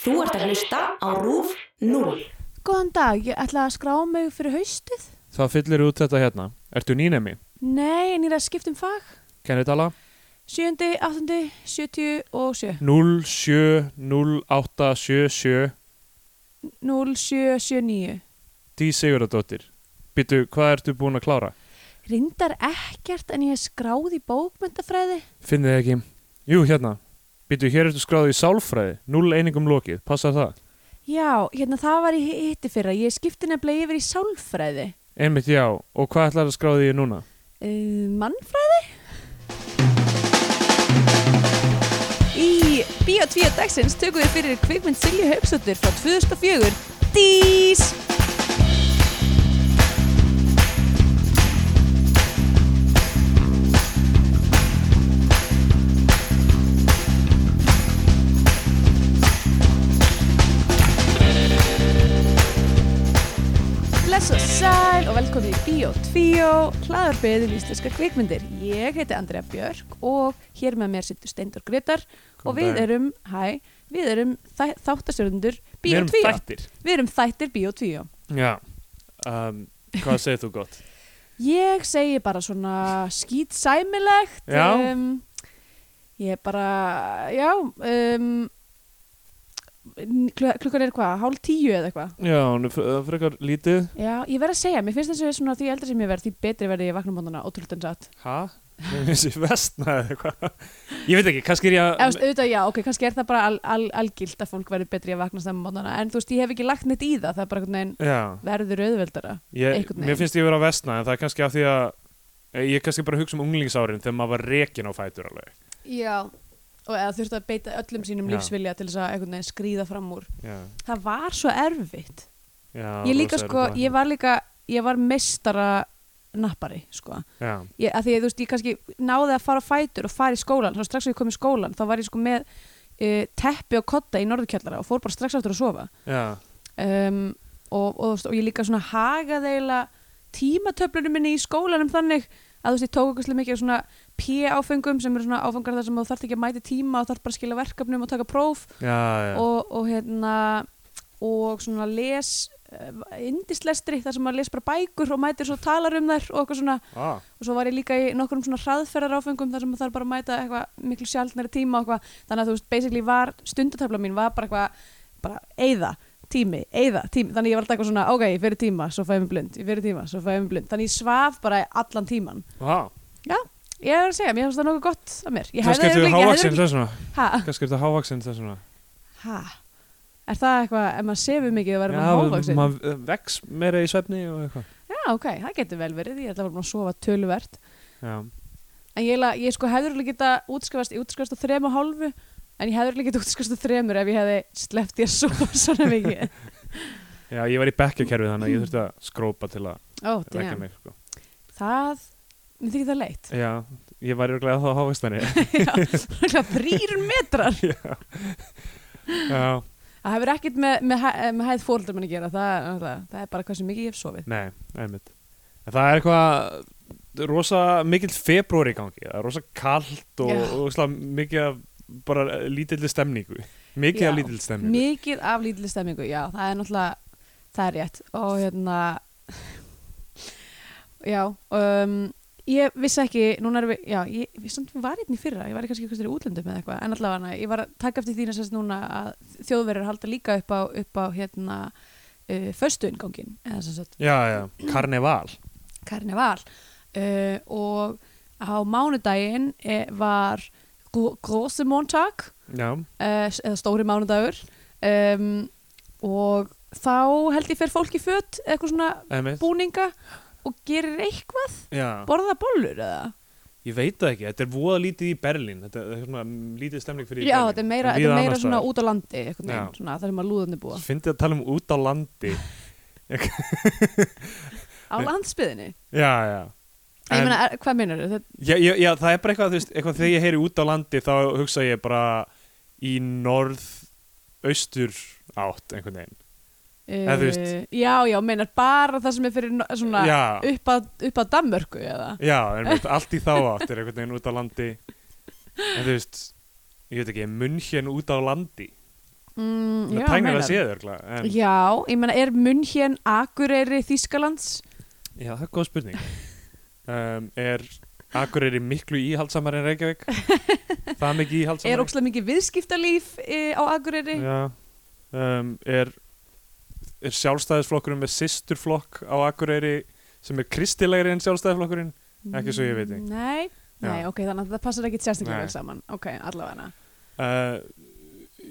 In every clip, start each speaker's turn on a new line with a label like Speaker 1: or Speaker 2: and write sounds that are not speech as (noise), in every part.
Speaker 1: Þú ert að hlusta á RÚF 0.
Speaker 2: Góðan dag, ég ætla að skrá mig fyrir haustið.
Speaker 3: Þá fyllir út þetta hérna. Ertu nýnemi?
Speaker 2: Nei, en ég er að skipta um fag.
Speaker 3: Kennitala?
Speaker 2: 7, 8, 70 og 7.
Speaker 3: 070877
Speaker 2: 0779.
Speaker 3: Dí Sigurðardóttir. Býtu, hvað ertu búin að klára?
Speaker 2: Rindar ekkert en ég er skráð í bókmyndafræði.
Speaker 3: Finnið þið ekki? Jú, hérna. Býtu, hér ertu skráðið í sálfræði. 0 einingum lokið. Passar það?
Speaker 2: Já, hérna það var ég hitti fyrra. Ég skipti nefnilega yfir í sálfræði.
Speaker 3: Einmitt já. Og hvað ætlar að skráðið í núna?
Speaker 2: Uh, mannfræði? Í Bíó 2 dagsins tökum við fyrir kvikmynd Silju Hauksdóttur frá 2004 Dís! Bless og sæl og velkomin í Bíó 2 hlaðarbyðum íslenska kvikmyndir Ég heiti Andrea Björk og hér með mér sittur Steindor Gretar og
Speaker 3: Góðan
Speaker 2: við
Speaker 3: dag.
Speaker 2: erum, hæ, við erum þæ, þáttastjörnundur
Speaker 3: Við
Speaker 2: Bíó
Speaker 3: erum
Speaker 2: 2
Speaker 3: Þættir.
Speaker 2: Við erum þættir Bíó 2
Speaker 3: Já. Um, hvað segir þú gott?
Speaker 2: Ég segi bara svona skýtsæmilegt
Speaker 3: Já.
Speaker 2: um, Ég bara, já um, klu- Klukkan er hvað, hálf tíu eða eitthvað
Speaker 3: Já, hún er fre- eh, frekar lítið.
Speaker 2: Já, ég verð að segja, mér finnst þessu svona því eldri sem ég verð, því betri verði ég vakna mótana ótrúld en satt.
Speaker 3: Hæ? Þessi vestna eða eitthvað? Ég veit ekki, kannski er ég
Speaker 2: Eða, þú
Speaker 3: að...
Speaker 2: veist, auðvitað, já, ok, kannski er það bara al, al, algilt að fólk verði betri að vakna snemma mótana, en þú veist, ég hef ekki lagt neitt í það, það er bara einhvern veginn
Speaker 3: Já.
Speaker 2: verður auðveldara.
Speaker 3: Ég,
Speaker 2: Einhvern
Speaker 3: mér
Speaker 2: veginn.
Speaker 3: finnst ég vera að vestna en það er kannski af því að ég er kannski bara að hugsa um unglingsárin þegar maður var rekin á fætur alveg
Speaker 2: Já. Og eða þurfti að beita öllum sínum
Speaker 3: Já.
Speaker 2: lífsvilja til þess að einhvern veginn skríða fram úr.
Speaker 3: já,
Speaker 2: Það var svo erfitt.
Speaker 3: já,
Speaker 2: ég líka,
Speaker 3: rosa er
Speaker 2: sko,
Speaker 3: þetta.
Speaker 2: ég var líka, ég var mestara nappari, sko.
Speaker 3: já,
Speaker 2: ég, að því að þú veist, ég kannski náði að fara á fætur og fara í skólan, þá strax að ég kom í skólan þá var ég sko með uh, teppi og kotta í norðurkjallara og fór bara strax aftur að sofa
Speaker 3: já,
Speaker 2: um, og, og, þú veist, og ég líka svona hagaði eiginlega tímatöflunum minni í skólanum þannig að þú veist, ég tók okkur slik mikið svona P-áfengum sem eru svona áfangar þar sem þú þarft ekki að mæti tíma og þarft bara að skila verkefnum og taka próf
Speaker 3: já, já.
Speaker 2: og, og hérna og svona les eh, indislestri þar sem maður les bara bækur og mætir svo og talar um þær og eitthvað svona
Speaker 3: Ah,
Speaker 2: og svo var ég líka í nokkrum svona hraðferðaráfengum þar sem maður þarf bara að mæta eitthvað miklu sjálfnari tíma og eitthvað þannig að þú veist, basically var stundatöfla mín var bara eitthvað, bara eyða tími, eyða tími, þannig ég var alltaf eitthvað svona ok, ég fyrir tíma, svo fæ ég mig blund, ég fyrir tíma, svo fæ ég mig blund, þannig ég svaf bara allan tíman
Speaker 3: ah.
Speaker 2: já, ég er að segja, mér finnst það nokkuð gott að mér, ég
Speaker 3: kannski ertu
Speaker 2: örugglega- ég
Speaker 3: hávaksinn
Speaker 2: örugglega-
Speaker 3: þess vegna
Speaker 2: ha,
Speaker 3: kannski ertu hávaksinn þess vegna
Speaker 2: ha, er það eitthvað ef maður sefur mikið og verður
Speaker 3: Já,
Speaker 2: maður hávaksin
Speaker 3: maður eh, vex meira í svefni og eitthvað
Speaker 2: já, ok, það getur vel verið, ég ætla að vera búin að sofa töluvert
Speaker 3: já,
Speaker 2: En ég, la, ég sko hefur alveg geta útskrifast, ég útskrifast á þrem og hálfu en ég hefur alveg geta útskrifast á þremur ef ég hefði sleppt ég að sofa (laughs) svona mikið.
Speaker 3: já, ég var í bekkjakerfi þannig að ég þurfti að skrópa til að
Speaker 2: Ó,
Speaker 3: vekja
Speaker 2: damn.
Speaker 3: mig sko.
Speaker 2: Það, mér þykir það
Speaker 3: (laughs)
Speaker 2: leitt.
Speaker 3: já, ég var örglega þá hávaksnari (laughs)
Speaker 2: Já, þrýr metrar.
Speaker 3: já,
Speaker 2: Það hefur ekkert með, með, hæ- með hæð fóröldar manni að gera, það, er náttúrulega- það er bara hversu mikið ég hef sofið.
Speaker 3: Nei, einmitt. En það er eitthvað rosa mikill februar í gangi, það er rosa kallt og,
Speaker 2: Já.
Speaker 3: og slag, mikið af bara lítilli stemningu. Mikið
Speaker 2: Já,
Speaker 3: af lítilli stemningu.
Speaker 2: Mikið af lítileg stemmingu, já, það er náttúrulega, það er rétt. Og hérna, já, um, ég vissi ekki, núna erum við, já, ég, ég samt var hérna í fyrra, ég var í kannski eitthvað í útlöndum eða eitthvað, en allavega hana, ég var að taka eftir því næstast núna að þjóðverður halda líka upp á, upp á hérna, uh, föstuingangin, eða sem sagt,
Speaker 3: Já, já, karneval.
Speaker 2: karneval. Uh, og á mánudaginn eh, var Grósumontak,
Speaker 3: Já,
Speaker 2: eh, eða stóri mánudagur um, og þá held ég fer fólk í fött eitthvað svona
Speaker 3: einmitt.
Speaker 2: búninga og gerir eitthvað,
Speaker 3: Já,
Speaker 2: borða bollur eða
Speaker 3: ég veit það ekki, þetta er voða lítið í Berlín, þetta þetta er svona lítið stemning fyrir í
Speaker 2: já,
Speaker 3: Berlín.
Speaker 2: þetta er meira,
Speaker 3: En
Speaker 2: þetta
Speaker 3: víða
Speaker 2: er meira
Speaker 3: annars
Speaker 2: svona
Speaker 3: staðar.
Speaker 2: út á landi eitthvað
Speaker 3: Já.
Speaker 2: neginn, svona þar sem að lúðunni búa
Speaker 3: Ég Fyndi að tala um út á landi.
Speaker 2: (laughs) á landsbyðinni,
Speaker 3: já, já.
Speaker 2: ég
Speaker 3: En-
Speaker 2: meina, er, hvað meinar þau?
Speaker 3: Já, já, já, það er bara eitthvað, þú veist, eitthvað þegar ég heyri út á landi þá hugsa ég bara í norð-austur átt einhvern veginn. Eða þú veist-
Speaker 2: já, eh, já, meinar bara það sem er fyrir no- svona
Speaker 3: já,
Speaker 2: upp að, upp að Danmörku eða
Speaker 3: já, en veit, allt í þá átt er einhvern veginn út á landi. En þú veist, ég veit ekki, munn hérna út á landi.
Speaker 2: mm,
Speaker 3: það
Speaker 2: já,
Speaker 3: tæknir
Speaker 2: meinar.
Speaker 3: að séð örgulega en,
Speaker 2: Já, ég meina, er München Akureyri Þýskalands?
Speaker 3: já, það er góð spurning um, er Akureyri miklu íhaldsamar en
Speaker 2: (laughs)
Speaker 3: Reykjavík það mikið
Speaker 2: er
Speaker 3: íhaldsamar
Speaker 2: ógslag mikið viðskiptalíf e, á Akureyri?
Speaker 3: já, um, er, er sjálfstæðisflokkurinn með sýsturflokk á Akureyri sem er kristilegri en sjálfstæðisflokkurinn ekki svo ég viti.
Speaker 2: Nei,
Speaker 3: Já.
Speaker 2: nei ok, þannig að það passar ekki sérstaklega
Speaker 3: Nei.
Speaker 2: vel saman Ok, allavega
Speaker 3: uh,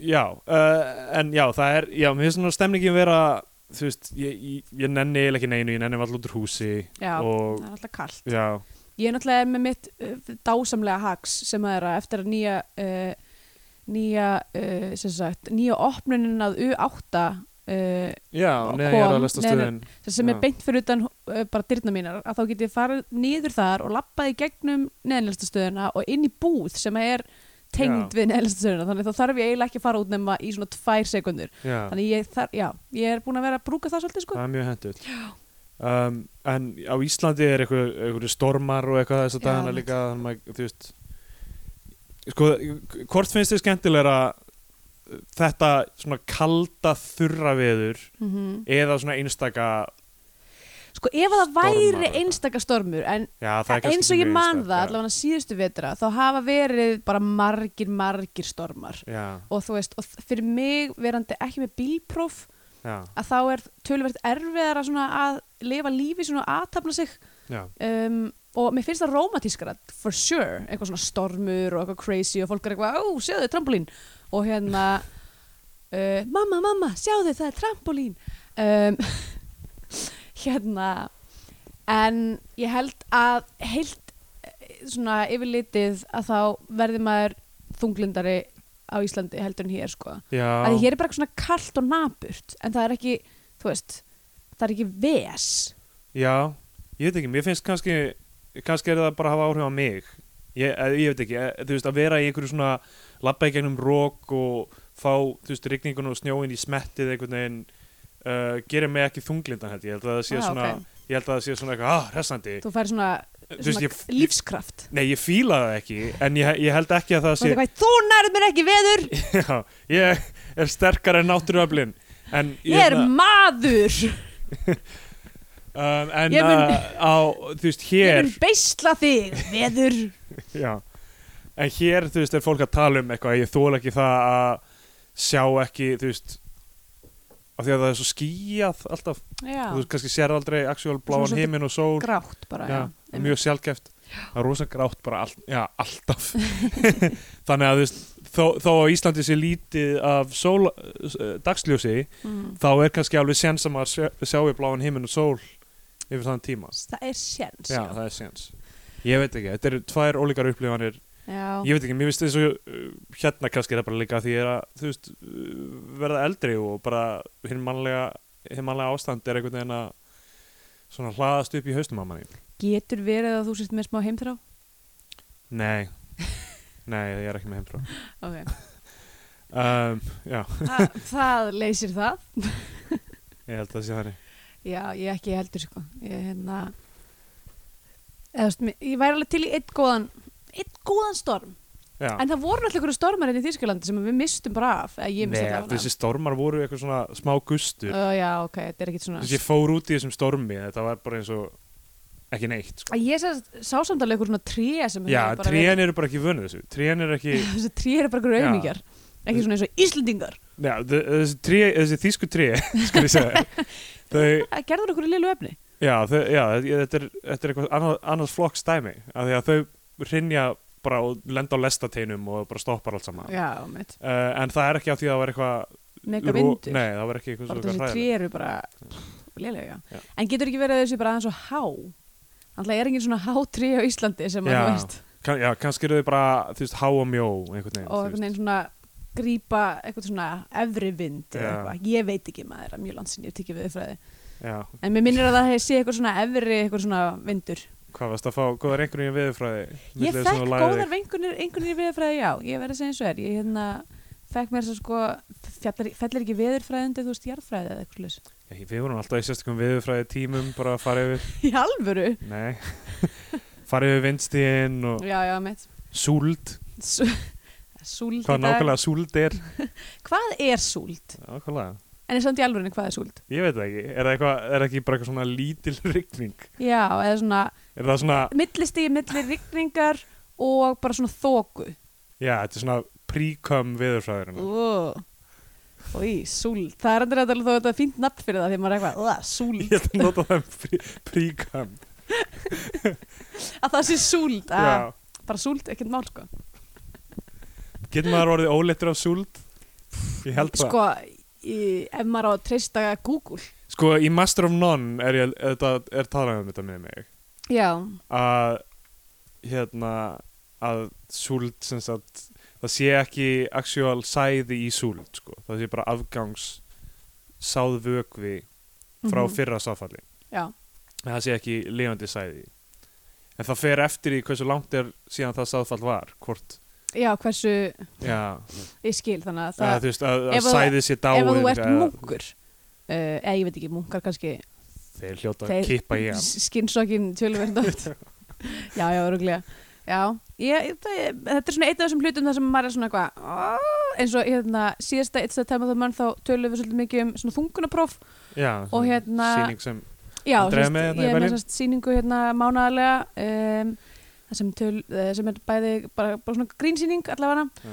Speaker 3: já uh, en já það er já, mér finnst svona stemningin vera þú veist, ég, ég, ég nenni eiginlega ekki neinu ég nenni alltaf út úr húsi
Speaker 2: Já, það
Speaker 3: og
Speaker 2: er alltaf kallt
Speaker 3: já,
Speaker 2: Ég er náttúrulega með mitt uh, dásamlega haks sem að er að eftir að nýja uh, nýja, uh, sem sagt nýja opnunin að U8 uh,
Speaker 3: já
Speaker 2: Og
Speaker 3: neðan ég er
Speaker 2: kom-
Speaker 3: að lesta
Speaker 2: neðan-
Speaker 3: stöðin
Speaker 2: sem er
Speaker 3: Já.
Speaker 2: beint fyrir utan uh, bara dyrna mínar að þá getið farið niður þar og lappað í gegnum neðanlistastöðuna og inn í búð sem að er tengd
Speaker 3: Já.
Speaker 2: við neðanlistastöðuna þannig þá þarf ég eiginlega ekki að fara út nema í svona tvær sekundur
Speaker 3: já,
Speaker 2: þannig ég, þar, já, ég er búin að vera að brúka það svolítið sko
Speaker 3: það er mjög hendut um, en á Íslandi er eitthvað, eitthvað stormar og eitthvað þess
Speaker 2: Já,
Speaker 3: að dagana
Speaker 2: mitt.
Speaker 3: líka þannig maður, þú veist sko, hvort finnst þið skemmtilega þetta svona kalda þurra veður
Speaker 2: mm
Speaker 3: eða svona einstaka
Speaker 2: sko ef að það
Speaker 3: Stormar
Speaker 2: væri
Speaker 3: og-
Speaker 2: einstaka stormur en
Speaker 3: já, það er kannski
Speaker 2: eins og ég
Speaker 3: mjög
Speaker 2: man
Speaker 3: einstakt,
Speaker 2: það
Speaker 3: já.
Speaker 2: allavega síðustu vetra þá hafa verið bara margir margir stormar
Speaker 3: já,
Speaker 2: og þú veist, og þ- fyrir mig verandi ekki með bílpróf
Speaker 3: já,
Speaker 2: að þá er töluvert erfiðara svona að lifa lífi svona aðtapna sig
Speaker 3: já,
Speaker 2: um, og mér finnst það rómatískara for sure, eitthvað svona stormur og eitthvað crazy og fólk er eitthvað, ó, sjáðu trampolín og hérna (laughs) uh, mamma, mamma, sjáðu það er trampolín um, (laughs) hérna en ég held að heilt eh, svona yfirlitið að þá verði maður þunglindari á Íslandi heldur en hér sko
Speaker 3: já.
Speaker 2: að hér er bara eitthvað svona kallt og napurt en það er ekki, þú veist það er ekki ves
Speaker 3: Já, ég veit ekki, mér finnst kannski kannski er það bara að hafa áhrif á mig ég, eh, ég veit ekki, eh, þú veist, að vera í einhverju svona labba í gegnum rók og fá, þú veist, rigningun og snjóin í smettið einhvern veginn uh, gerir mig ekki þunglindan held ég, ég held að það sé
Speaker 2: Ah,
Speaker 3: svona
Speaker 2: ok.
Speaker 3: ég held að það sé svona eitthvað, ah, hressandi
Speaker 2: þú færi svona,
Speaker 3: þú
Speaker 2: svona
Speaker 3: veist, ég, ég,
Speaker 2: lífskraft
Speaker 3: nei, ég fíla það ekki en ég, ég held ekki að það
Speaker 2: þú,
Speaker 3: sé
Speaker 2: hvað, þú nærð mér ekki veður
Speaker 3: (laughs) já, ég er sterkar en náttúruöflin en hérna,
Speaker 2: ég er maður
Speaker 3: um, en
Speaker 2: ég mun-
Speaker 3: uh, á, þú veist,
Speaker 2: ég
Speaker 3: hér
Speaker 2: vil beisla þig veður
Speaker 3: Já, en hér, þú veist, er fólk að tala um eitthvað, ég þól ekki það að sjá ekki, þú veist af því að það er svo skýjað alltaf,
Speaker 2: já,
Speaker 3: þú veist, kannski sér aldrei actual
Speaker 2: Svona
Speaker 3: bláan
Speaker 2: svolítið
Speaker 3: himinn og sól
Speaker 2: grátt bara
Speaker 3: já,
Speaker 2: já,
Speaker 3: það er mjög sjálfgeft það er rosa grátt bara all, já, alltaf (laughs) þannig að þú veist, þó, þó að Íslandi sé lítið af sól, uh, dagsljósi
Speaker 2: mm.
Speaker 3: þá er kannski alveg séns að maður sjá- sjái bláan himinn og sól yfir þann tíma
Speaker 2: það er sjens
Speaker 3: já, það er séns ég veit ekki, þetta eru tvær ólíkar upplifanir
Speaker 2: já.
Speaker 3: ég veit ekki, mér finnst eins og uh, hérna kannski er það bara líka því ég er að þú veist, uh, verða eldri og bara hinn mannlega, hinn mannlega ástand er einhvern veginn að svona hlaðast upp í haustum á manni
Speaker 2: getur verið að þú sért með smá heimtrá
Speaker 3: nei, (laughs) nei, ég er ekki með heimtrá
Speaker 2: okay.
Speaker 3: um, já,
Speaker 2: Þa, það leysir það
Speaker 3: ég held að það sé þannig
Speaker 2: Já, ég ekki heldur sko ég, hérna, eða, þú veist, mér- ég væri alveg til í eitt góðan eitt góðan storm
Speaker 3: já.
Speaker 2: en það voru alltaf einhverju stormar hérna í Þýskalandi sem við mistum bara af eða ég misti
Speaker 3: Nei,
Speaker 2: alltaf
Speaker 3: þessi stormar voru eitthvað svona smá gustur
Speaker 2: uh, Já, ok, þetta er ekkit svona
Speaker 3: þessi ég fór út í þessum stormi þetta var bara eins og ekki neitt sko.
Speaker 2: Að Ég sagði, sá samt alveg einhverju svona tré sem
Speaker 3: já,
Speaker 2: hefur bara
Speaker 3: trén eru bara ekki vönu þessu trén eru ekki
Speaker 2: verið- (laughs) Þessi tré eru bara einhverju
Speaker 3: Já.
Speaker 2: auðmíkjar ekki svona eins og Íslendingar
Speaker 3: Já, þe- þessi, tré, þessi þýsku tré, (laughs) skal ég segja,
Speaker 2: (laughs)
Speaker 3: þau,
Speaker 2: Það gerður einhverju lilu efni
Speaker 3: já, þau, já þetta, er, þetta er eitthvað annað, annars flokks dæmi, af því að þau rinja bara og lenda á lestateinum og bara stoppar allt saman.
Speaker 2: Já, mitt,
Speaker 3: Uh, en það er ekki af því að það var eitthvað...
Speaker 2: mega
Speaker 3: ro-
Speaker 2: vindur
Speaker 3: Nei, það var ekki eitthvað
Speaker 2: bara
Speaker 3: svo
Speaker 2: þessi
Speaker 3: eitthvað
Speaker 2: tré
Speaker 3: hræðið.
Speaker 2: eru bara lélega, já.
Speaker 3: Já.
Speaker 2: en getur ekki verið að þessu bara aðeins og há alltaf er engin svona há tré á Íslandi sem að
Speaker 3: Já.
Speaker 2: þú veist
Speaker 3: Kann, já, kannski eru þau bara, þú veist, há og mjó, einhvern veginn.
Speaker 2: og einhvern veginn svona grípa eitthvað svona efri vind eða
Speaker 3: Já.
Speaker 2: eitthvað, ég veit ekki maður að mjög landsin ég hef tekið við fræði,
Speaker 3: veginn. Já,
Speaker 2: en mér minnir að það hefði sé eitthvað svona efri, eitthvað svona vindur
Speaker 3: hvað varst að fá góðar einhvern veginn viðurfræði?
Speaker 2: ég fekk góðar vingunir einhvern veginn viðurfræði, já, ég verði að segja eins og er ég hérna, fekk mér svo sko fjallar, fellir ekki viðurfræði undir þú veist jarðfræði eða eitthvað slags,
Speaker 3: Já, Við vorum alltaf í sérstakum viðurfræði tímum, bara að fara yfir,
Speaker 2: (laughs) í alvöru
Speaker 3: nei, (laughs) fara yfir vindstíðin og
Speaker 2: já, já, mitt
Speaker 3: súld.
Speaker 2: S- (laughs) súld í
Speaker 3: Hvað
Speaker 2: dag.
Speaker 3: nákvæmlega súld er
Speaker 2: Hvað er súld?
Speaker 3: Nákvæmlega
Speaker 2: En ég samt í alvörinu hvað er súld?
Speaker 3: Ég veit það ekki, er það eitthvað, er það ekki bara eitthvað svona lítil (laughs) rigning?
Speaker 2: Já, eða svona
Speaker 3: Er það svona,
Speaker 2: millistigi, millir rigningar og bara svona þóku.
Speaker 3: já, þetta er svona príköm veðurfræðurinn
Speaker 2: Í, súld. Það er endur að tala þó að þetta er fínt nafn fyrir það því að maður er eitthvað, "Ugh,
Speaker 3: (laughs) Ég
Speaker 2: súld.
Speaker 3: ætla að nota það um príköm
Speaker 2: Að það sé súld.
Speaker 3: Já,
Speaker 2: Að, bara súld, ekkert mál sko.
Speaker 3: getur maður orðið óleittur af súld? Ég held það
Speaker 2: Sko, í, ef maður á að treysta Google.
Speaker 3: Sko, í Master of None er, ég, þetta, er talað um þetta með mig
Speaker 2: Já,
Speaker 3: að hérna að súld sem sagt það sé ekki actual sæði í súld sko. það sé bara afgangs sáðvökvi frá
Speaker 2: Mhm.
Speaker 3: fyrra sáfalli
Speaker 2: já,
Speaker 3: en það sé ekki lifandi sæði í. en það fer eftir í hversu langt er síðan það sáðfall var hvort
Speaker 2: já, hversu
Speaker 3: já,
Speaker 2: ég skil þannig að
Speaker 3: að,
Speaker 2: það,
Speaker 3: þú veist, að,
Speaker 2: ef
Speaker 3: að
Speaker 2: að-
Speaker 3: sæði sé dáið
Speaker 2: ef að þú ert munkur uh, eða ég veit ekki, munkar kannski
Speaker 3: þeir hljóta
Speaker 2: þeir
Speaker 3: að kippa í hann
Speaker 2: skinnsokkin tölverð nátt já, já, öruglega já, ég, það, þetta er svona einn af þessum hlutum þar sem maður er svona eitthvað "Ah", eins og hérna, síðasta eitt stað tæma þá mann þá tölum við svolítið mikið um svona þungunapróf
Speaker 3: já,
Speaker 2: Og hérna-
Speaker 3: síning sem
Speaker 2: já,
Speaker 3: Andrea
Speaker 2: sem sagt,
Speaker 3: með hérna
Speaker 2: ég
Speaker 3: í
Speaker 2: er
Speaker 3: Berlín?
Speaker 2: með sérst síningu hérna mánaðarlega um, það sem, töl, eh, sem er bæði bara, bara svona grínsýning allavega
Speaker 3: já.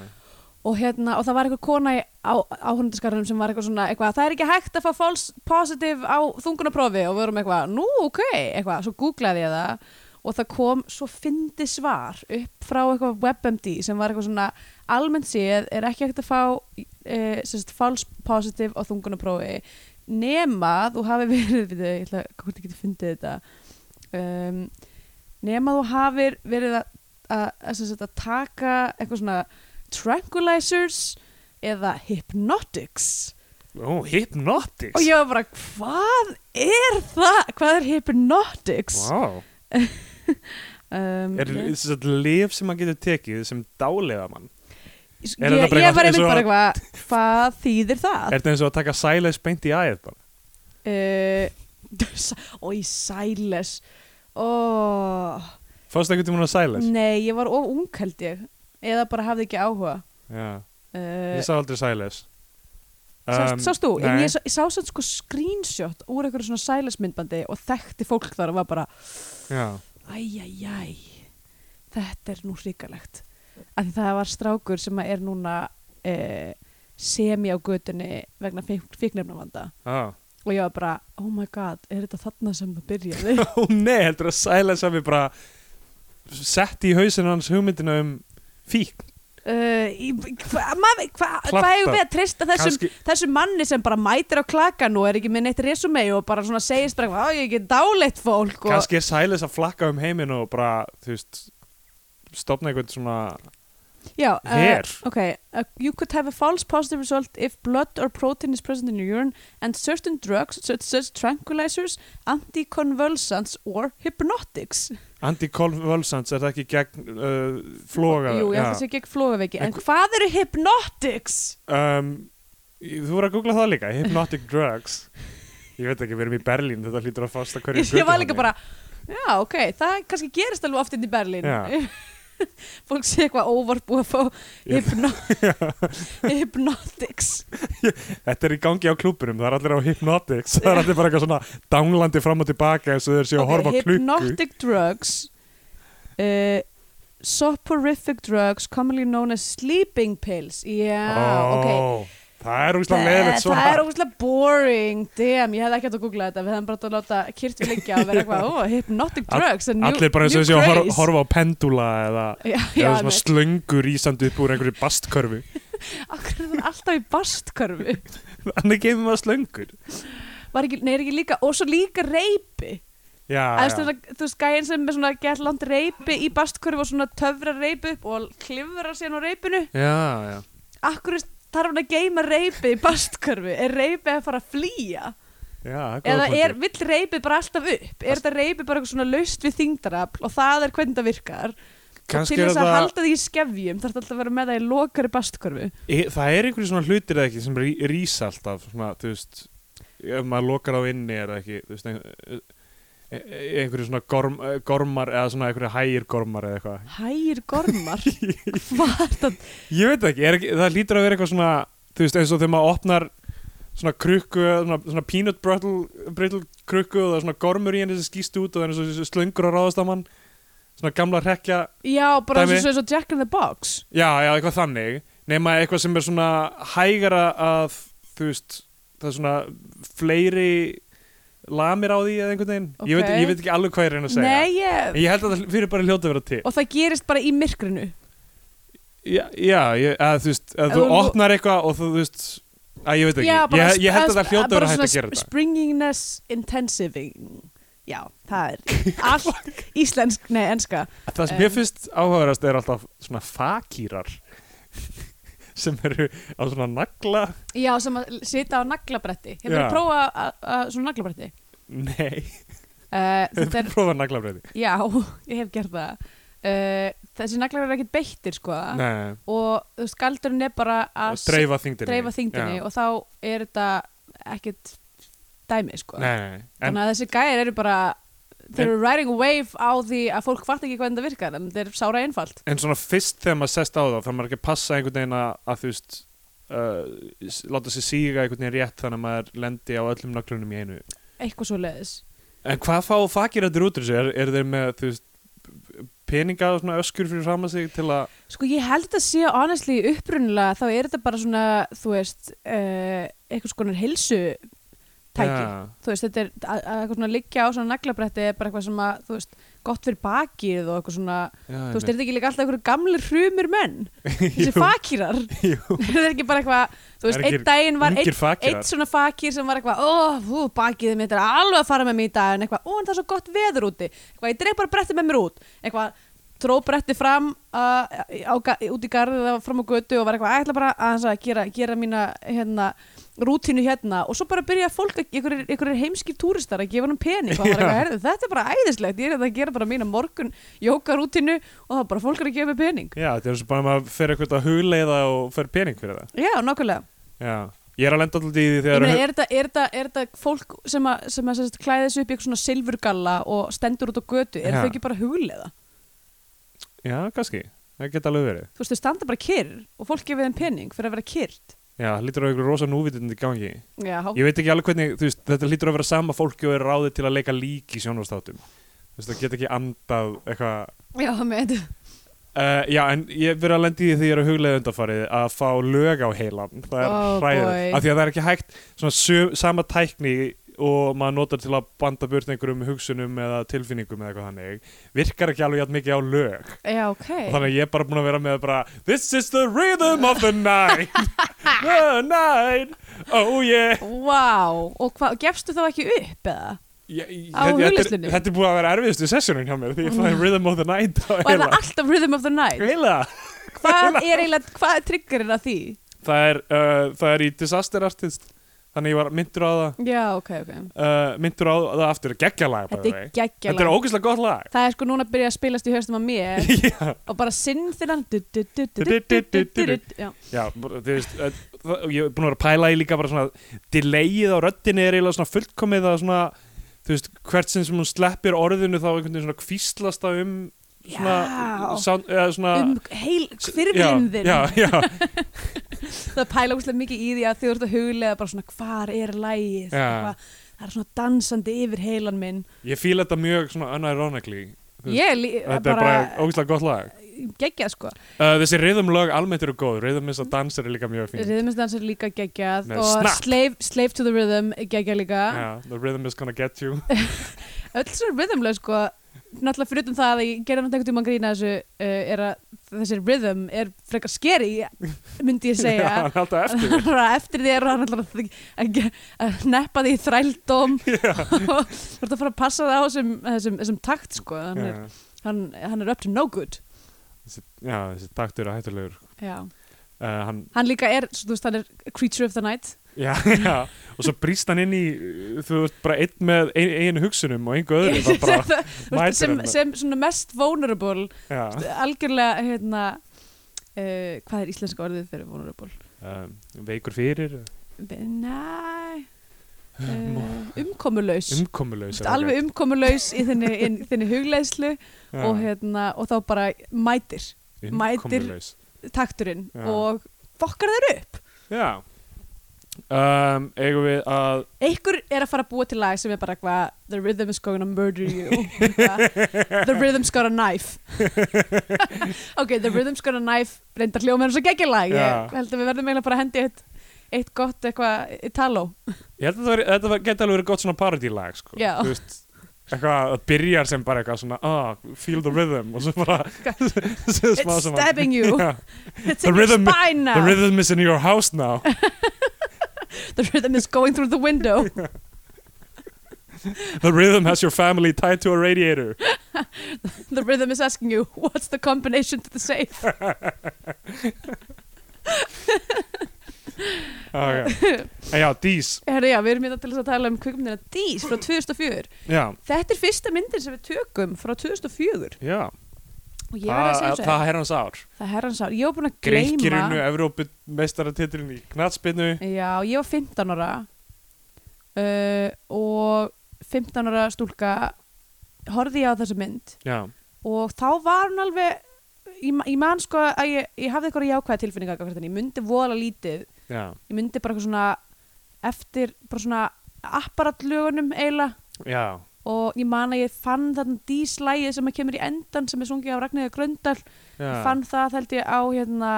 Speaker 2: og hérna, og það var eitthvað kona í áhundaskarunum sem var eitthvað svona eitthvað, það er ekki hægt að fá false positive á þungunaprófi og við vorum eitthvað, nú ok eitthvað, svo googlaði ég það og það kom svo fyndi svar upp frá eitthvað WebMD sem var eitthvað svona almennt séð er ekki hægt að fá e, sérst, false positive á þungunaprófi nema þú hafi verið (laughs) við þau, ég ætla að hvort ég geti fundið þetta um, nema þú hafir verið að, að, að, sem sagt að taka eitthvað svona tranquilizers eða hypnotics
Speaker 3: ó, hypnotics
Speaker 2: og ég var bara, hvað er það? Hvað er hypnotics?
Speaker 3: wow.
Speaker 2: Um,
Speaker 3: er
Speaker 2: ég-
Speaker 3: þess að lif sem maður getur tekið sem dálega mann er þetta
Speaker 2: ég,
Speaker 3: bara
Speaker 2: ég var
Speaker 3: eitthvað-
Speaker 2: einmitt bara
Speaker 3: eins og-
Speaker 2: eitthvað, hvað þýðir það?
Speaker 3: er þetta eins og að taka sæleis beint í æð bara
Speaker 2: (laughs) Ói, uh, sæles Ó,
Speaker 3: fórstu ekkert um hún að sæleis
Speaker 2: nei, ég var of ung held ég eða bara hafði ekki áhuga
Speaker 3: já,
Speaker 2: uh,
Speaker 3: ég sá aldrei sæleis
Speaker 2: sást, Sást þú? En
Speaker 3: nei.
Speaker 2: ég, sá- ég sá samt sko screenshot úr einhverju svona sælismyndbandi og þekkti fólk þar og var bara
Speaker 3: já,
Speaker 2: æjæjæj, þetta er nú hrikalegt. Af því það var strákur sem er núna eh, semi á götunni vegna fíknefnavanda
Speaker 3: já
Speaker 2: og ég var bara, oh my god, er þetta þarna sem það byrjaði?
Speaker 3: (laughs) Ó nei, heldur að Silas hafi bara sett í hausinn hans hugmyndina um fíkn
Speaker 2: uh, í- hva- maður- hva- Hvað
Speaker 3: Plantað.
Speaker 2: hefur við að treysta þessum, Sko-
Speaker 3: Kannski-
Speaker 2: þessum manni sem bara mætir á klakan og er ekki með neitt resume og bara svona segist bara, "Á, ég er ekki dáleitt fólk og
Speaker 3: kannski er Silas að flakka um heiminn og bara, þú veist stopna einhvern svona
Speaker 2: Já,
Speaker 3: Her.
Speaker 2: uh, ok, uh, you could have a false positive result if blood or protein is present in your urine and certain drugs such as tranquilizers, anticonvulsants or hypnotics.
Speaker 3: anti-convulsants, er það ekki gegn uh, floga?
Speaker 2: Jú, ég held
Speaker 3: Já.
Speaker 2: að það sé gegn flogaveiki,
Speaker 3: En
Speaker 2: en hvað eru hypnotics?
Speaker 3: um, Þú voru að googla það líka, hypnotic drugs Ég veit ekki, við erum í Berlín, þetta hlýtur að fasta hverju
Speaker 2: Ég, ég var líka bara, já, ok, það kannski gerist alveg oft inn í Berlín.
Speaker 3: Já.
Speaker 2: (laughs) Fólk sé eitthvað óvarbúið að fá
Speaker 3: (laughs) Já.
Speaker 2: hypno hypnotics.
Speaker 3: Þetta er í gangi á klúburum, það er allir á hypnotics Það er allir bara eitthvað svona dánglandi fram og tilbaka eins og þeir séu að horfa á klukku
Speaker 2: Hypnotic drugs uh, Soporific drugs commonly known as sleeping pills Já, ok
Speaker 3: Ó, Það er úrslega
Speaker 2: Eh,
Speaker 3: leðilegt
Speaker 2: Það er
Speaker 3: svar
Speaker 2: ógustlega boring Damn, ég hefði ekki hægt að googla þetta Við hefðum bara átt að láta kyrtu liggja og vera eitthvað oh, Hypnotic
Speaker 3: All-
Speaker 2: drugs a new-
Speaker 3: Allir bara eins og
Speaker 2: new
Speaker 3: þessi að hor
Speaker 2: craze."
Speaker 3: horfa á pendula eða,
Speaker 2: Já, já,
Speaker 3: eða svona
Speaker 2: einmitt.
Speaker 3: slöngur ísandi upp úr einhverju bastkörfu (laughs)
Speaker 2: Akkur er það alltaf í bastkörfu
Speaker 3: Þannig kemur maður slöngur
Speaker 2: Var ekki, nei, er ekki líka Og svo líka reipi
Speaker 3: Já,
Speaker 2: Eða,
Speaker 3: Ah, já.
Speaker 2: þú veist, þú veist, gæinn sem er svona gett land reipi í bastkörfu og svona töfra reipi upp og klifrar sér á reipinu
Speaker 3: já, já.
Speaker 2: Akkur þarf hann að geyma reypið í bastkörfu? Er reypið að fara að flýja?
Speaker 3: já það er
Speaker 2: Eða
Speaker 3: góður
Speaker 2: er,
Speaker 3: punktur.
Speaker 2: vill reypið bara alltaf upp? Er þetta reypið bara eitthvað svona laust við þingdarafl og það er hvernig það virkar?
Speaker 3: Kannski
Speaker 2: og til
Speaker 3: er
Speaker 2: þess að
Speaker 3: þetta-
Speaker 2: halda því í skefjum þarf alltaf að vera með það í lokari bastkörfu.
Speaker 3: Í- Það er einhverju svona hlutir eða ekki sem rí, rís alltaf svona, þú veist ef maður lokar á inni er það ekki þú veist, ein- e- e- einhverju svona gorm, eh, gormar eða svona einhverju hægir gormar eða eitthvað
Speaker 2: Hægir
Speaker 3: (laughs)
Speaker 2: gormar Hvað er þetta?
Speaker 3: Ég veit ekki, er ekki, það lítur að vera eitthvað svona þú veist eins og þegar maður opnar svona krukku, svona, svona peanut brittle, brittle krukku og það er svona gormur í henni sem skýst út og það er svona slöngur að ráðast á mann svona gamla hrekja
Speaker 2: Já, bara
Speaker 3: Dæmi.
Speaker 2: eins og- eins og Jack in the Box
Speaker 3: já, já, eitthvað þannig nema eitthvað sem er svona hægara að þú veist, það er svona fleiri lamir á því eða einhvern veginn ég, veit,
Speaker 2: Ok.
Speaker 3: ég veit ekki alveg hvað ég er að reyna að segja
Speaker 2: Nei, ég,
Speaker 3: en ég held að það fyrir bara hljóta að vera til
Speaker 2: og það gerist bara í myrkrinu
Speaker 3: Já, já ég, að, þú veist, að
Speaker 2: Ef
Speaker 3: þú
Speaker 2: þú-
Speaker 3: opnar eitthvað og þú þú veist, að ég veit ekki, ég, ég held að það hljóta verið hægt að gera þetta.
Speaker 2: Springingness intensiving Já,
Speaker 3: (laughs)
Speaker 2: það er allt íslensk, nei, enska
Speaker 3: Það sem mér
Speaker 2: em.
Speaker 3: finnst áhugaverðast er alltaf svona fakýrar (laughs) sem eru á svona nagla,
Speaker 2: Já, sem að sita á naglabretti Hefur
Speaker 3: Já.
Speaker 2: þið prófað að- að- svona naglabretti?
Speaker 3: nei, (laughs)
Speaker 2: Uh, þetta er,
Speaker 3: prófa naglabreði.
Speaker 2: já, (laughs) ég hef gert það uh, Þessi naglar eru ekkert beittir, sko
Speaker 3: Nei,
Speaker 2: Og þú veist, galdurinn er bara að
Speaker 3: að dreifa þyngdinni.
Speaker 2: Ah, dreifa þyngdinni
Speaker 3: Já.
Speaker 2: Og þá er þetta ekkert dæmi, sko
Speaker 3: Nei, nei, nei. En,
Speaker 2: Þannig að þessi gæjar eru bara Þeir
Speaker 3: En-
Speaker 2: eru riding a wave á því að fólk fatt ekki hvernig það virkar En þetta er sára einfalt
Speaker 3: en svona fyrst þegar maður sest á það, þá maður ekki að passa einhvern veginn að, að þú veist, uh, s- láta sig síga einhvern veginn rétt þannig að maður lendi á öllum naglunum í einu.
Speaker 2: Eitthvað svo leiðis
Speaker 3: En hvað fá fakir þetta út úr þessu? Er, er þeir með þú veist, peninga og svona öskur fyrir fram að sig til að
Speaker 2: Sko ég held að sé honestly upprunnilega þá er þetta bara svona, þú veist, uh, eitthvað skonar heilsu tæki.
Speaker 3: Já.
Speaker 2: Þú veist, þetta er að, að eitthvað svona liggja á svona naglabrætti er bara eitthvað sem að, þú veist, gott fyrir bakið og eitthvað svona,
Speaker 3: Já,
Speaker 2: þú veist, er þetta ekki líka alltaf eitthvað gamlir hrumir menn? Þessi fakírar?
Speaker 3: (laughs) Jú,
Speaker 2: (laughs) er þetta ekki bara eitthvað, þú
Speaker 3: Það
Speaker 2: veist,
Speaker 3: eru ekki
Speaker 2: einn daginn var
Speaker 3: ungir
Speaker 2: einn
Speaker 3: fakírar.
Speaker 2: eitt svona fakir sem var eitthvað ó, fú, bakið mitt er alveg að fara með mér í dag en eitthvað, ó, en það er svo gott veður úti eitthvað, ég dreif bara bretti með mér út eitthvað, tró bretti fram uh, á, ga- út í garð eða fram á götu og var eitthvað, ætla bara aðeins að gera, gera mína, hérna, rútínu hérna og svo bara byrja fólk, að- einhverjir einhver heimskir túristar að gefa hann pening og það var eitthvað, herðu, þetta er bara æðislegt, ég er hérna að gera bara mína morgun jókarútínu og það er bara fólk er að gefa mér pening
Speaker 3: já þetta er svo bara að maður fer eitthvað að hugleiða og fer pening fyrir það.
Speaker 2: já, nokkulega
Speaker 3: Já. Ég er að lenda alltaf í því
Speaker 2: Ég
Speaker 3: þegar...
Speaker 2: meina, er þetta- er þetta er þetta fólk sem að, sem að sem sagt, klæði þessu upp í eitthvað svona silfurgalla og stendur út á götu, er
Speaker 3: Já.
Speaker 2: þau ekki bara huglega?
Speaker 3: Já, kannski. Það geta alveg verið.
Speaker 2: Þú veist, þau standa bara kyrr og fólk gefið þeim pening fyrir að vera kyrrt.
Speaker 3: Já, það lítur á einhverju rosa núvitund í gangi.
Speaker 2: Já,
Speaker 3: Ég veit ekki alveg hvernig, þú veist, þetta lítur á að vera sama fólki og er ráðið til að leika lík í sjónvarstátum. Þú veist, það geta ekki andað eitthvað...
Speaker 2: já með þetta.
Speaker 3: Uh, já, en ég hef verið að lendi í því þegar ég er að huglega undanfarið að fá lög á heilan það er
Speaker 2: Oh,
Speaker 3: oh,
Speaker 2: boy.
Speaker 3: af því að það er ekki hægt svona sum, sama tækni og maður notar til að banda burt einhverjum hugsunum eða tilfinningum eða eitthvað þannig virkar ekki alveg jætt mikið á lög
Speaker 2: Já, ok.
Speaker 3: og þannig að ég er bara búin að vera með bara This is the rhythm of the
Speaker 2: (laughs)
Speaker 3: night The night Oh yeah
Speaker 2: Vá, og hvað, gefstu þá ekki upp eða?
Speaker 3: ég, ég,
Speaker 2: Á
Speaker 3: þetta, er,
Speaker 2: hugleiðslunni?
Speaker 3: þetta er búin að vera erfiðustu sessunin hjá mér því ég fæði rhythm of the night á
Speaker 2: Og er það
Speaker 3: heila
Speaker 2: alltaf Rhythm of the Night?
Speaker 3: Heila
Speaker 2: Hvað er eiginlega, hvað er triggerinn að því?
Speaker 3: það er, uh, það er í Disaster Artist þannig ég var myndur á það
Speaker 2: Já, ok, ok.
Speaker 3: uh, myndur á það aftur geggjalag
Speaker 2: Þetta er geggjala.
Speaker 3: þetta er ógeðslega gott lag
Speaker 2: Það er sko núna að byrja að spilast í höstum að mér
Speaker 3: (laughs) já,
Speaker 2: og bara sinn þinnan. du- du- du- du- du- du- du- du- du- du- Já.
Speaker 3: já, bara, þú veist uh, það- ég er búin að vera að pæla í líka bara svona delayið á röddinni er eiginlega svona fullkomið að svona, þú veist, hvert sinn sem hún sleppir orðinu þá einhvern veginn svona kvíslast það um svona,
Speaker 2: Já.
Speaker 3: sound, eða svona
Speaker 2: um heil hvirflinn þinn
Speaker 3: já, já, já,
Speaker 2: það pæla úrslega mikið í því að þau eru að huglega bara svona hvar er lægið
Speaker 3: Já.
Speaker 2: eitthvað, það er svona dansandi yfir heilan minn
Speaker 3: ég fíla þetta mjög svona unironically Þú veist,
Speaker 2: ég lí-
Speaker 3: þetta er
Speaker 2: bara,
Speaker 3: bara ógeðslega gott lag
Speaker 2: geggjað sko
Speaker 3: uh, þessi rhythmlög almennt eru góð rhythmins að dans eru líka mjög fín
Speaker 2: rhythmistans er líka geggjað
Speaker 3: Með
Speaker 2: og
Speaker 3: snap.
Speaker 2: slave, slave to the rhythm er geggjað líka
Speaker 3: yeah, the rhythm is gonna get you
Speaker 2: öll svona rhythmlega sko náttúrulega fyrir um það að ég gerði náttúrulega einhvern tímann grína þessu uh, er að þessi rhythm er frekar skeri
Speaker 3: (laughs)
Speaker 2: myndi ég segja
Speaker 3: Já, hann er alltaf eftir
Speaker 2: (laughs) eftir, eftir því er hann alltaf að- að- að neppa því í
Speaker 3: (laughs)
Speaker 2: þrældóm og (laughs) þú ert að fara að passa það á þessum, þessum, þessum takt sko hann er,
Speaker 3: Já,
Speaker 2: hann, hann er up to no good
Speaker 3: þessi, já, þessi taktur er hættulegur
Speaker 2: já.
Speaker 3: uh, hann,
Speaker 2: hann líka er, svo, þú veist, hann er creature of the night
Speaker 3: já, (laughs) já, og svo brýst hann inn í uh, þú veist bara einn með ein, einu hugsunum og
Speaker 2: (laughs)
Speaker 3: engu öðru það bara,
Speaker 2: Þú veist,
Speaker 3: mætir hérna. Ah.
Speaker 2: sem,
Speaker 3: hann.
Speaker 2: sem svona mest vulnerable
Speaker 3: já,
Speaker 2: algjörlega hérna uh, hvað
Speaker 3: Eh,
Speaker 2: er íslenska orðið fyrir vulnerable
Speaker 3: um, veikur fyrir
Speaker 2: Be- nei uh, umkomulaus
Speaker 3: umkomulegs
Speaker 2: Þú ert alveg umkomulaus í þinni, inn, þinni hugleðslu
Speaker 3: (laughs)
Speaker 2: og, hérna, og þá bara mætir mætir- takturinn
Speaker 3: Já.
Speaker 2: og fokkar þeir upp
Speaker 3: já um, eigum við að
Speaker 2: einhver er að fara að búa til lag sem er bara eitthvað the rhythm is gonna murder
Speaker 3: (laughs)
Speaker 2: you Eitthvað, the rhythm's got a knife ok, the rhythm's got a knife reyndar hljóma eins og geggja lag
Speaker 3: Já.
Speaker 2: ég held að við verðum eiginlega bara að hendi eitt, eitt gott eitthvað Italo
Speaker 3: ég held að það væri- þetta geti alveg verið gott svona parodilag sko.
Speaker 2: Já.
Speaker 3: Þú veist, eitthvað að byrjar sem bara eitthvað svona ah, feel the rhythm og svo bara (laughs) svo (laughs) smá
Speaker 2: it's
Speaker 3: saman.
Speaker 2: stabbing you (laughs)
Speaker 3: (laughs) Já.
Speaker 2: it's
Speaker 3: The
Speaker 2: in your
Speaker 3: rhythm-
Speaker 2: spine now
Speaker 3: the rhythm is in your house
Speaker 2: (laughs)
Speaker 3: now
Speaker 2: the rhythm is going through the window (laughs)
Speaker 3: the rhythm has your family tied to a radiator
Speaker 2: the rhythm is asking you what's the combination to the safe
Speaker 3: okay.
Speaker 2: (laughs)
Speaker 3: En já, Dís
Speaker 2: Herra, já, við erum hérna til þess að tala um kvikmyndina Dís frá 2004
Speaker 3: já,
Speaker 2: þetta er fyrsta myndin sem við tökum frá 2004
Speaker 3: já.
Speaker 2: og ég var að segja
Speaker 3: Þa,
Speaker 2: þessu
Speaker 3: það herrans ár
Speaker 2: Það er herrans ár, ég var búin að
Speaker 3: Greikirinu,
Speaker 2: gleyma
Speaker 3: Evrópumestaratitlun í knatsbyrnu
Speaker 2: Já, ég var 15 ára uh, og 15 ára stúlka horfði ég á þessa mynd
Speaker 3: Já,
Speaker 2: og þá var hún alveg ég, ma- ég man sko að ég, ég hafði eitthvað jákvæða tilfinninga gagnvart henni, ég myndi vola lítið
Speaker 3: já,
Speaker 2: ég myndi bara eitthvað svona eftir, bara svona apparatlögunum eiginlega
Speaker 3: já
Speaker 2: og ég man að ég fann þarna díslægið sem að kemur í endan sem er sungið á Ragnhildur Gröndal
Speaker 3: Já,
Speaker 2: Ég fann það held ég á hérna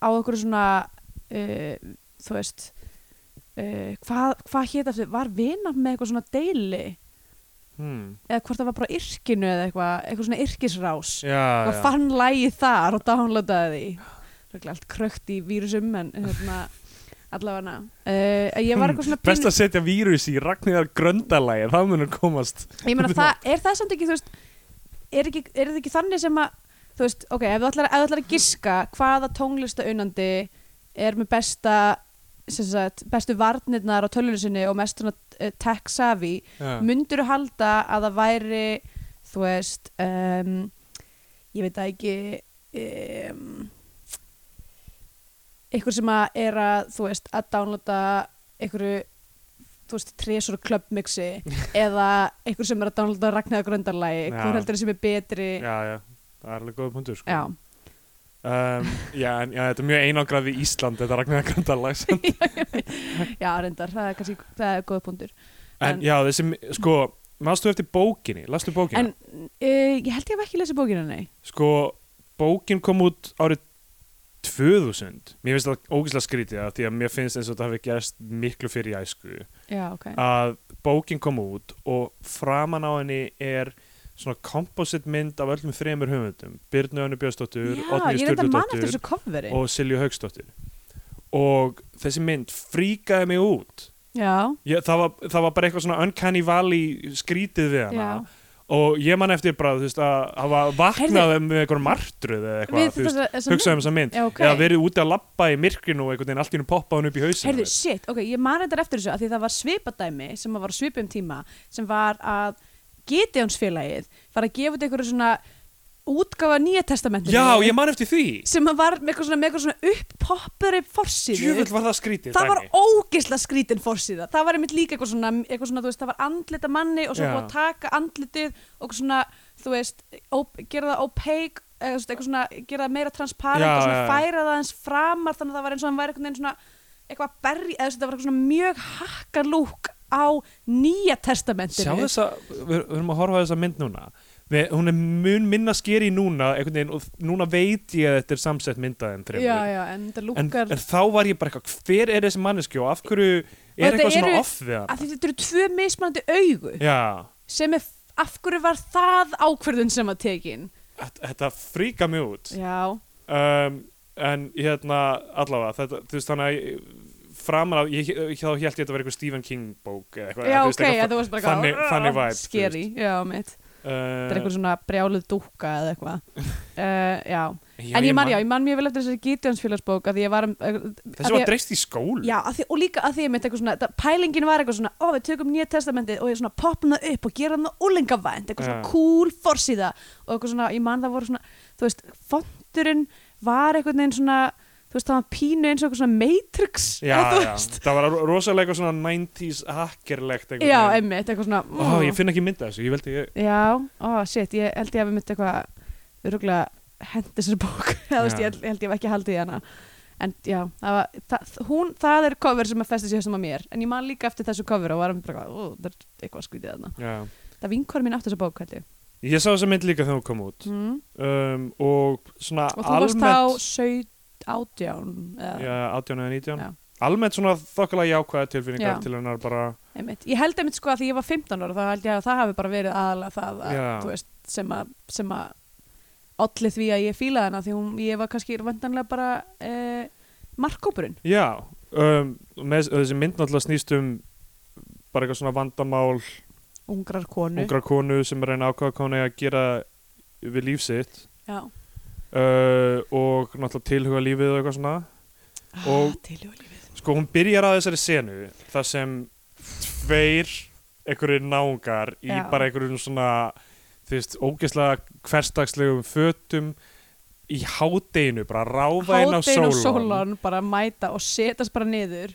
Speaker 2: á okkur svona uh, þú veist uh, hvað hva hétt aftur, var vinað með eitthvað svona deili
Speaker 3: hmm.
Speaker 2: eða hvort það var bara yrkinu eða eitthvað, eitthvað svona yrkisrás
Speaker 3: já, já.
Speaker 2: og fann lægi þar og downloadaði því Röglega allt krökt í vírusum en hérna (laughs) allavega uh, ég var eitthvað svona
Speaker 3: Hmm. Best að setja vírus í Ragnhildar gröndalægir Það munur komast
Speaker 2: ég meina það, er það samt ekki þú veist, er, ekki, er það ekki þannig sem að þú veist, ok, ef þú ætlar, ef þú ætlar að giska hvaða tónlistaunandi er með besta sem sagt, bestu varnirnar á tölunum sinni og mest svona eh, tech savvy
Speaker 3: já.
Speaker 2: myndur þú halda að það væri þú veist um, ég veit það ekki um, ykkur sem að er að þú veist að downloada ykkur þú veist, tresur klubbmixi
Speaker 3: (laughs)
Speaker 2: eða ykkur sem er að downloada Ragnar Gröndarlægi,
Speaker 3: Já.
Speaker 2: hvað heldur sem er betri já,
Speaker 3: já, já, það er alveg góð punktur sko.
Speaker 2: já.
Speaker 3: Um, já, en, já, þetta er mjög einangrað við Ísland Þetta Ragnhildar gröndalæg en,
Speaker 2: reyndar, það er kannski það er góða punktur En-
Speaker 3: en já, þessi, sko Manstu eftir bókinni, lastu bókina
Speaker 2: en uh, ég held ég hef ekki lesið bókina, nei
Speaker 3: Sko, bókin kom út árið 2000 Mér finnst það ógislega skrítið að því að mér finnst eins og þetta hafi gerst miklu fyrir í æsku
Speaker 2: já, ok,
Speaker 3: að bókin kom út og framan á henni er svona komposit mynd af öllum þremur höfundum Birnu Önnu Björnsdóttur,
Speaker 2: já,
Speaker 3: Oddný
Speaker 2: ég reyndar mann eftir
Speaker 3: Sturludóttur
Speaker 2: þessu coveri
Speaker 3: og Silju Haugsdóttur og þessi mynd fríkaði mig út
Speaker 2: já,
Speaker 3: ég, það, var, það var bara eitthvað svona uncanny valley skrítið við hana
Speaker 2: já
Speaker 3: og ég man eftir bara þú veist, að hafa vaknað með einhverjum martruð eða eitthvað
Speaker 2: Við
Speaker 3: þú veist,
Speaker 2: þessa- þessa
Speaker 3: hugsaði um
Speaker 2: mynd?
Speaker 3: þessa mynd
Speaker 2: Já, ok.
Speaker 3: eða verið úti að labba í myrkrinu og einhvern veginn allt í hennu poppa hann upp í hausinu
Speaker 2: Heyrðu, shit, ok, ég man þetta eftir þessu að því það var svipadæmi sem að var á svipum tíma sem var að Gideonsfélagið var að gefa út einhverju svona útgáfa nýja testamentinu
Speaker 3: já, ég man eftir því
Speaker 2: sem að var með eitthvað svona, með eitthvað svona upppoppari forsýðu
Speaker 3: djúvill var það skrítið
Speaker 2: það var
Speaker 3: dæmi.
Speaker 2: ógisla skrítin fórsíða það var einmitt líka eitthvað svona, eitthvað svona þú veist, það var andlit af manni og svo
Speaker 3: Já.
Speaker 2: búið að taka andlitið og svona, þú veist op, gera það opaque eða þú veist, eitthvað svona, gera það meira transparent
Speaker 3: Já,
Speaker 2: og svona
Speaker 3: já, já.
Speaker 2: færa það eins framar þannig að það var eins og hann væri einhvern veginn svona eitthvað að berja, eða þú veist, það var eitthvað svona mjög hakkalúk á nýja testamentinu
Speaker 3: sjá þessa, við við erum að horfa á þessa mynd núna við, hún er mun minna skeri núna einhvern veginn og núna veit ég að þetta er samsett myndað en
Speaker 2: já,
Speaker 3: þreymur
Speaker 2: já, en þetta
Speaker 3: en,
Speaker 2: lúkar
Speaker 3: en þá var ég bara eitthvað, hver er þessi manneski og af hverju
Speaker 2: Og
Speaker 3: er
Speaker 2: þetta
Speaker 3: eitthvað svona
Speaker 2: eru-
Speaker 3: off við hann
Speaker 2: að þetta eru tvö mismunandi augu
Speaker 3: já,
Speaker 2: sem er, af hverju var það ákverðun sem að tekin
Speaker 3: þetta- þetta fríka mig út
Speaker 2: já,
Speaker 3: um, en hérna allavega þetta, þú veist þannig að ég- framan að, ég, ég, þá held ég að þetta var eitthvað Stephen King bók eða eitthvað,
Speaker 2: Já,
Speaker 3: þú veist,
Speaker 2: ok, já,
Speaker 3: eitthvað
Speaker 2: þú varst bara
Speaker 3: þannig- þannig væp, þú
Speaker 2: Skeri, já, mitt Þetta er
Speaker 3: uh,
Speaker 2: eitthvað svona brjáluð dúkka eða
Speaker 3: (laughs)
Speaker 2: eitthvað uh, Já, en ég man, já, ég man mjög vel eftir þessari Gideonsfélagsbók að því ég var um, að
Speaker 3: þessi
Speaker 2: því
Speaker 3: var
Speaker 2: að-
Speaker 3: dreist í skólu
Speaker 2: Já, að því, og líka að því ég mitt eitthvað svona það, Pælingin var eitthvað svona, ó, við tökum nýja testamentið og ég svona poppum það upp og gerum það úlengavænt eitthvað
Speaker 3: Já.
Speaker 2: svona cool forsíða og eitthvað svona, ég man það voru svona þú veist, fondurinn var eitthvað neginn svona þú veist, það var pínu eins og eitthvað svona Matrix
Speaker 3: já,
Speaker 2: eða þú
Speaker 3: já,
Speaker 2: veist.
Speaker 3: það var rosalega svona 90s hackerlegt
Speaker 2: já, emmitt, eitthvað svona
Speaker 3: Ó, ég finn ekki mynda þessu, ég veldi ég
Speaker 2: Já, ó, shit, ég held ég hafi myndi eitthvað öruglega hendi þessari bók (laughs) eða þú veist,
Speaker 3: Já.
Speaker 2: ég held, ég held ég hafi ekki haldið í hana en já, það var það, hún, það er cover sem að festi sér sem að mér en ég man líka eftir þessu cover og var bara eitthvað, ó, það er eitthvað skvítið þarna
Speaker 3: já.
Speaker 2: það vinkar mín átti þessa bók, held ég
Speaker 3: Ég sá þessa mynd líka þegar hún kom út
Speaker 2: mm.
Speaker 3: um, og svona
Speaker 2: og þú varst
Speaker 3: almennt
Speaker 2: þá 17 átján
Speaker 3: já, 18 eða 19
Speaker 2: Já.
Speaker 3: almennt svona þokkalega jákvæða tilfinningar
Speaker 2: Já.
Speaker 3: til hennar bara
Speaker 2: Einmitt. Ég held einmitt sko að því ég var 15 ára þá held ég að það hafi bara verið aðalega það að,
Speaker 3: Já.
Speaker 2: þú veist, sem að, sem að olli því að ég fílaði hana því hún, ég var kannski vandanlega bara eh, markkópurinn
Speaker 3: já, um, með, þessi mynd náttúrulega snýst um bara eitthvað svona vandamál
Speaker 2: ungrar konu
Speaker 3: ungra konu sem er að reyna að ákvaða konu að gera við líf sitt
Speaker 2: Já,
Speaker 3: uh, og náttúrulega tilhuga lífið og eitthvað svona Og-
Speaker 2: ah, tilhjóðlífið
Speaker 3: sko hún byrjar á þessari senu þar sem tveir einhverjir náungar í
Speaker 2: Já.
Speaker 3: bara einhverjum svona þú veist, ógeðslega hverstagslegum fötum í hádeginu bara ráfa inn á
Speaker 2: Hátinn og
Speaker 3: sólan
Speaker 2: sólan bara mæta og setast bara niður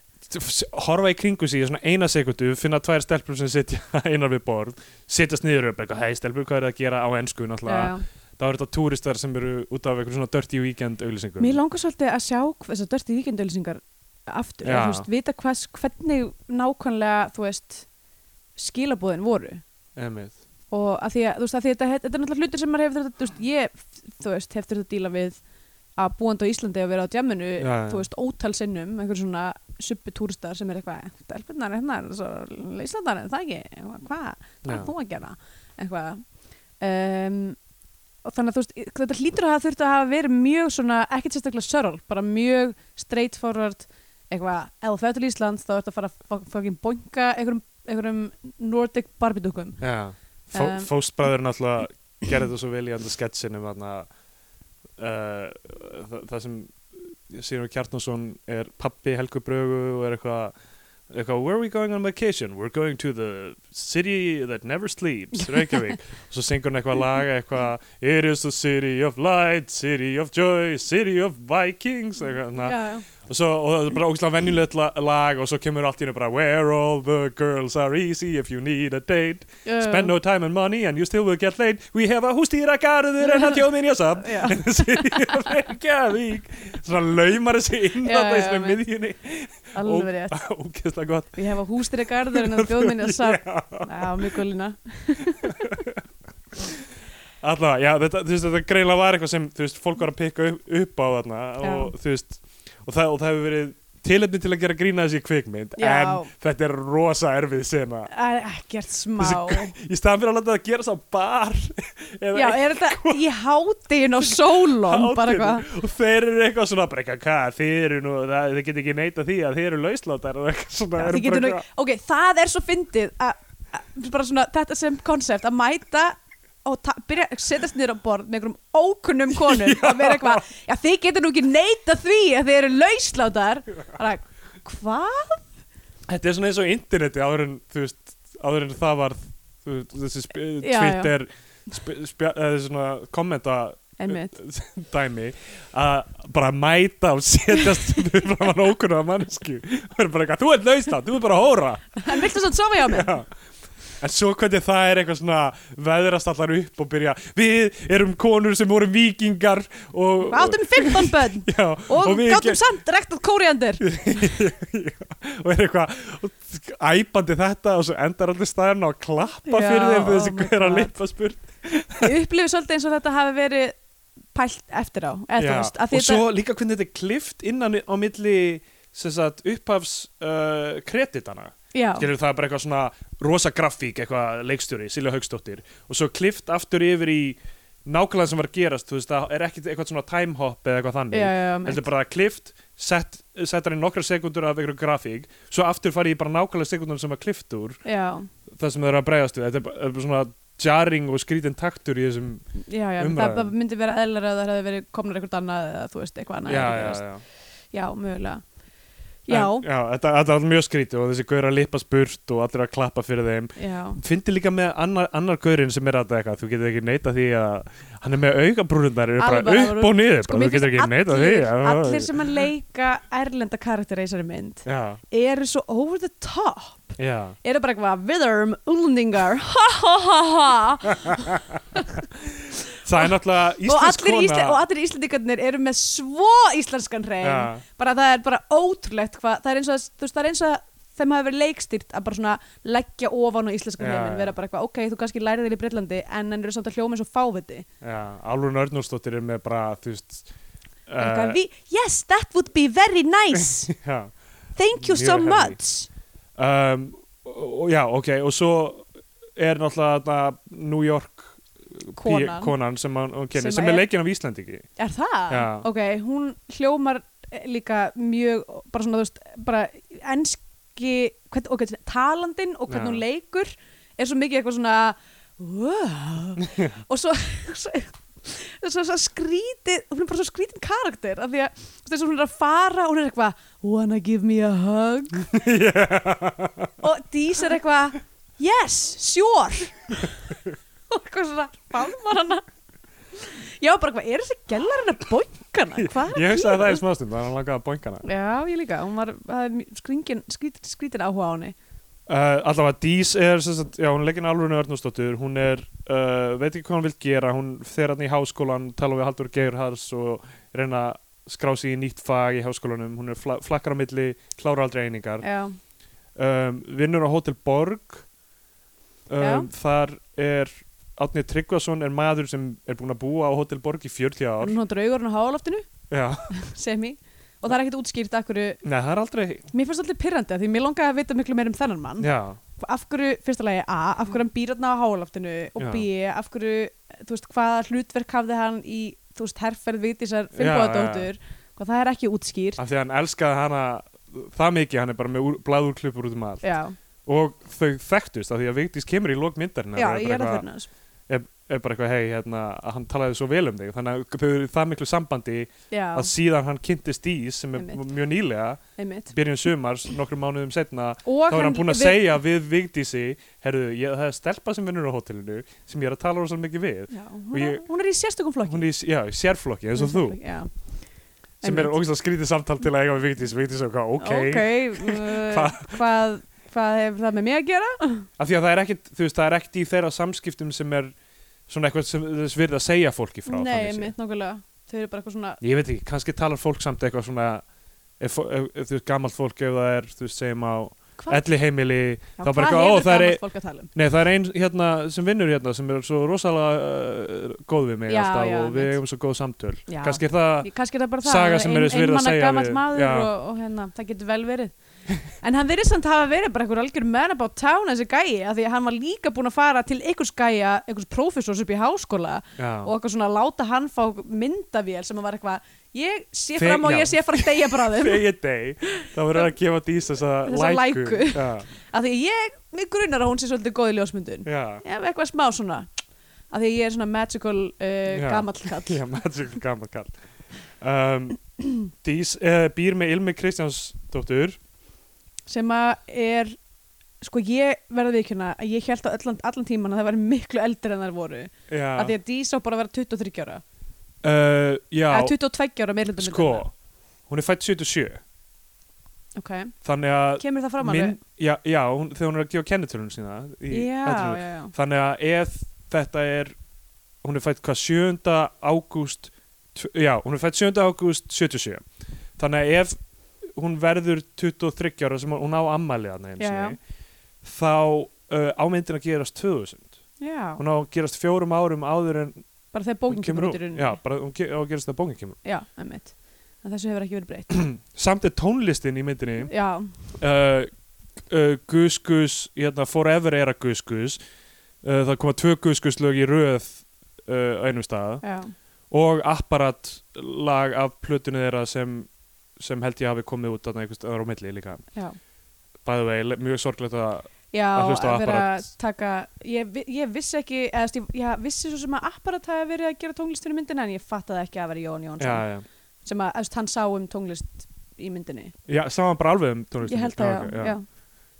Speaker 3: horfa í kringu sig í svona eina sekundu finna tvær stelpur sem sitja (laughs) einar við borð sitjast niður upp eitthvað, hei stelpur, hvað er það að gera á ennsku náttúrulega,
Speaker 2: Já.
Speaker 3: þá eru þetta túristar sem eru út af einhverjum svona dirty weekend auglýsingum
Speaker 2: Mér langar svolítið að sjá hv- þessar dörti víkendauðlýsingar aftur,
Speaker 3: Já.
Speaker 2: eða, þú veist, vita hvers, hvernig nákvæmlega, þú veist skilabúðin voru
Speaker 3: Einmitt.
Speaker 2: og að því að, þú veist, að því að þetta, þetta er náttúrulega hlutur sem maður hefur þetta, þú veist, ég þú veist, hefur þetta að díla við að búandi á Íslandi og vera á djaminu,
Speaker 3: Já, já.
Speaker 2: þú veist, ótal sinnum einhver svona subbutúristar sem er eitthvað delfinnar hérna, svo Íslandar er það ekki, Eitthvað, hvað, hvað
Speaker 3: Já.
Speaker 2: er þú að gera eitthvað um, og þannig að þú veist, þetta hlýtur að hafa þurft að hafa verið mjög svona, ekkert sérstaklega sörl, bara mjög straightforward eitthvað, ef þú fyrir til Íslands þá ertu að fara að fucking boinga einhverjum, einhverjum Nordic Barbie-dúkum
Speaker 3: Já,
Speaker 2: Um,
Speaker 3: fóstbræður náttúrulega gerði þetta svo vel í andur sketsinum þarna uh, þa það sem Sýnur Kjartnason er pappi Helgu Brögu og er eitthvað eitthvað, where are we going on vacation? We're going to the city that never
Speaker 2: (laughs)
Speaker 3: sleeps Reykjavík, svo syngur hann eitthvað laga eitthvað, it is the city of light city of joy, city of vikings eitthvað, na,
Speaker 2: já, já.
Speaker 3: og, svo, og það er bara ógislega venjulegt la lag og svo kemur allt í hennu bara where all the girls are easy if you need a date
Speaker 2: Já.
Speaker 3: Spend no time and money and you still will get laid We have a hústýra garður en að hérna þjóðminja
Speaker 2: (laughs)
Speaker 3: (laughs) samt
Speaker 2: Já.
Speaker 3: Reykjavík Svona laumar þessi inn
Speaker 2: Já,
Speaker 3: á
Speaker 2: já,
Speaker 3: þessum
Speaker 2: einmitt.
Speaker 3: miðjunni (laughs)
Speaker 2: Alveg rétt.
Speaker 3: Ógeðslega gott
Speaker 2: Ég hef á hústri garður en að þjóðminni að
Speaker 3: (laughs)
Speaker 2: safn. Já, mjög gulina.
Speaker 3: Alla, já, þetta, þú veist, þetta greinlega var eitthvað sem þú veist, fólk var að pikka upp, upp á þarna
Speaker 2: Já.
Speaker 3: og, þú veist, og, það, og það hefur verið tilefni til að gera grína þessi kvikmynd
Speaker 2: Já.
Speaker 3: en þetta er rosa erfið sena
Speaker 2: Það er ekkert smá.
Speaker 3: í staðan fyrir að láta það gera sá bar (laughs) eða
Speaker 2: Já, er þetta í hátíðin og sólón bara
Speaker 3: Hátíðinni.
Speaker 2: eitthvað.
Speaker 3: og þeir eru eitthvað svona bara eitthvað hvað, þeir eru nú, það, þeir geta ekki neita því að þeir eru lausláttar og eitthvað svona
Speaker 2: Já,
Speaker 3: eru
Speaker 2: þið
Speaker 3: bara
Speaker 2: getur nú- Ok, það er svo fyndið að að- bara svona þetta sem konsept að mæta og ta- byrja að setjast niður á borð með einhverjum ókunnum
Speaker 3: (laughs)
Speaker 2: konum að vera eitthvað, já þið getur nú ekki neita því að þið eru lauslátar bara,
Speaker 3: (laughs)
Speaker 2: hvað?
Speaker 3: þetta er svona eins og interneti áður en þú veist, áður en það var þú veist, þessi sp-
Speaker 2: Já, já.
Speaker 3: Twitter sp- spja- eða þessi svona kommenta
Speaker 2: Einmitt.
Speaker 3: (laughs) dæmi að bara mæta og setjast (laughs) fyrir framann ókunna mannesku og er bara eitthvað, þú ert lauslátt, þú ert bara að hóra
Speaker 2: En viltu svo að sofa hjá mér?
Speaker 3: Já. En svo hvernig það er eitthvað svona veðrast allar upp og byrja Við erum konur sem vorum vikingar og,
Speaker 2: Við áttum 15 bönn
Speaker 3: já,
Speaker 2: og,
Speaker 3: við
Speaker 2: gáttum
Speaker 3: (laughs) ge-
Speaker 2: samt rektað
Speaker 3: (laughs)
Speaker 2: kóriandir
Speaker 3: og er eitthvað og æpandi þetta og svo endar allir staðarna að klappa
Speaker 2: Já,
Speaker 3: fyrir þeim
Speaker 2: oh
Speaker 3: þessi
Speaker 2: my
Speaker 3: hver að
Speaker 2: God.
Speaker 3: leipa spurt
Speaker 2: ég upplifi svolítið eins og þetta hafi verið pælt eftir á eða þú veist, að
Speaker 3: og
Speaker 2: því
Speaker 3: svo
Speaker 2: þetta,
Speaker 3: líka hvernig þetta er klift innan á milli sem sagt, upphafs uh, kreditana
Speaker 2: já,
Speaker 3: Skilur það er bara eitthvað svona rosa grafík, eitthvað leikstjóri, Silja Haugsdóttir og svo klift aftur yfir í nákvæmlega sem var að gerast, þú veist, það er ekkit eitthvað svona time hop eða eitthvað þannig
Speaker 2: Já, já, já, mitt.
Speaker 3: heldur bara klift, sett, settar í nokkra sekundur af einhverju grafík, svo aftur farið í bara nákvæmlega sekundur sem var klift úr
Speaker 2: já,
Speaker 3: það sem þau eru að bregðast við, þetta er bara, er bara svona jarring og skrítin taktur í þessum
Speaker 2: já, já það,
Speaker 3: Umræðan.
Speaker 2: það myndi vera eðlar að það hefði verið komnar eitthvað annað eða þú veist, eitthvað annað
Speaker 3: já,
Speaker 2: hefði
Speaker 3: já,
Speaker 2: gerst.
Speaker 3: já.
Speaker 2: já, mögulega já,
Speaker 3: En, já þetta, þetta er allt mjög skrítið og þessi gaur að lippa spurt og allir að klappa fyrir þeim
Speaker 2: já,
Speaker 3: Fyndi líka með annar, annar gaurinn sem er að þetta eitthvað, þú getur ekki neita því að hann er með augabrúnundar eru bara
Speaker 2: Alveg bara
Speaker 3: upp og niður
Speaker 2: Sko,
Speaker 3: bara,
Speaker 2: mér
Speaker 3: þú getur
Speaker 2: finnst
Speaker 3: ekki neitt á því
Speaker 2: allir,
Speaker 3: já,
Speaker 2: allir sem að leika erlenda karakter í þessari mynd
Speaker 3: já,
Speaker 2: eru svo over the top
Speaker 3: já,
Speaker 2: eru bara eitthvað við erum úlendingar ha ha ha ha
Speaker 3: það er náttúrulega
Speaker 2: og
Speaker 3: íslensk
Speaker 2: allir,
Speaker 3: kona
Speaker 2: ísle, og allir íslendingarnir eru með svo íslenskan hrein
Speaker 3: Já.
Speaker 2: bara það er bara ótrúlegt hvað það er eins og, að- þú veist, það er eins og að þeim hafi verið leikstýrt að bara svona leggja ofan á íslenskan
Speaker 3: Já,
Speaker 2: hrein
Speaker 3: já.
Speaker 2: vera bara eitthvað ok, þú kannski lærið þér í Breitlandi en hann eru samt að hljóma eins og fáviti
Speaker 3: já, Álfur Nörnúrsdóttir er með bara þú veist
Speaker 2: uh,
Speaker 3: eh,
Speaker 2: yes, that would be very
Speaker 3: (laughs)
Speaker 2: nice
Speaker 3: já
Speaker 2: thank you so
Speaker 3: Mjög heavy.
Speaker 2: much
Speaker 3: um, og, og- já, ok, og svo er náttúrulega þetta New York pí-
Speaker 2: Konan.
Speaker 3: konan sem hann hann
Speaker 2: Sem
Speaker 3: kennir, sem, er
Speaker 2: er-
Speaker 3: leikin af Íslandingi
Speaker 2: Er það?
Speaker 3: Já.
Speaker 2: Ok, hún hljómar eh, líka mjög, bara svona, þú veist, bara enski, hvern, ok, talandinn og
Speaker 3: Já.
Speaker 2: hvernig hún leikur er svo mikið eitthvað svona,
Speaker 3: (laughs)
Speaker 2: wow, og svo, svo, svo, svo skrítið, hún er bara svo skrítin karakter, af því að, þú veist, eins og hún er að fara, hún er eitthvað, wanna give me a hug, og Dís er eitthvað, yes, sure, og eitthvað svona, bálmar hana. Já, bara hvað, er þessi gellarinn að bónkana? Hvað er
Speaker 3: ég
Speaker 2: að
Speaker 3: hugsaði það í smástund, þannig að hann langaði að boinga hana
Speaker 2: Já, ég líka, hún var skringin, skrít, skrítin áhuga á henni
Speaker 3: Uh, allavega Dís er sem sagt, já, hún er leikin alvörinu Örnúsdóttur hún er, uh, veit ekki hvað hún vil gera hún fer hann í háskólan, tala við Haldur Geirhars og reyna að skrá sig í nýtt fag í háskólanum hún er fla flakkar á milli, klára aldrei einingar
Speaker 2: Já,
Speaker 3: um, vinnur á Hotel Borg
Speaker 2: Já.
Speaker 3: um, þar er Átni Tryggvason er maður sem er búin að búa á Hotel Borg í 40 ár
Speaker 2: hún draugur hann á háloftinu,
Speaker 3: já,
Speaker 2: semi og það er ekkert útskýrt af hverju,
Speaker 3: neða það er aldrei
Speaker 2: mér fannst alltaf pyrrandi af því mér langaði að vita miklu meir um þennan mann
Speaker 3: já,
Speaker 2: af hverju, fyrsta lagi A, af hverju hann býr hann á háloftinu og
Speaker 3: Já.
Speaker 2: B, af hverju þú veist, hvaða hlutverk hafði hann í þú veist, herferð vitisar
Speaker 3: Já,
Speaker 2: fimmboðadóttur hvað það er ekki útskýrt
Speaker 3: af því að hann elskaði hana það mikið, hann er bara með úr, blaðurklipur út um allt
Speaker 2: Já,
Speaker 3: og þau þekktust af því að Vigdís kemur í lók myndarinn
Speaker 2: já, ég er að fyrir hans
Speaker 3: er bara eitthvað, hei, hérna, að hann talaði svo vel um þig þannig að þau eru í það miklu sambandi
Speaker 2: Já,
Speaker 3: að síðan hann kynntist Dís sem er
Speaker 2: Einmitt.
Speaker 3: mjög nýlega,
Speaker 2: einmitt
Speaker 3: byrjun sumars nokkrum mánuðum setna,
Speaker 2: Og
Speaker 3: þá er hann búin að
Speaker 2: við-
Speaker 3: segja við Vigdísi, herruðu, ég, það er stelpa sem vinnur á hótelinu sem ég er að tala rosa mikið við
Speaker 2: Já, hún,
Speaker 3: Og
Speaker 2: ég,
Speaker 3: ég-
Speaker 2: hún er í sérstökum flokki
Speaker 3: hún er í, já, í sérflokki eins og þú,
Speaker 2: Já.
Speaker 3: sem er ógæslega skrítið samtal til að eiga við Vigdís, Vigdís er eitthvað, ok, (laughs)
Speaker 2: uh,
Speaker 3: Hvað-
Speaker 2: hvað, hvað hefur það með mig að gera?
Speaker 3: af því að það er ekkit, þú veist, það er ekkit í þeirra samskiptum sem er svona eitthvað sem þess virði að segja fólki frá
Speaker 2: Nei,
Speaker 3: þannig séð.
Speaker 2: mitt nokkulega Þau eru bara eitthvað svona
Speaker 3: ég veit ekki, kannski talar fólk samt eitthvað svona ef, fó- ef, ef þú veist gamalt fólk ef það er, þú veist, segjum á
Speaker 2: Hvað,
Speaker 3: elli heimili,
Speaker 2: já,
Speaker 3: þá
Speaker 2: hvað
Speaker 3: bara eitthvað, ó,
Speaker 2: hefur
Speaker 3: það er
Speaker 2: gamalt
Speaker 3: ein-
Speaker 2: fólk að tala um?
Speaker 3: nei það er einn hérna sem vinnur hérna sem er svo rosalega uh, góð við mig
Speaker 2: Já,
Speaker 3: alltaf
Speaker 2: já,
Speaker 3: og við
Speaker 2: mitt.
Speaker 3: eigum svo góð samtöl
Speaker 2: Já.
Speaker 3: kannski er það,
Speaker 2: Ég- Kannski er það bara það
Speaker 3: Saga
Speaker 2: það
Speaker 3: sem er þess virði að
Speaker 2: einmana
Speaker 3: segja
Speaker 2: gamall
Speaker 3: við-
Speaker 2: maður
Speaker 3: já.
Speaker 2: og, og hérna, það getur vel verið En hann virðist samt hafa verið bara einhver algjör menn about town þessi gæi af því að hann var líka búin að fara til einhvers gæja einhvers prófessors upp í háskóla
Speaker 3: já,
Speaker 2: og eitthvað svona láta hann fá myndavél sem var eitthvað, ég sé
Speaker 3: Þeg-
Speaker 2: fram og
Speaker 3: já.
Speaker 2: ég sé fram að deyja bráðum
Speaker 3: þegar ég deg þá verður það að gefa dís þessa
Speaker 2: (laughs) Þessa
Speaker 3: læku
Speaker 2: læku.
Speaker 3: já,
Speaker 2: af því að ég, mig grunar að hún sé svolítið góð í ljósmyndun
Speaker 3: já,
Speaker 2: ég hef eitthvað smá svona af því að ég er svona magical uh,
Speaker 3: Já.
Speaker 2: gamall kall
Speaker 3: já magic gammal kall um, dís uh, býr með Ilmi Kristjánsdóttur
Speaker 2: sem að er sko ég verða viðkjöna að ég held á allan, allan tíman að það væri miklu eldri en þær voru
Speaker 3: já,
Speaker 2: af því að Dís á bara að vera 23 ára
Speaker 3: uh, já
Speaker 2: eða 22 ára meirlunda
Speaker 3: sko, hún er fætt 77 Sko.
Speaker 2: ok,
Speaker 3: þannig að
Speaker 2: kemur það fram
Speaker 3: mynd,
Speaker 2: alveg
Speaker 3: já, já hún, þegar hún er að gefa kennitölun sína í
Speaker 2: já,
Speaker 3: atriðinu.
Speaker 2: já, já,
Speaker 3: þannig að ef þetta er hún er fætt hvað 7. ágúst tv- já, hún er fætt 7. ágúst 77 þannig að ef hún verður 23 ára sem hún- hún á ammæli þarna einu
Speaker 2: Já,
Speaker 3: sinni, þá uh, ámyndin að gerast 2000
Speaker 2: já.
Speaker 3: hún á að gerast fjórum árum áður en
Speaker 2: bara þegar
Speaker 3: hún
Speaker 2: bókin kemur
Speaker 3: kemur
Speaker 2: út í
Speaker 3: út
Speaker 2: rauninni
Speaker 3: já, bara hún ge- á að gerast það bókin kemur út.
Speaker 2: já einmitt. en þessu hefur ekki verið breytt
Speaker 3: samt er tónlistin í myndinni
Speaker 2: já,
Speaker 3: uh, uh, Gus Gus hérna, Forever era Gus Gus uh, það koma tvö Gus Gus lög í röð uh, á einum stað
Speaker 2: já,
Speaker 3: og apparat lag af plötunni þeirra sem, sem held ég hafi komið út þarna einhvers staðar á milli líka
Speaker 2: já
Speaker 3: by the way, le- mjög sorglegt að
Speaker 2: Já,
Speaker 3: Að
Speaker 2: að
Speaker 3: hlusta á
Speaker 2: vera
Speaker 3: Apparat.
Speaker 2: að taka ég, vi- ég vissi ekki, eða stíf, ég vissi svo sem að apparat hafi verið að gera tónlist fyrir myndina en ég fattaði ekki að vera Jón
Speaker 3: já,
Speaker 2: Jónsson
Speaker 3: já.
Speaker 2: sem að eðst, hann sá um tónlist í myndinni
Speaker 3: já, saman bara alveg um tónlistin
Speaker 2: ég held að já, já.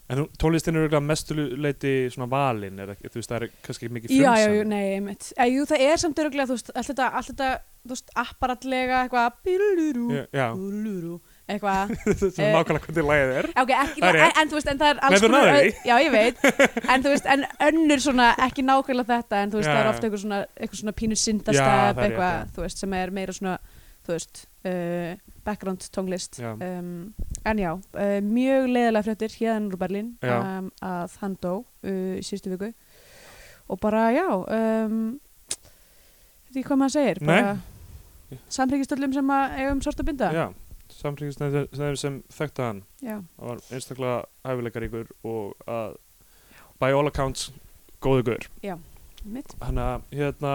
Speaker 3: En þú- tónlistin er auðvitað mestuleiti svona valin, er ekki, þú veist, það er kannski mikið
Speaker 2: já, já, já,
Speaker 3: frumsamið.
Speaker 2: nei, einmitt eh, jú, það er samt öruglega, þú veist, allt þetta, allt þetta þú veist, apparatlega, eitthvað bílurú,
Speaker 3: já, já. (laughs)
Speaker 2: bílurú, eitthvað
Speaker 3: Þetta er svona
Speaker 2: Eh,
Speaker 3: nákvæmlega hvernig lagið er.
Speaker 2: Já, ok, ekki,
Speaker 3: Það er
Speaker 2: en,
Speaker 3: rétt.
Speaker 2: en þú veist, en það er
Speaker 3: Nei,
Speaker 2: alls
Speaker 3: þú náðir því.
Speaker 2: Já, ég veit, en þú veist, en önnur svona, ekki nákvæmlega þetta, en þú veist,
Speaker 3: Já,
Speaker 2: það er
Speaker 3: já.
Speaker 2: ofta eitthvað svona, eitthvað svona pínu
Speaker 3: Já, það
Speaker 2: syndastef,
Speaker 3: er rétt,
Speaker 2: eitthvað,
Speaker 3: já.
Speaker 2: þú veist, sem er meira svona, þú veist, uh, background tónlist
Speaker 3: Já.
Speaker 2: um, En já, uh, mjög leiðilega fréttir hérðan úr Berlín
Speaker 3: Já.
Speaker 2: um, að hann dó uh, í síðustu viku og bara, já, um, þetta er hvað maður segir, bara samþykistöllum sem að eiga um sort að binda
Speaker 3: Já, samtryggingstæður sem þekkta hann.
Speaker 2: já.
Speaker 3: Það var einstaklega hæfileikaríkur og að, by all accounts, góðu guður.
Speaker 2: mitt
Speaker 3: Þannig að, hérna,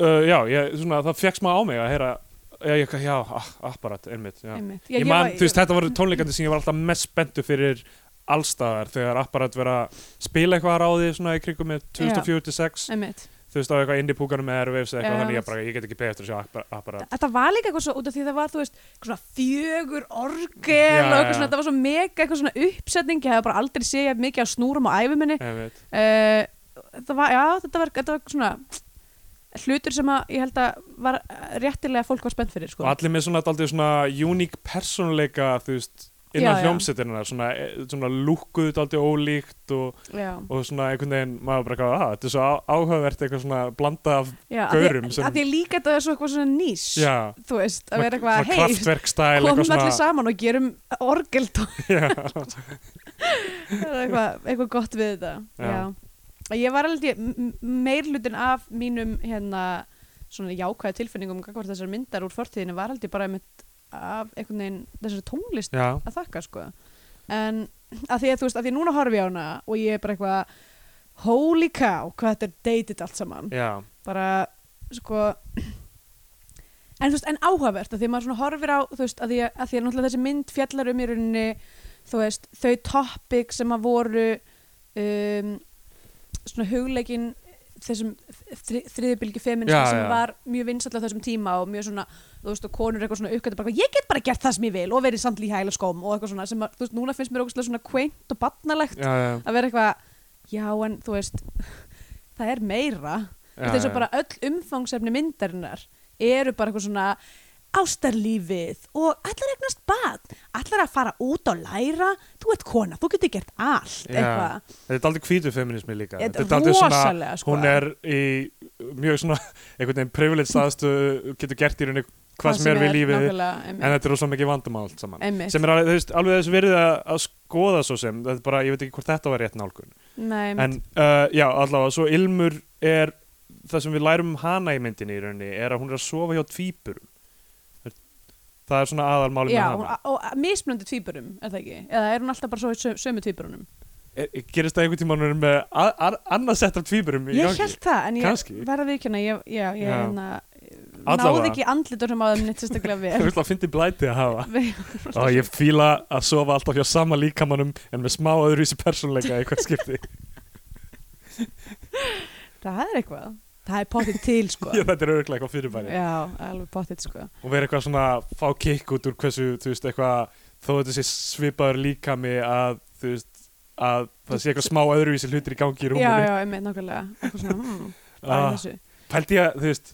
Speaker 3: uh, já, ég, svona, það fekk smá á mig að heyra, já, ég, já, ah, apparat, einmitt, já.
Speaker 2: einmitt Já,
Speaker 3: Ég man,
Speaker 2: var-
Speaker 3: þú veist, þetta voru tónleikandi sem ég var alltaf mest spenntu fyrir allstaðar þegar apparat vera að spila eitthvað ráði svona í kringum með 2046
Speaker 2: einmitt
Speaker 3: þú veist á eitthvað indie púkanum með Airwaves eða eitthvað
Speaker 2: Já.
Speaker 3: þannig ég bara, ég get ekki beðið eftir að sjá apparat
Speaker 2: Þetta var líka eitthvað svo út af því það var, þú veist, eitthvað svona fjögur orgel og
Speaker 3: Já,
Speaker 2: eitthvað
Speaker 3: já.
Speaker 2: svona, þetta var svo mega eitthvað svona uppsetning, ég hef bara aldrei séð jafn mikið af snúrum á æfiminni.
Speaker 3: einmitt,
Speaker 2: Uh, þetta var, já, þetta var, þetta var svona hlutur sem að ég held að var eh, réttilega fólk var spennt fyrir, sko.
Speaker 3: og allir með svona daldið svona uník personleika þú veist,
Speaker 2: Já,
Speaker 3: innan
Speaker 2: já.
Speaker 3: hljómsettirina svona, eh, svona lúkuðu daldið ólíkt og,
Speaker 2: Já,
Speaker 3: og svona einhvern veginn maður bara, eitthvað, ah, þetta er svo á- áhugavert eitthvað svona blanda af,
Speaker 2: já, að
Speaker 3: Gaurum
Speaker 2: því,
Speaker 3: sem-
Speaker 2: að því líka þetta er svo eitthvað svona nýs,
Speaker 3: já
Speaker 2: þú veist, að vera eitthvað, hei,
Speaker 3: kraftverkstæl
Speaker 2: komum
Speaker 3: eitthvað
Speaker 2: allir
Speaker 3: svona
Speaker 2: saman og gerum orgelt
Speaker 3: (laughs) já,
Speaker 2: Það er eitthvað, eitthvað gott við þetta
Speaker 3: Já.
Speaker 2: já. ég var alveg meirlutin af mínum hérna svona jákvæða tilfinningum hvort þessar myndar úr fortíðinu var aldrei bara einmitt af einhvern veginn þessari tónlist
Speaker 3: já,
Speaker 2: að þakka sko en að því að þú veist, að því að núna horfi ég á hana og ég er bara eitthvað holy cow, hvað þetta er dated allt saman
Speaker 3: já,
Speaker 2: bara sko en þú veist, en áhugavert að því að maður svona horfir á þú veist, að því að, að, því að náttúrulega þessi mynd fjallar um í rauninni, þú veist, þau topic sem að voru um, svona hugleikin þessum þri, þriðbylgi feminista
Speaker 3: Já,
Speaker 2: sem
Speaker 3: já.
Speaker 2: var mjög vinsall á þessum tíma og mjög svona, þú veist, og konur eitthvað svona uppgæti bara, eitthvað, ég get bara gert það sem ég vil og verið samt líka hæla skóm og eitthvað svona sem að, þú veist, núna finnst mér okkur svona quaint og barnalegt
Speaker 3: já, já,
Speaker 2: að vera eitthvað já en þú veist (laughs) það er meira
Speaker 3: Já,
Speaker 2: þess
Speaker 3: já.
Speaker 2: að bara öll umfangsefni myndarinnar eru bara eitthvað svona ástarlífið og allar egnast bad allar að fara út og læra þú ert kona, þú getur gert allt
Speaker 3: Já.
Speaker 2: eitthvað,
Speaker 3: þetta er aldrei hvítu feminismi líka
Speaker 2: Þetta er
Speaker 3: dálítið
Speaker 2: rosalega, sko.
Speaker 3: hún er í mjög svona einhvern veginn privilege staðstu getur gert í rauninni hvað sem er við lífið
Speaker 2: nákvæmlega,
Speaker 3: en
Speaker 2: einmitt,
Speaker 3: þetta er rosalega mikið vandamál allt saman
Speaker 2: einmitt.
Speaker 3: sem er alveg, þú veist, alveg þess verið að, að skoða svo sem, þetta er bara, ég veit ekki hvort þetta var rétt nálgun
Speaker 2: Nei, einmitt.
Speaker 3: en uh, já, allavega, svo Ilmur er það sem við lærum um hana í myndinni í rauninni er að hún er að sofa hjá tvíburum það er svona aðalmálið
Speaker 2: já,
Speaker 3: með
Speaker 2: hún,
Speaker 3: hana
Speaker 2: og og mismunandi tvíburum er það ekki, eða er hún alltaf bara svo í sö- sömu tvíburunum
Speaker 3: Er- gerist það einhvern tíma hún er með a- a- annað sett af tvíburum í
Speaker 2: ég
Speaker 3: gangi?
Speaker 2: held það, en ég
Speaker 3: Kannski.
Speaker 2: verða viðkjöna ég, já, ég
Speaker 3: Já.
Speaker 2: hérna,
Speaker 3: Allavega.
Speaker 2: náði ekki andliturum á þeim neitt
Speaker 3: (laughs)
Speaker 2: sérstaklega
Speaker 3: Það
Speaker 2: vel
Speaker 3: er að fyndi blætið að hafa
Speaker 2: Við-
Speaker 3: og ég fíla að sofa alltaf hjá sama líkamannum en með smá öðruvísi persónleika í
Speaker 2: (laughs)
Speaker 3: hvert skipti
Speaker 2: Það er eitthvað. Það er pottitt til, sko.
Speaker 3: (laughs) ég, þetta er örglega eitthvað fyrirbæri
Speaker 2: Já, alveg pottitt, sko.
Speaker 3: og vera eitthvað svona fá kikk út úr hversu þú veist eitthvað þó þetta sé svipaður líkami að þú veist að það sé eitthvað smá öðruvísi hlutir í gangi í
Speaker 2: Já,
Speaker 3: rúminu
Speaker 2: já, einmitt, nákvæmlega. Eitthvað svona,
Speaker 3: (laughs)
Speaker 2: mm, bara í
Speaker 3: Ah,
Speaker 2: þessu.
Speaker 3: pældi ég að þú veist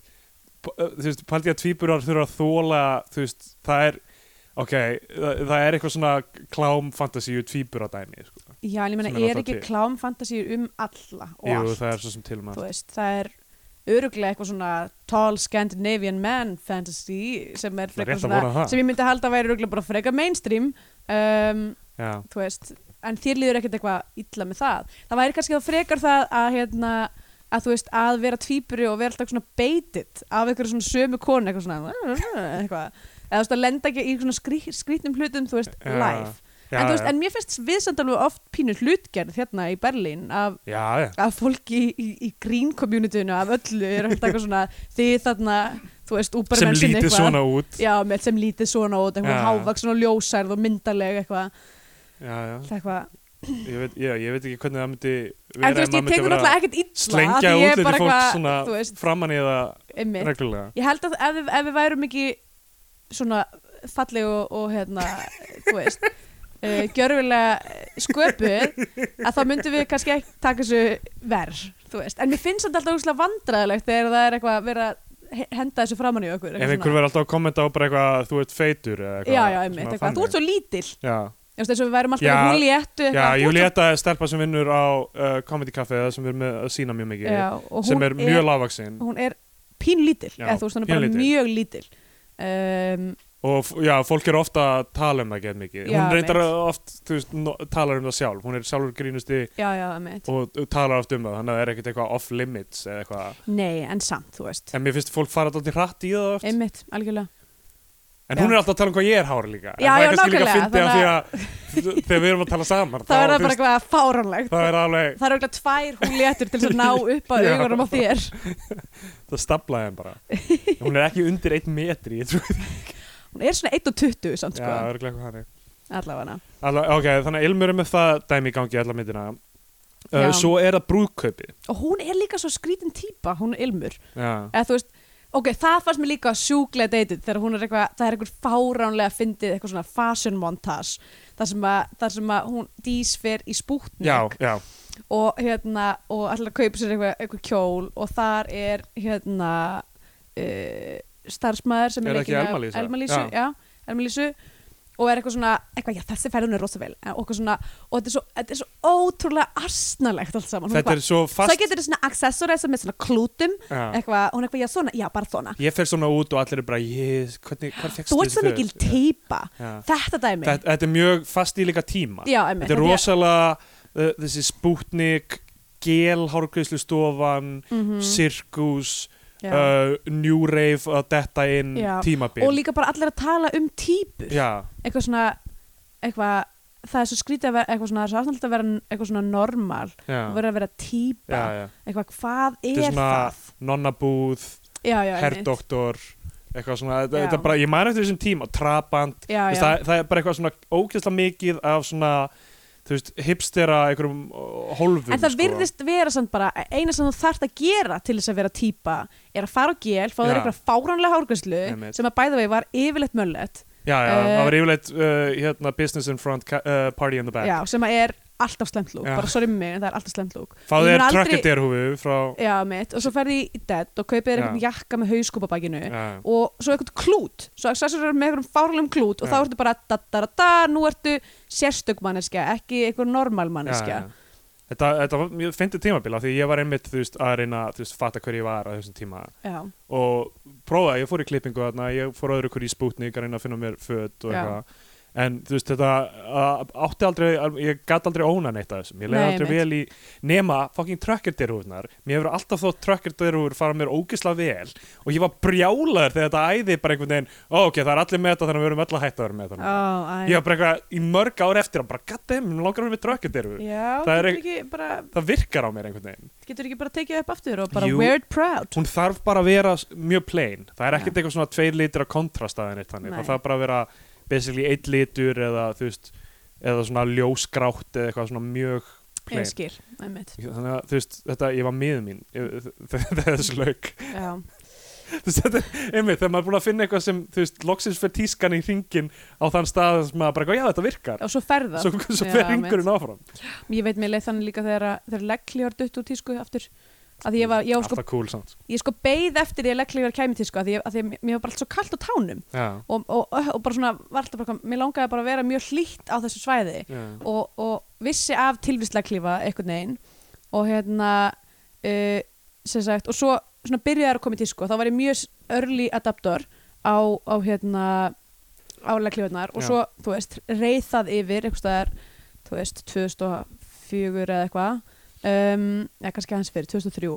Speaker 3: p- uh, þú veist pældi ég að tvíburar þurfa að þóla þú veist það er ok það, það er eitthvað svona klám fantasíu tvíburadæmi sko.
Speaker 2: Já, en ég meina,
Speaker 3: sem er
Speaker 2: er ekki
Speaker 3: náttúrulega til.
Speaker 2: klámfantasíu um alla og
Speaker 3: jú
Speaker 2: allt.
Speaker 3: það er svo sem til um
Speaker 2: Þú
Speaker 3: maður
Speaker 2: veist, það er öruglega eitthvað svona tall Scandinavian man fantasy sem er
Speaker 3: Það er
Speaker 2: frekar
Speaker 3: rétt að vona
Speaker 2: svona,
Speaker 3: það.
Speaker 2: sem ég myndi halda að væri öruglega bara frekar mainstream. Um,
Speaker 3: já
Speaker 2: þú veist, en þér líður ekkert eitthvað illa með það. Það væri kannski þá frekar það að, hérna, að þú veist, að vera tvíburi og vera alltaf svona beitit af einhverju svona sömu konu, eitthvað svona, "Eh, eitthvað. Eða þú veist, að lenda ekki í svona skrí, skrítnum hlutum, þú veist,
Speaker 3: Já,
Speaker 2: live.
Speaker 3: já,
Speaker 2: en þú
Speaker 3: já.
Speaker 2: veist, en mér finnst viðsamt alveg oft pínu hlutgerð hérna í Berlín af
Speaker 3: Já, já,
Speaker 2: að fólki í, í, í green communityinu af öllu er alltaf eitthvað svona þið þarna, þú veist,
Speaker 3: sem
Speaker 2: úbermensin
Speaker 3: lítið svona út
Speaker 2: Já, með sem lítið svona út, eitthvað
Speaker 3: Já.
Speaker 2: hávaksin og ljósærð og myndarleg eitthvað,
Speaker 3: já, já.
Speaker 2: Það er eitthvað
Speaker 3: Ég, veit, já, ég veit ekki hvernig það myndi vera
Speaker 2: En þú veist,
Speaker 3: maður
Speaker 2: ég
Speaker 3: myndi
Speaker 2: tekur
Speaker 3: vera
Speaker 2: náttúrulega ekkert illa
Speaker 3: slengja
Speaker 2: af því ég er
Speaker 3: útliti
Speaker 2: bara
Speaker 3: fólk
Speaker 2: eitthvað,
Speaker 3: svona
Speaker 2: þú veist,
Speaker 3: framan í það
Speaker 2: einmitt.
Speaker 3: reglulega
Speaker 2: Ég held að ef, við- ef við værum ekki
Speaker 3: (laughs)
Speaker 2: svona falleg og, og hérna, þú veist uh, gjörfilega eh, sköpuð að þá myndum við kannski ekki taka þessu verð, þú veist en mér finnst þetta alltaf úrslega vandræðilegt þegar það er eitthvað að vera að he- henda þessu framann í okkur
Speaker 3: ef einhver verður alltaf að kommenta á bara eitthvað að þú ert feitur eða
Speaker 2: já, já,
Speaker 3: svona
Speaker 2: einmitt,
Speaker 3: þannig.
Speaker 2: eitthvað, þú ert svo lítill
Speaker 3: já,
Speaker 2: Þú veist, eins og við værum alltaf
Speaker 3: Já,
Speaker 2: í húljéttu
Speaker 3: já Júlietta er stelpa sem vinnur á uh, Comedy Café sem við erum með að sína mjög mikið
Speaker 2: já, og
Speaker 3: sem
Speaker 2: hún
Speaker 3: er mjög lágvaksinn
Speaker 2: hún er pínlítil
Speaker 3: Já,
Speaker 2: eða þú veist, hún er bara
Speaker 3: pínlítil.
Speaker 2: mjög lítil um,
Speaker 3: og f- já, fólk er ofta að tala um það gett mikið
Speaker 2: Já,
Speaker 3: hún reyndar
Speaker 2: einmitt.
Speaker 3: oft, þú veist, no, talar um það sjálf hún er sjálfur grínusti
Speaker 2: já, já, einmitt
Speaker 3: og, og talar oft um það þannig að það er ekkert eitthvað off limits eða eitthvað
Speaker 2: nei, en samt, þú veist,
Speaker 3: en mér finnst fólk fara alltaf hratt í það oft
Speaker 2: einmitt, algjörlega
Speaker 3: en hún
Speaker 2: já.
Speaker 3: er alltaf að tala um hvað ég er hár líka
Speaker 2: Já, já,
Speaker 3: en það er kannski líka
Speaker 2: nákvæmlega,
Speaker 3: fyndi af því að þegar við erum að tala
Speaker 2: (laughs)
Speaker 3: saman
Speaker 2: það
Speaker 3: þá,
Speaker 2: verða
Speaker 3: þú
Speaker 2: bara
Speaker 3: veist,
Speaker 2: eitthvað fáránlegt
Speaker 3: það er alveg,
Speaker 2: það eru auðvitað tvær húljéttur til þess
Speaker 3: (laughs)
Speaker 2: að ná upp að
Speaker 3: Já.
Speaker 2: augunum á þér
Speaker 3: það staflaði
Speaker 2: (laughs)
Speaker 3: henn bara hún er ekki undir eitt metri ég trú
Speaker 2: hún er svona 1.20 samt
Speaker 3: Já,
Speaker 2: sko
Speaker 3: það er eitthvað hannig
Speaker 2: allavega
Speaker 3: Alla, ok, þannig að Ilmur er með það dæmi í gangi allar myndina uh,
Speaker 2: Já.
Speaker 3: Svo er það brúðkaupi
Speaker 2: og hún er líka svo skrítin típa, hún er ilmur
Speaker 3: Já,
Speaker 2: eða þú veist, ok, það fannst mér líka sjúklega deytið þegar hún er eitthvað, það er eitthvað fáránlega fyndið eitthvað svona fashion montage þar sem að, þar sem að hún dísfer í spútnik
Speaker 3: já, já,
Speaker 2: og hérna, og ætlar að kaupa sér eitthvað, eitthvað kjól og þar er hérna uh, starfsmæður sem
Speaker 3: Er
Speaker 2: er,
Speaker 3: það
Speaker 2: leikinn
Speaker 3: ekki
Speaker 2: af-
Speaker 3: Elma
Speaker 2: Elma
Speaker 3: Lísa?
Speaker 2: Lísu,
Speaker 3: Já.
Speaker 2: já, Elma Lísu og er eitthvað svona, eitthvað, já þessi færðun er rosa vel eh, og eitthvað svona, og þetta er svo, þetta er svo ótrúlega astnalegt allt saman Hún
Speaker 3: þetta
Speaker 2: eitthvað,
Speaker 3: er svo
Speaker 2: svo
Speaker 3: fast
Speaker 2: getur þetta svona accessorize með svona klútum
Speaker 3: já.
Speaker 2: eitthvað, hún er eitthvað, já svona, já bara svona
Speaker 3: Ég fer svona út og allir er bara yes, hvernig, hvað fegst
Speaker 2: þú ert svo mikil teipa
Speaker 3: Já.
Speaker 2: þetta dæmi
Speaker 3: Þetta, þetta er mjög fast í líka tíma
Speaker 2: já, einmitt,
Speaker 3: Þetta er rosalega uh, þessi spútnik gelhárgreislustofan
Speaker 2: Mhm.
Speaker 3: sirkus
Speaker 2: Já.
Speaker 3: uh, new rave að detta inn
Speaker 2: Já.
Speaker 3: tímabil
Speaker 2: og líka bara allir að tala um típur
Speaker 3: Já,
Speaker 2: eitthvað svona eitthvað, það er svo skrítið að vera eitthvað svona, það er alltaf að vera eitthvað svona normal
Speaker 3: já,
Speaker 2: og vera að vera típa
Speaker 3: já, já.
Speaker 2: eitthvað, hvað er,
Speaker 3: Þetta er svona
Speaker 2: það
Speaker 3: nonnabúð
Speaker 2: já, já, einmitt.
Speaker 3: herrdoktor eitthvað svona, þetta,
Speaker 2: Já.
Speaker 3: þetta bara, ég man eftir þessum tíma trabant,
Speaker 2: já, já,
Speaker 3: þú veist, það, það er bara eitthvað svona ógeðslega mikið af svona þú veist, hipstera einhverjum ó, hólfum
Speaker 2: en það
Speaker 3: sko.
Speaker 2: virðist vera samt bara eina sem þú þarft að gera til þess að vera típa er að fara á gél, fá þér
Speaker 3: Já.
Speaker 2: eitthvað fáránlega hárgæslu
Speaker 3: Einmitt.
Speaker 2: sem að bæða við var yfirleitt möllet
Speaker 3: já, já,
Speaker 2: eh,
Speaker 3: það var yfirleitt uh, hérna, business in front, ca- uh, party in the back
Speaker 2: já, sem að er alltaf slemt lúk,
Speaker 3: Já.
Speaker 2: bara sorry með mig en það er alltaf slemt lúk
Speaker 3: fáðu
Speaker 2: Ég
Speaker 3: þér
Speaker 2: mun aldrei-
Speaker 3: trakkenderhúfu frá
Speaker 2: Já, mitt, og svo ferði í dead og kaupið þér
Speaker 3: Já.
Speaker 2: einhvern jakka með hauskúpabakinu
Speaker 3: já,
Speaker 2: og svo einhvern klút, svo accessor með einhvern fárlegum klút og
Speaker 3: Já.
Speaker 2: þá ertu bara da, da, da, da, nú ertu sérstök manneskja, ekki einhver normal manneskja.
Speaker 3: Þetta, þetta var mjög fyndið tímabila því ég var einmitt þú veist, að reyna þú veist, fatta hver ég var á þessum tíma
Speaker 2: Já,
Speaker 3: og prófaði, ég fór í klippingu þarna, ég fór öðru hverju í spútnik að reyna að finna mér föt og
Speaker 2: Já.
Speaker 3: eitthvað en þú veist þetta að- átti aldrei, að- ég gat aldrei óna neitt af þessum ég leiði
Speaker 2: Nei,
Speaker 3: aldrei
Speaker 2: einmitt.
Speaker 3: vel í nema fucking trökkerdirhúðnar mér hefur alltaf þótt trökkerdirhúður fara mér ógisla vel og ég var brjálaður þegar þetta æði bara einhvern veginn, ó, ok, það er allir með þetta þannig að við erum öll að hætta að vera
Speaker 2: Ó,
Speaker 3: með þetta núna."
Speaker 2: æ.
Speaker 3: ég var bara eitthvað í mörg ár eftir að bara gatti, mér langar að vera með trökkerdirhúð
Speaker 2: Já,
Speaker 3: Það er
Speaker 2: getur ekki, bara,
Speaker 3: það virkar á mér einhvern veginn
Speaker 2: getur ekki bara tekið upp aftur og bara
Speaker 3: Jú.
Speaker 2: weird proud.
Speaker 3: hún þarf bara að vera s- mjög plain það er ekkert
Speaker 2: Já.
Speaker 3: eitthvað svona tveir litur að kontrasta þenni þannig,
Speaker 2: Nei.
Speaker 3: það þarf bara að vera basically eitt litur eða þú veist eða svona ljósgrátt eða eitthvað svona mjög plain
Speaker 2: Ég skil, einmitt,
Speaker 3: þannig að þú veist, þetta, ég var miður mín ég- (laughs) þegar þessu lauk
Speaker 2: já.
Speaker 3: Þú veist, þetta er einmitt, þegar maður er búin að finna eitthvað sem þú veist, loksins fyrir tískan í hringin á þann stað sem maður bara, eitthvað, já þetta virkar
Speaker 2: Og svo ferða.
Speaker 3: svo, svo
Speaker 2: Já,
Speaker 3: fer
Speaker 2: einmitt.
Speaker 3: hringurinn áfram
Speaker 2: Ég veit mér leið þannig líka þegar, að- þegar leggli var dutt úr tísku aftur. Að því ég var, ég var sko,
Speaker 3: alltaf cool samt
Speaker 2: ég sko beið eftir því að leggli var kæmi tísku að því, ég- að því að mér var bara allt svo kalt á tánum.
Speaker 3: já,
Speaker 2: og, og, og bara svona var alltaf bara, eitthvað- mér langaði bara að vera mjög hlýtt á þessu svæði
Speaker 3: já.
Speaker 2: og, og vissi af tilvíslaklífa einhvern veginn og hérna uh, sem sagt, og svo svona byrjaði að koma í tísku og þá var ég mjög s- early adapter á, á hérna álaklífarnar og
Speaker 3: Já.
Speaker 2: svo, þú veist, reið það yfir einhvers staðar, þú veist, 2004 eða eitthvað um, eða kannski aðeins fyrir, 2003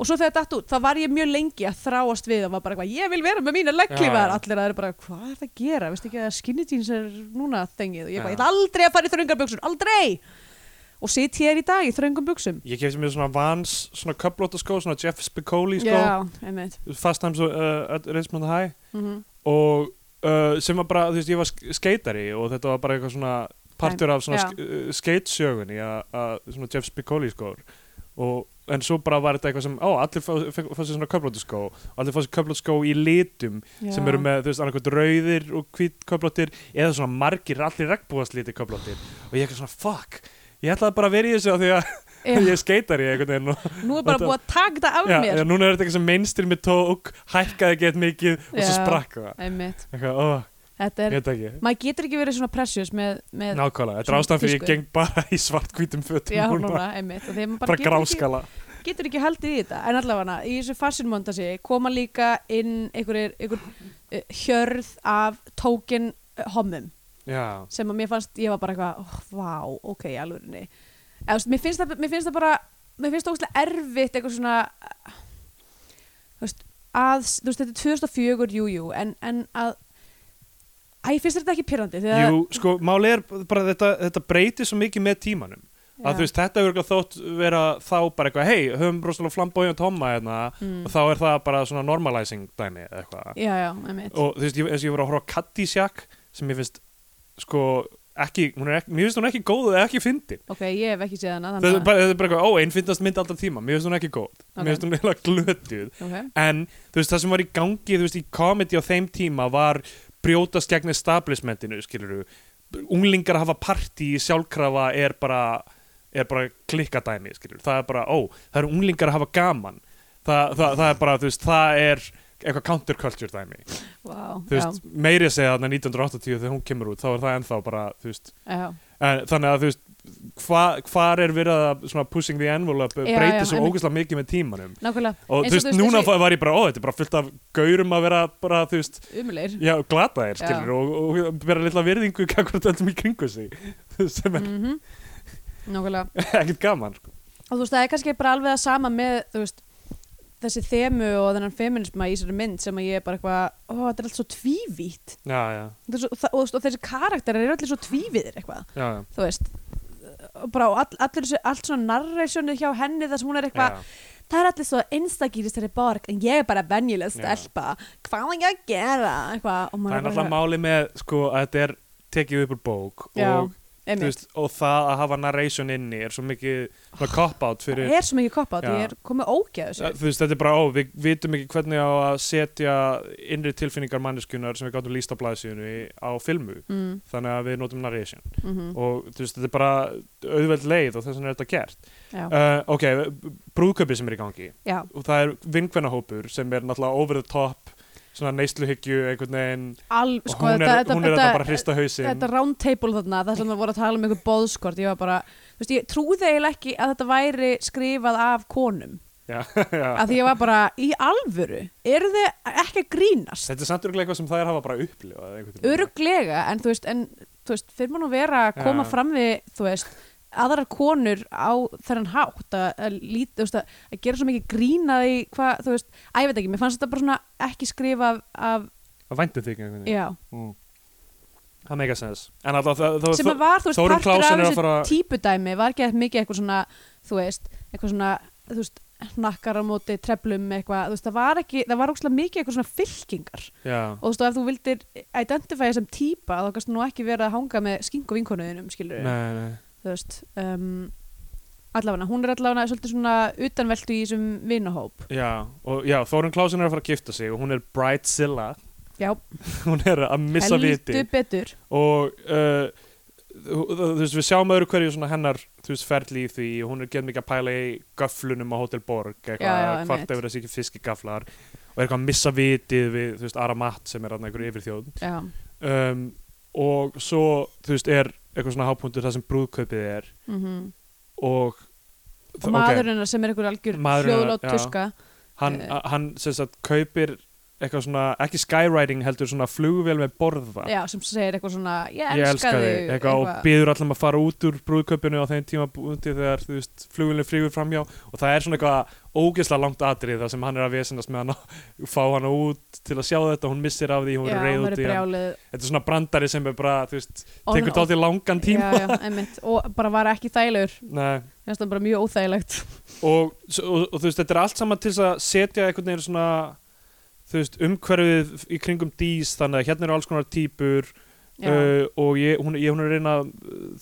Speaker 2: og svo þegar þetta út, þá var ég mjög lengi að þráast við og var bara eitthvað, ég vil vera með mína legglífar,
Speaker 3: Já.
Speaker 2: allir að það eru bara, hvað er það að gera veist ekki að skinny jeans er núna þengið og ég bara,
Speaker 3: Já.
Speaker 2: ég ætla aldrei að fara í þröngar buksur, aldrei og sit hér í dag í þröngum buksum
Speaker 3: ég kefti mér svona vans, svona köplóta skó svona Jeff Spicoli skó
Speaker 2: Já, einmitt
Speaker 3: Fast Times uh, at Richmond High
Speaker 2: mm
Speaker 3: og uh, sem var bara, þú veist, ég var sk- skeitari og þetta var bara eitthvað svona partur af svona eh,
Speaker 2: Já.
Speaker 3: sk- uh, skeitsjögunni að að svona Jeff Spicoli skór sko. og en svo bara var þetta eitthvað sem ó, allir fá fá- fá sér svona köflóttu skó og allir fá sér köflóttu skó í litum sem eru með, þú veist, annarkvæmt rauðir og hvít köflóttir eða svona margir, allir regnbúast lítið köflóttir og ég eitthvað svona, fuck ég ætlaði bara að vera í þessu af því að
Speaker 2: Já,
Speaker 3: (laughs) ég skeitar í einhvern veginn og,
Speaker 2: nú er bara
Speaker 3: Þetta-
Speaker 2: búið að taka þetta af
Speaker 3: já,
Speaker 2: mér
Speaker 3: já, núna er þetta eitthvað sem mainstream með tók hækkaði gett mikið og svo
Speaker 2: Já.
Speaker 3: sprakk það
Speaker 2: Einmitt.
Speaker 3: eitthvað, ó,
Speaker 2: Þetta
Speaker 3: ég
Speaker 2: er,
Speaker 3: veit ekki
Speaker 2: maður getur ekki verið svona precious með, með
Speaker 3: nákvæmlega, þetta er
Speaker 2: svona
Speaker 3: ástæðan fyrir ég
Speaker 2: tísku.
Speaker 3: geng bara í svart-hvítum fötum
Speaker 2: já,
Speaker 3: núna,
Speaker 2: núna, einmitt og þegar maður
Speaker 3: bara
Speaker 2: bara getur ekki,
Speaker 3: gráskala
Speaker 2: getur ekki haldið í þetta en allavega, í þessu fashion-montasi koma líka inn einhverjir einhver, uh, hjörð af tókin uh, hommum
Speaker 3: já,
Speaker 2: sem að mér fannst, ég var bara eitthvað oh, vá, ok, í alvörinni Eða, þú veist, mér, finnst það, mér finnst það bara mér finnst það ógstlega erfitt eitthvað svona eh, þú veist, að þú veist, þetta er 2004, jú, jú en, en að Æ, ég finnst þér þetta ekki pyrrandi
Speaker 3: jú, sko, máli er bara þetta, þetta breytir svo mikið með tímanum að þú veist, þetta er örugglega þótt vera þá bara eitthvað, hei, höfum rosalega flamboyant homma hérna
Speaker 2: Mm.
Speaker 3: og þá er það bara svona normalizing dæmi eða eitthvað
Speaker 2: Já, já, einmitt
Speaker 3: og þú veist, ég, eins og ég voru að horfa á Caddyshack sem ég finnst, sko ekki, hún er ekki, mér finnst hún ekki góð eða ekki fyndin
Speaker 2: Ok, ég hef ekki séð hana
Speaker 3: þetta er bara þetta er bara eitthvað, ó, einn fyndast mynd alltaf tíma mér finnst hún ekki góð,
Speaker 2: Ok.
Speaker 3: mér finnst hún eiginlega glötuð
Speaker 2: okay.
Speaker 3: en þú veist, það sem var í gangi þú veist, í komedi á þeim tíma var brjótast gegn establishmentinu, skilur unglingar að hafa partí í sjálfkrafa er bara, er bara klikkadæmi, skilur það er bara, ó, það eru unglingar að hafa gaman það, það, það er bara, þú veist, það er eitthvað counterculture dæmi
Speaker 2: wow,
Speaker 3: þú veist, meiri að segja þarna 1980 þegar hún kemur út, þá er það ennþá bara, þú veist
Speaker 2: já, já.
Speaker 3: en, þannig að þú veist, hva, hvar er verið að svona pushing the envelope
Speaker 2: Já,
Speaker 3: breytir
Speaker 2: já,
Speaker 3: svo
Speaker 2: einmitt.
Speaker 3: ógeðslega mikið með tímanum
Speaker 2: Nákvæmlega, Eins og
Speaker 3: og þú veist,
Speaker 2: þú veist,
Speaker 3: núna
Speaker 2: eins og-
Speaker 3: var ég bara, ó, þetta er bara fullt af gaurum að vera bara, þú veist,
Speaker 2: umulegir
Speaker 3: já, glata þér,
Speaker 2: Já.
Speaker 3: skilur og, og vera litla virðingu kakvart öllum í kringu sig (laughs) sem er
Speaker 2: mm Nákvæmlega
Speaker 3: (laughs) ekkert gaman sko.
Speaker 2: Og þú veist, það er kannski bara alveg að sama með þú veist, þessi þemu og þennan feminisma í þessari mynd sem að ég er bara eitthvað ó, þetta er allt svo tvívít
Speaker 3: já, já,
Speaker 2: Þetta er svo, það, og, þú veist, og þessi karakterar eru allir svo tvívíðir eitthvað,
Speaker 3: já, já,
Speaker 2: þú veist og bara og all, allir, þessi- allt svona narrationu hjá henni þar sem hún er eitthvað
Speaker 3: já.
Speaker 2: það er allir svo einstakýrist þeirri borg en ég er bara venjuleg
Speaker 3: Já.
Speaker 2: stelpa hvað er ég að gera eitthvað, og
Speaker 3: það
Speaker 2: maður
Speaker 3: er náttúrulega máli með, sko, að þetta er tekið upp úr bók
Speaker 2: Já,
Speaker 3: og, þú
Speaker 2: einmitt.
Speaker 3: veist, og það að hafa narration inni er svo mikið, svona cop-out fyrir
Speaker 2: það er svo mikið koppa á því
Speaker 3: Já.
Speaker 2: ég er komið ógæðu sér
Speaker 3: þú veist, þetta er bara, ó, við vitum ekki hvernig á að setja innri tilfinningar manneskunar sem við gáttum líst á blæðsíðunni á filmu,
Speaker 2: mm,
Speaker 3: þannig að við notum narration
Speaker 2: mm
Speaker 3: og þú veist, þetta er bara auðveld leið og þess vegna er þetta gert
Speaker 2: já,
Speaker 3: uh, ok, brúðköpi sem er í gangi
Speaker 2: já,
Speaker 3: og það er vinkvennahópur sem er náttúrulega over the top svona neysluhyggju einhvern veginn
Speaker 2: al,
Speaker 3: og
Speaker 2: sko,
Speaker 3: hún er,
Speaker 2: þetta,
Speaker 3: þetta,
Speaker 2: þetta,
Speaker 3: hún er þetta, bara að
Speaker 2: þetta,
Speaker 3: hrista hausinn
Speaker 2: þetta round table þarna það sem það voru að tala um einhver boðskort ég var bara, þú veist, ég trúði eiginlega ekki að þetta væri skrifað af konum
Speaker 3: já, (laughs) já.
Speaker 2: af því ég var bara, í alvöru eru þið ekki að grínast
Speaker 3: þetta er samt örgulega eitthvað sem það er hafa bara upplifað einhvern veginn.
Speaker 2: öruglega, en þú veist, en þú veist, fyrir maður nú vera að
Speaker 3: Já.
Speaker 2: koma fram við þú veist, aðrar konur á þennan hátt að, að líta, þú veist, að, að gera svo mikið grínað í hvað, þú veist, að ég veit ekki, mér fannst þetta bara svona ekki skrifa af, af
Speaker 3: það væntu þig einhvern veginn
Speaker 2: já,
Speaker 3: mm. það make a sense en alltaf það, það,
Speaker 2: sem að var, þú veist,
Speaker 3: Þórunn
Speaker 2: partur af
Speaker 3: Clausen er að
Speaker 2: þessu
Speaker 3: fara-
Speaker 2: típudæmi var ekki mikið eitthvað svona, þú veist, eitthvað svona, þú veist, nakkar á móti, treflum eitthvað, þú veist, það var ekki, það var ógstlega mikið eitthvað svona fylkingar
Speaker 3: já,
Speaker 2: og þú veist, og ef þú vildir identifæja sem típa, þá kannski nú ekki verið að hanga með skink og vinkonuðinum, skilur
Speaker 3: nei, nei
Speaker 2: þú veist, um, allavega, hún er allavega svolítið svona utanveltu í þessum vinahóp,
Speaker 3: Já, og já, Þórun Klásin er að fara að gifta sig og hún er Bridezilla (laughs)
Speaker 2: já,
Speaker 3: hún er að missa viti
Speaker 2: heldur betur,
Speaker 3: og uh, þú þú veist, við sjáum öðru hverju svona hennar þú veist, ferli í því, hún er gett mikið að pæla í göflunum á Hotel Borg
Speaker 2: Já, já,
Speaker 3: eitthvað, hvart
Speaker 2: einmitt.
Speaker 3: yfir þessi ekki fiskigaflar og er eitthvað að missa vitið við, þú veist, Aramat sem er þarna einhver yfirþjóð
Speaker 2: já,
Speaker 3: um, og svo, þú veist, er eitthvað svona hápunktur það sem brúðkaupið er
Speaker 2: mhm,
Speaker 3: og,
Speaker 2: og maðurinn okay. sem er einhver algjör
Speaker 3: Maðurinn hennar,
Speaker 2: hljóðlátt
Speaker 3: já.
Speaker 2: tuska,
Speaker 3: hann,
Speaker 2: Eh.
Speaker 3: uh, hann sem sagt kaupir eitthvað svona, ekki skywriting heldur svona flugvél með borða
Speaker 2: já, sem segir eitthvað svona ég
Speaker 3: ég
Speaker 2: elska,
Speaker 3: elska þig, eitthvað, og byður allir að fara út úr brúðköpinu á þeim tíma búndi þegar þú veist, flugvélum frígur framjá og það er svona eitthvað ógeðslega langt atrið þar sem hann er að vesenast með hann að fá hann út til að sjá þetta, hún missir af því hún
Speaker 2: já,
Speaker 3: verður
Speaker 2: hún
Speaker 3: reið út
Speaker 2: verður
Speaker 3: í hann,
Speaker 2: brjálið
Speaker 3: þetta er svona brandari sem er bara, þú veist,
Speaker 2: Og-
Speaker 3: tekur
Speaker 2: og-
Speaker 3: dálítið langan tíma
Speaker 2: já, já, einmitt, og bara var ekki þægilegur
Speaker 3: Nei.
Speaker 2: Mér finnst það bara mjög
Speaker 3: (laughs)
Speaker 2: óþægilegt
Speaker 3: og, og, og, þú veist, þetta er allt saman til þess að setja einhvern veginn svona þú veist, umhverfið í kringum dís þannig að hérna eru alls konar típur
Speaker 2: Já.
Speaker 3: uh, og ég, hún, ég, hún er að reyna að,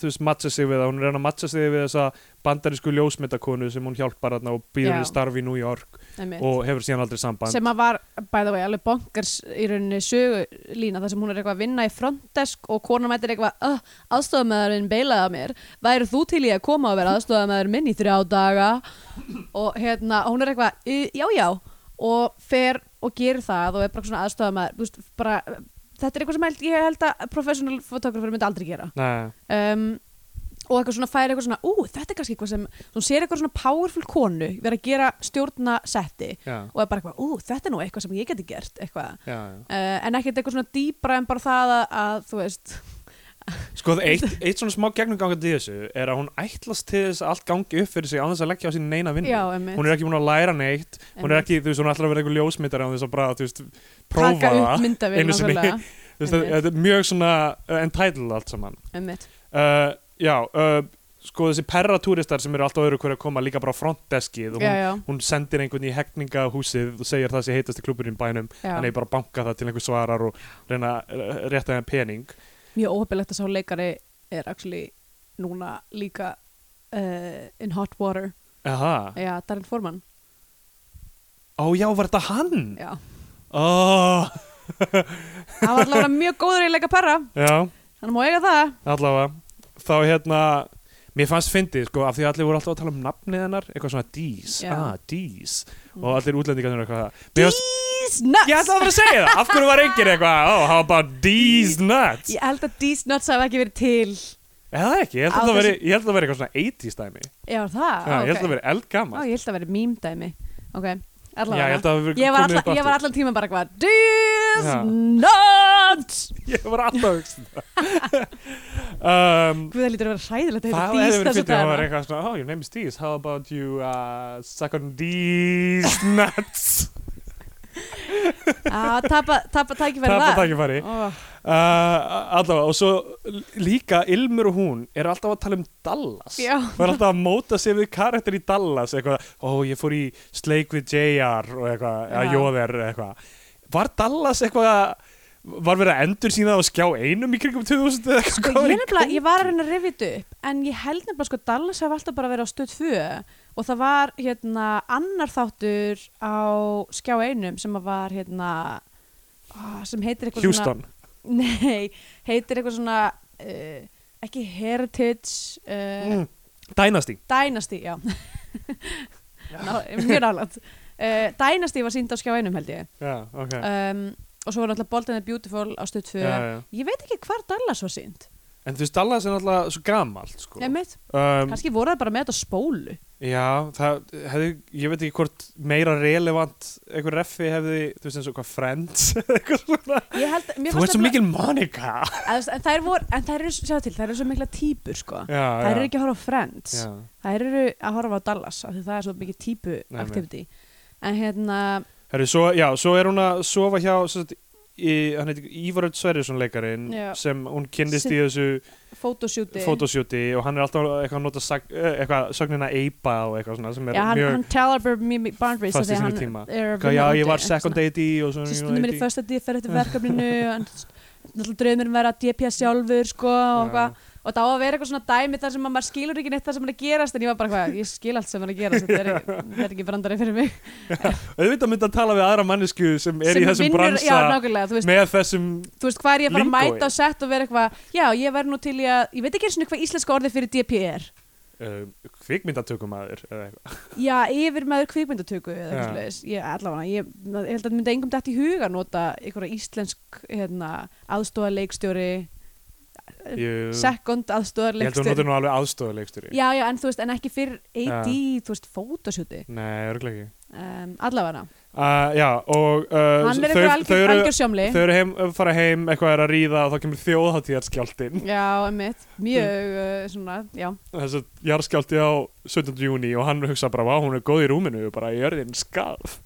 Speaker 3: þú veist, matcha sig við það hún er að reyna að matcha sig við þessa bandarísku ljósmyndakonu sem hún hjálpar þarna og býður
Speaker 2: Já.
Speaker 3: henni starf í New York
Speaker 2: einmitt.
Speaker 3: og hefur síðan aldrei samband
Speaker 2: sem að var, by the way, alveg bonkers í rauninni sögulína þar sem hún er eitthvað að vinna í frontdesk og konan mættir eitthvað uh, aðstofamæðurinn beilaði að mér væri þú til í að koma og vera aðstofamæður minn í þrjá daga og hérna, hún er eitthvað, "Í, já já og fer og gerir það og er bara svona aðstofamæður þú veist, bara, þetta er eitthvað sem held, ég held að professional photographer myndi aldrei gera
Speaker 3: Nei,
Speaker 2: um, og eitthvað svona færi eitthvað svona, ú, þetta er kannski eitthvað sem hún sér eitthvað svona powerful konu vera að gera stjórna setti
Speaker 3: já,
Speaker 2: og er bara eitthvað, ú, þetta er nú eitthvað sem ég geti gert eitthvað,
Speaker 3: já, já.
Speaker 2: uh, en ekkert eitthvað svona dýbra en bara það að, að þú veist
Speaker 3: Sko eitt, eitt svona smá gegnumgangandi í þessu er að hún ætlast til þess að allt gangi upp fyrir sig á þess að leggja á sín neina vinnu
Speaker 2: já, emmi,
Speaker 3: hún er ekki búin að læra neitt hún
Speaker 2: Einmitt.
Speaker 3: er ekki, þú veist, hún ætlar að vera eitthvað ljósmyndari á þess að bara, þú veist, prófa
Speaker 2: taka upp
Speaker 3: það
Speaker 2: myndavél
Speaker 3: einu sinni.
Speaker 2: nákvæmlega,
Speaker 3: Þú veist,
Speaker 2: Einmitt.
Speaker 3: þetta er mjög svona uh, entitled allt saman (laughs)
Speaker 2: emmitt
Speaker 3: uh, já, uh, sko þessi perratúristar sem eru alltaf öðru hverju að koma líka bara á frontdeskið og
Speaker 2: já,
Speaker 3: hún,
Speaker 2: já,
Speaker 3: hún sendir einhvern í hekningahúsið og segir það sé heitast í klubunum bænum
Speaker 2: já.
Speaker 3: þannig bara banka það til einhver svarar og reyna að uh, rétta henni pening
Speaker 2: mjög óhefilegt að sá leikari er actually núna líka uh, in hot water
Speaker 3: aha,
Speaker 2: já, Darren Forman
Speaker 3: ó já, var þetta hann?
Speaker 2: já,
Speaker 3: ó,
Speaker 2: hann var allavega mjög góður í að leika perra
Speaker 3: já,
Speaker 2: hann má eiga það
Speaker 3: allavega þá hérna Mér fannst fyndið, sko, af því að allir voru alltaf að tala um nafnið hennar, eitthvað svona Dís,
Speaker 2: Já. Mm.
Speaker 3: ah, Dís, og allir útlendingarnir eru eitthvað það. Mér fannst,
Speaker 2: These
Speaker 3: ég ætla
Speaker 2: nuts
Speaker 3: að vera að segja það, af hverju var enginn eitthvað, oh, how about Dís nuts?
Speaker 2: ég held að these nuts hafa ekki verið til
Speaker 3: Er það ekki? Ég
Speaker 2: Á
Speaker 3: held að það veri,
Speaker 2: þessu-
Speaker 3: ég held að það veri eitthvað svona 80s dæmi.
Speaker 2: já, það,
Speaker 3: Já,
Speaker 2: ah,
Speaker 3: ég held að það
Speaker 2: ok.
Speaker 3: veri eldgammal.
Speaker 2: Á, ég held að vera mýmdæmi Ok,
Speaker 3: Já,
Speaker 2: allavega
Speaker 3: ég held að það veri
Speaker 2: Ég var,
Speaker 3: komið
Speaker 2: alla,
Speaker 3: upp
Speaker 2: ég var
Speaker 3: aftur.
Speaker 2: allan tíma bara hvað These
Speaker 3: Já.
Speaker 2: nuts
Speaker 3: Ég var alltaf að hugsa um
Speaker 2: (laughs)
Speaker 3: það. um,
Speaker 2: Guð, það lítur að vera hræðilegt að
Speaker 3: það
Speaker 2: heita
Speaker 3: hefði
Speaker 2: Dís
Speaker 3: verið
Speaker 2: þessu
Speaker 3: fyrir að það var
Speaker 2: dagana
Speaker 3: eitthvað svona, oh, your name is Dís, how about you uh, suck on Dís nuts?
Speaker 2: Já, tapa, tapa tækifæri
Speaker 3: Það var
Speaker 2: var
Speaker 3: tækifæri.
Speaker 2: oh,
Speaker 3: Uh, allavega, og svo líka Ilmur og hún er alltaf að tala um Dallas
Speaker 2: Já.
Speaker 3: og er alltaf að móta sig við karakter í Dallas eitthvað, ó ég fór í sleik við JR og eitthvað,
Speaker 2: Já.
Speaker 3: eða Jóðer eitthvað var Dallas eitthvað var verið að endur sína á skjá einum í kringum 2000 eða eitthvað
Speaker 2: sko,
Speaker 3: Hvað var
Speaker 2: ég,
Speaker 3: í
Speaker 2: nefnilega,
Speaker 3: gangi?
Speaker 2: ég var að reyna að rifja þetta upp En ég held nefnilega sko Dallas hef alltaf bara verið á stöð 2 Og það var hérna annar þáttur á skjá einum sem að var hérna ah, sem heitir eitthvað svona-
Speaker 3: Houston,
Speaker 2: Nei, heitir eitthvað svona uh, ekki Heritage uh,
Speaker 3: mm. Dynasty
Speaker 2: Dynasty, já Ná, Mjög nálægt uh, Dynasty var sínd á skjá einum held ég
Speaker 3: já, ok
Speaker 2: um, og svo var náttúrulega Bold and the Beautiful á stöð 2
Speaker 3: já, já.
Speaker 2: Ég veit ekki hvar Dallas var sínd
Speaker 3: en þú veist Dallas er alltaf svo gamalt sko.
Speaker 2: Einmitt,
Speaker 3: um,
Speaker 2: kannski voru það bara með þetta á spólu
Speaker 3: Já, það hefði, ég veit ekki hvort meira relevant einhver reffi hefði, þú veist eins og hvað Friends (laughs) eða eitthvað svona.
Speaker 2: Ég held, mér
Speaker 3: Þú
Speaker 2: fannst
Speaker 3: ert svo
Speaker 2: nefnilega-
Speaker 3: mikil Monica.
Speaker 2: En þú veist, en þær voru, en þær eru, sjá til, þær eru svo mikla típur sko
Speaker 3: Já,
Speaker 2: Þær eru ekki að horfa á Friends
Speaker 3: Já,
Speaker 2: Þær eru að horfa á Dallas af því það er svo mikið típu
Speaker 3: Nei, nei.
Speaker 2: activity En hérna,
Speaker 3: Herru, svo, já, svo er hún að sofa hjá, svo sagt, í, hann heitir Ívaröld Sverjesson leikarinn
Speaker 2: Já.
Speaker 3: sem hún kynnist
Speaker 2: Sin-
Speaker 3: í þessu
Speaker 2: fotoshooti
Speaker 3: fotosjúti og hann er alltaf eitthvað að nota sag, eh, eitthvað, sögnina eipa og eitthvað svona sem er
Speaker 2: Já, hann,
Speaker 3: mjög,
Speaker 2: hann talar bara mjög mjög boundaries
Speaker 3: Fast í
Speaker 2: af því að
Speaker 3: sínum
Speaker 2: hann
Speaker 3: tíma.
Speaker 2: er að
Speaker 3: hvað, já,
Speaker 2: vinna úti,
Speaker 3: ég var second
Speaker 2: eitthvað
Speaker 3: AD
Speaker 2: svona.
Speaker 3: og svo
Speaker 2: Svo
Speaker 3: you know,
Speaker 2: stundum er í
Speaker 3: AD.
Speaker 2: first AD, fer eftir verkefninu en náttúrulega draumurinn verið að DPS sjálfur sko og
Speaker 3: Já.
Speaker 2: eitthvað og það á að vera eitthvað svona dæmi þar sem að maður skilur ekki neitt það sem er að gerast en ég var bara hvað, ég skil allt sem er að gerast þetta er, ekki- þetta er ekki brandari fyrir mig
Speaker 3: Auðvitað myndi að tala við aðra mannesku sem er
Speaker 2: Sem
Speaker 3: í þessum
Speaker 2: vinnur-
Speaker 3: bransa
Speaker 2: Já, nákvæmlega, þú veist,
Speaker 3: með þessum
Speaker 2: þú veist hvað er ég að fara að
Speaker 3: Lingói.
Speaker 2: mæta á sett og vera eitthvað Já, ég verð nú til í að, ég veit ekki eins og hvað íslenska orðið fyrir DP er
Speaker 3: uh, kvikmyndatökumæður eða eitthvað
Speaker 2: Já, yfir maður kvikmyndatöku eða
Speaker 3: Já.
Speaker 2: eitthvað slags, ég allavega, ég, ég held að það myndi engum dætt í huga að nota einhverja íslensk hérna, aðstóða leikstjóri, Um,
Speaker 3: Jú,
Speaker 2: second aðstóða
Speaker 3: Ég held að hún notur
Speaker 2: leikstjóri.
Speaker 3: nú alveg aðstofa leikstjóri
Speaker 2: Já, já, en þú veist, en ekki fyrir AD,
Speaker 3: Já.
Speaker 2: þú veist, fótasjóti,
Speaker 3: Nei, örgulega ekki
Speaker 2: um, allavega.
Speaker 3: uh, Já, og uh,
Speaker 2: Hann er
Speaker 3: þau,
Speaker 2: eitthvað
Speaker 3: þau
Speaker 2: algjör,
Speaker 3: eru,
Speaker 2: algjör sjómli.
Speaker 3: þau eru heim, fara heim eitthvað er að ríða og þá kemur þjóðháttíðarskjáltin
Speaker 2: Já, einmitt, mjög uh, svona, já,
Speaker 3: (laughs) þess að jarðskjálti á 17. júni og hann hugsa bara, vá, hún er góð í rúminu bara jörðin skalf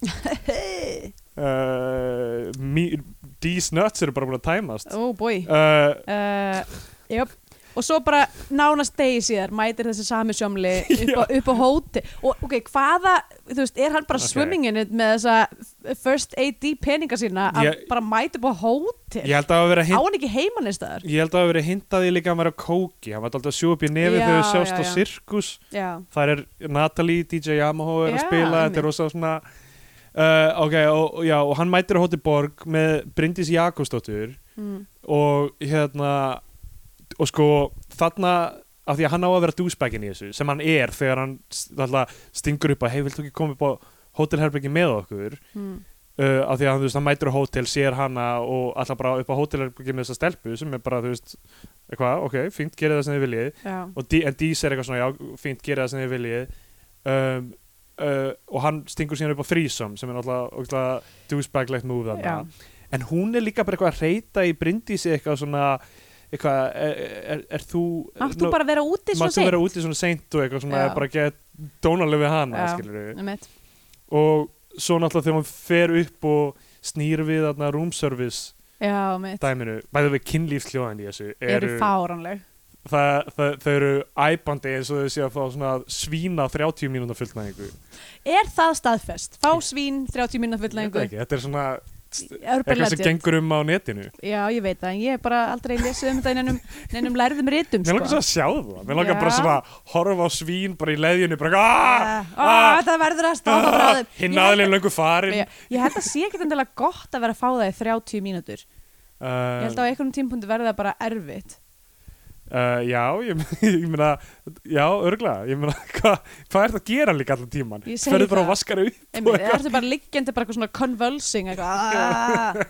Speaker 3: uh, me- These nuts eru bara búin að tæmast
Speaker 2: oh boy.
Speaker 3: uh,
Speaker 2: Uh, jöp, og svo bara nánast degi síðar mætir þessi sami
Speaker 3: (laughs)
Speaker 2: sjómli upp á, upp á hóti og ok, hvaða, þú veist, er hann bara
Speaker 3: Ok.
Speaker 2: okay. swimminginu með þessa first AD peninga sína að
Speaker 3: Ég-
Speaker 2: bara mæti upp á hóti
Speaker 3: Ég held að hafa verið að
Speaker 2: á
Speaker 3: hin-
Speaker 2: hann ekki heimannistar
Speaker 3: ég held að hafa verið hintaði líka að vera kóki hann var alltaf að sjú upp í nefið
Speaker 2: Já,
Speaker 3: þegar við sjást
Speaker 2: já,
Speaker 3: á
Speaker 2: já.
Speaker 3: sirkus
Speaker 2: já,
Speaker 3: þar er Natalie, DJ Yamaha er að
Speaker 2: Já,
Speaker 3: spila,
Speaker 2: einmitt.
Speaker 3: þetta er rosa svona uh, ok, og, og- já, og hann mætir á Hóti Borg með Bryndís Jakobsdóttur
Speaker 2: mm.
Speaker 3: og hérna og sko þarna af því að hann á að vera dúsbækin í þessu sem hann er þegar hann s- alltaf stingur upp að hei, viltu ekki koma upp á hótelherbyggi með okkur
Speaker 2: Mm.
Speaker 3: uh, af því að hann, þú veist, hann mætur á hótel, sér hana og alltaf bara upp á hótelherbyggi með þessa stelpu sem er bara, þú veist, eitthvað, ok, fínt, gerið það sem þið viljið
Speaker 2: já,
Speaker 3: og D en Dís er eitthvað svona, já, fínt, gera það sem þið viljið um, uh, og hann stingur síðan upp á þrísom sem er náttúrulega dúsbaglegt
Speaker 2: Já.
Speaker 3: move þarna en hún er líka bara eitthvað að reyta í brindísi eitthvað svona eitthvað, er, er, er þú
Speaker 2: máttu bara vera úti svo
Speaker 3: Eh, máttu
Speaker 2: seint
Speaker 3: vera úti svona seint og eitthvað svona
Speaker 2: Já.
Speaker 3: er bara að geta dónaleg við hana
Speaker 2: Já.
Speaker 3: skilur við
Speaker 2: Einmitt.
Speaker 3: og svo náttúrulega þegar hún fer upp og snýr við þarna room service
Speaker 2: já, mitt,
Speaker 3: dæminu, bæðið við kynlífsljóðan í þessu
Speaker 2: eru fáránleg
Speaker 3: það, það, þau eru æpandi eins og þau séu að fá svona svína 30 mínúna fullnæðingu
Speaker 2: er það staðfest, fá svín 30 minna fullnæðingu,
Speaker 3: Ég veit ekki, þetta er svona eitthvað sem
Speaker 2: örbarlegend
Speaker 3: gengur um á netinu
Speaker 2: já, ég veit það, en ég er bara aldrei lesið um þetta í neinum, neinum lærðum rítum
Speaker 3: mér langar
Speaker 2: sko.
Speaker 3: svo að sjá það, mér langar
Speaker 2: Já.
Speaker 3: bara svona að horfa á svín bara í leðjunni, bara aaaah
Speaker 2: Ah, ah, það verður að stáða frá þeim
Speaker 3: (laughs) hinn
Speaker 2: Ég held
Speaker 3: aðlinn löngu farin
Speaker 2: Ég, ég held að sé ekkert endilega gott að vera að fá það í 30 mínútur. Ég held að á einhvern tímpunkti verði það bara erfitt.
Speaker 3: Uh, já, ég, (laughs) ég meina já, örglega, ég meina (laughs) hvað hva er það að gera líka allan tíman
Speaker 2: Ég segi
Speaker 3: ferðu bara
Speaker 2: það.
Speaker 3: og vaskar upp
Speaker 2: Einmitt, það ertu bara liggjandi bara eitthvað svona convulsing eitthvað. Ah. (laughs)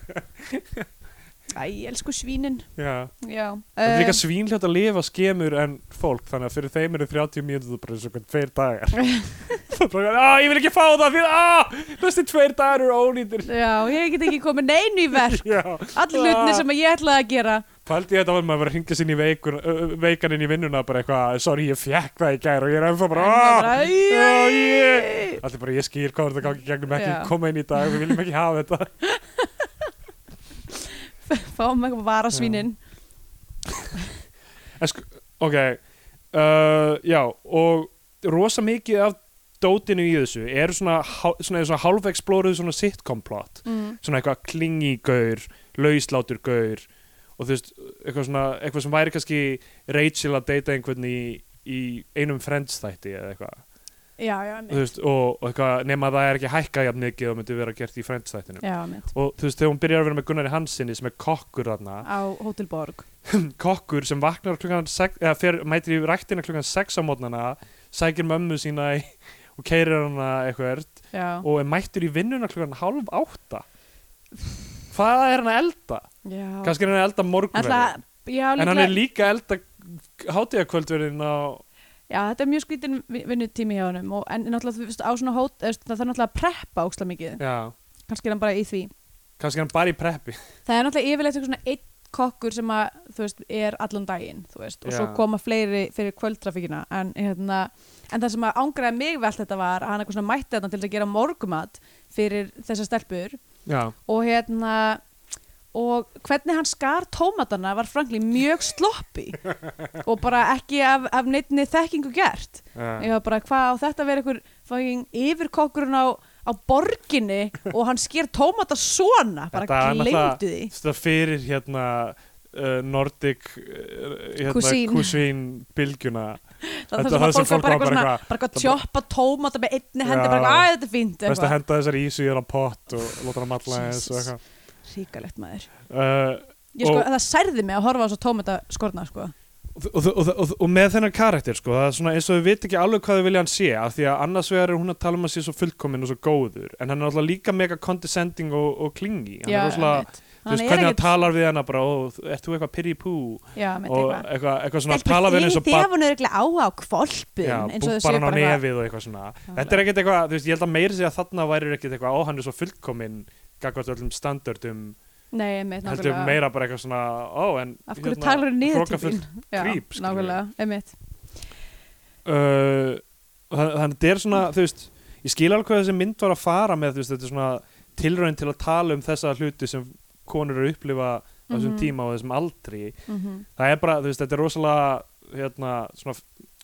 Speaker 2: Æ, ég elsku svínin.
Speaker 3: já.
Speaker 2: Já.
Speaker 3: það er
Speaker 2: Eh,
Speaker 3: líka svín hljótt að lifa skemur en fólk þannig að fyrir þeim eru 30 mínútur bara eins og hvernig tveir dagar
Speaker 2: (laughs)
Speaker 3: Það er bara, að ég vil ekki fá það fyrir að þessi tveir dagar eru ónýtir
Speaker 2: eh, Já, ég get ekki komið neinu í verk.
Speaker 3: já, Ah.
Speaker 2: Allir hlutinni sem að ég ætlaði að gera.
Speaker 3: pældi ég þetta var maður bara að hringja sinni í veikun, ö, ö, veikan inn í vinnuna bara eitthvað, sorry ég fekk það í gær og ég er ennþá bara,
Speaker 2: Ennþá
Speaker 3: að
Speaker 2: bara,
Speaker 3: já,
Speaker 2: "Jæj."
Speaker 3: ég allir bara, ég skil hvað er þetta gangi í gegnum ekki
Speaker 2: Já.
Speaker 3: koma inn í dag, við viljum ekki hafa þetta
Speaker 2: Fáum eitthvað vara svínin.
Speaker 3: En sko, ok uh, Já, og rosa mikið af dótinu í þessu eru svona, hál- svona, svona hálfexplóruð svona sitcom plot
Speaker 2: Mm.
Speaker 3: svona eitthvað klingi gaur, lauslátur gaur og þú veist, eitthvað svona eitthvað sem væri kannski Rachel að deyta einhvern í, í einum Friends þætti eða eitthvað
Speaker 2: Já, já,
Speaker 3: þú
Speaker 2: mitt.
Speaker 3: veist, og, og eitthvað, nema það er ekki hækkað jafn mikið og myndi vera gert í Friends þættinu
Speaker 2: Já, mitt.
Speaker 3: og þú veist, þegar hún byrjar að vera með Gunnari Hansinni sem er kokkur þarna
Speaker 2: Á Hotel Borg.
Speaker 3: kokkur sem vaknar klukkan 6 eða fer, mætir í ræktina klukkan 6 á mótnana sækir mömmu sína í, og keirir hana eitthvað
Speaker 2: Já.
Speaker 3: og er mættur í vinnuna klukkan hálf átta hvað er hann að elda?
Speaker 2: Já.
Speaker 3: kannski er hann að elda morgunverð
Speaker 2: Ah. Ætla, já,
Speaker 3: en hann
Speaker 2: líklega-
Speaker 3: er líka að elda hátíðakvöldverðin á
Speaker 2: Já, þetta er mjög skrítin vinnutími hjá honum og, en náttúrulega þú veist, á svona hót eða, það er náttúrulega að preppa óksla mikið
Speaker 3: já,
Speaker 2: kannski er hann bara í því
Speaker 3: kannski er hann bara í preppi
Speaker 2: það er náttúrulega yfirleitt eitthvað svona einn kokkur sem að, þú veist, er allan daginn þú veist, og svo
Speaker 3: Já.
Speaker 2: koma fleiri fyrir kvöldtrafíkina en, hérna, en það sem að ángraði mig vel þetta var að hann eitthvað svona mætti þetta til að gera morgumat fyrir þessar stelpur
Speaker 3: já,
Speaker 2: og hérna og hvernig hann skar tómatana var frankli mjög
Speaker 3: (laughs)
Speaker 2: sloppi og bara ekki af, af neittni þekkingu gert
Speaker 3: já.
Speaker 2: Ég var bara, hvað á þetta að vera einhver fucking yfirkokkurinn á, á borginni og hann sker tómata svona, bara
Speaker 3: Þetta er náttúrulega-
Speaker 2: gleymdu því.
Speaker 3: þetta fyrir hérna uh, Nordic uh,
Speaker 2: Cuisine.
Speaker 3: hérna, kusín bylgjuna
Speaker 2: Það er
Speaker 3: þetta
Speaker 2: það
Speaker 3: er
Speaker 2: sem fólk var bara eitthvað
Speaker 3: bara
Speaker 2: svona,
Speaker 3: eitthvað-
Speaker 2: bara eitthvað
Speaker 3: þetta
Speaker 2: tjópa tómata með einni hendi,
Speaker 3: Já.
Speaker 2: bara eitthvað, að þetta er fínt,
Speaker 3: Best að
Speaker 2: eitthvað.
Speaker 3: henda þessar ísu í þennan pott og láta hann matla eins
Speaker 2: Jesus.
Speaker 3: og eitthvað.
Speaker 2: Ríkalegt maður.
Speaker 3: Uh,
Speaker 2: Ég sko,
Speaker 3: Og-
Speaker 2: það særði mig að horfa á svo tómata skorna, sko.
Speaker 3: og, og, og, og, og með þennan karakter sko, það er svona eins og þau veit ekki alveg hvað þau vilja hann sé af því að annars vegar er hún að tala um að sé svo fullkominn og svo góður, en hann er alltaf líka mega condescending og, og klingi hann
Speaker 2: Já,
Speaker 3: er rosalega,
Speaker 2: einmitt.
Speaker 3: þú veist hvernig hann talar við hana bara, ó, ert þú eitthvað pyrri pú og
Speaker 2: Já, með eitthvað.
Speaker 3: eitthvað, eitthvað svona tala við hann eins og
Speaker 2: Þið
Speaker 3: barn-
Speaker 2: hafa nörgulega áhuga á kvolpun,
Speaker 3: Já,
Speaker 2: eins og þau
Speaker 3: búbar
Speaker 2: séu
Speaker 3: hann á
Speaker 2: bara eitthvað.
Speaker 3: nefið og eitthvað svona Þetta er ekkert eitthvað, þú veist, ég held að meiri sig að þarna væri ekkert eitthvað, ó, hann er svo fullkominn gagvart öllum standardum
Speaker 2: Nei, einmitt,
Speaker 3: heldur
Speaker 2: nákvæmlega.
Speaker 3: meira bara eitthvað svona, ó, en hérna,
Speaker 2: Af hverju talar þau niður til
Speaker 3: hrokafull-
Speaker 2: þín? Já,
Speaker 3: gríp, skilur við.
Speaker 2: Nákvæmlega, einmitt.
Speaker 3: Uh, þann- þannig þetta er svona þú veist, ég skil alveg hvað þessi mynd var að fara með þú veist, þetta er svona tilraun til að tala um þessa hluti sem konur eru að upplifa á þessum
Speaker 2: Mhm.
Speaker 3: tíma og þessum aldri
Speaker 2: mm -hmm.
Speaker 3: það er bara, þú veist, þetta er rosalega hérna, svona,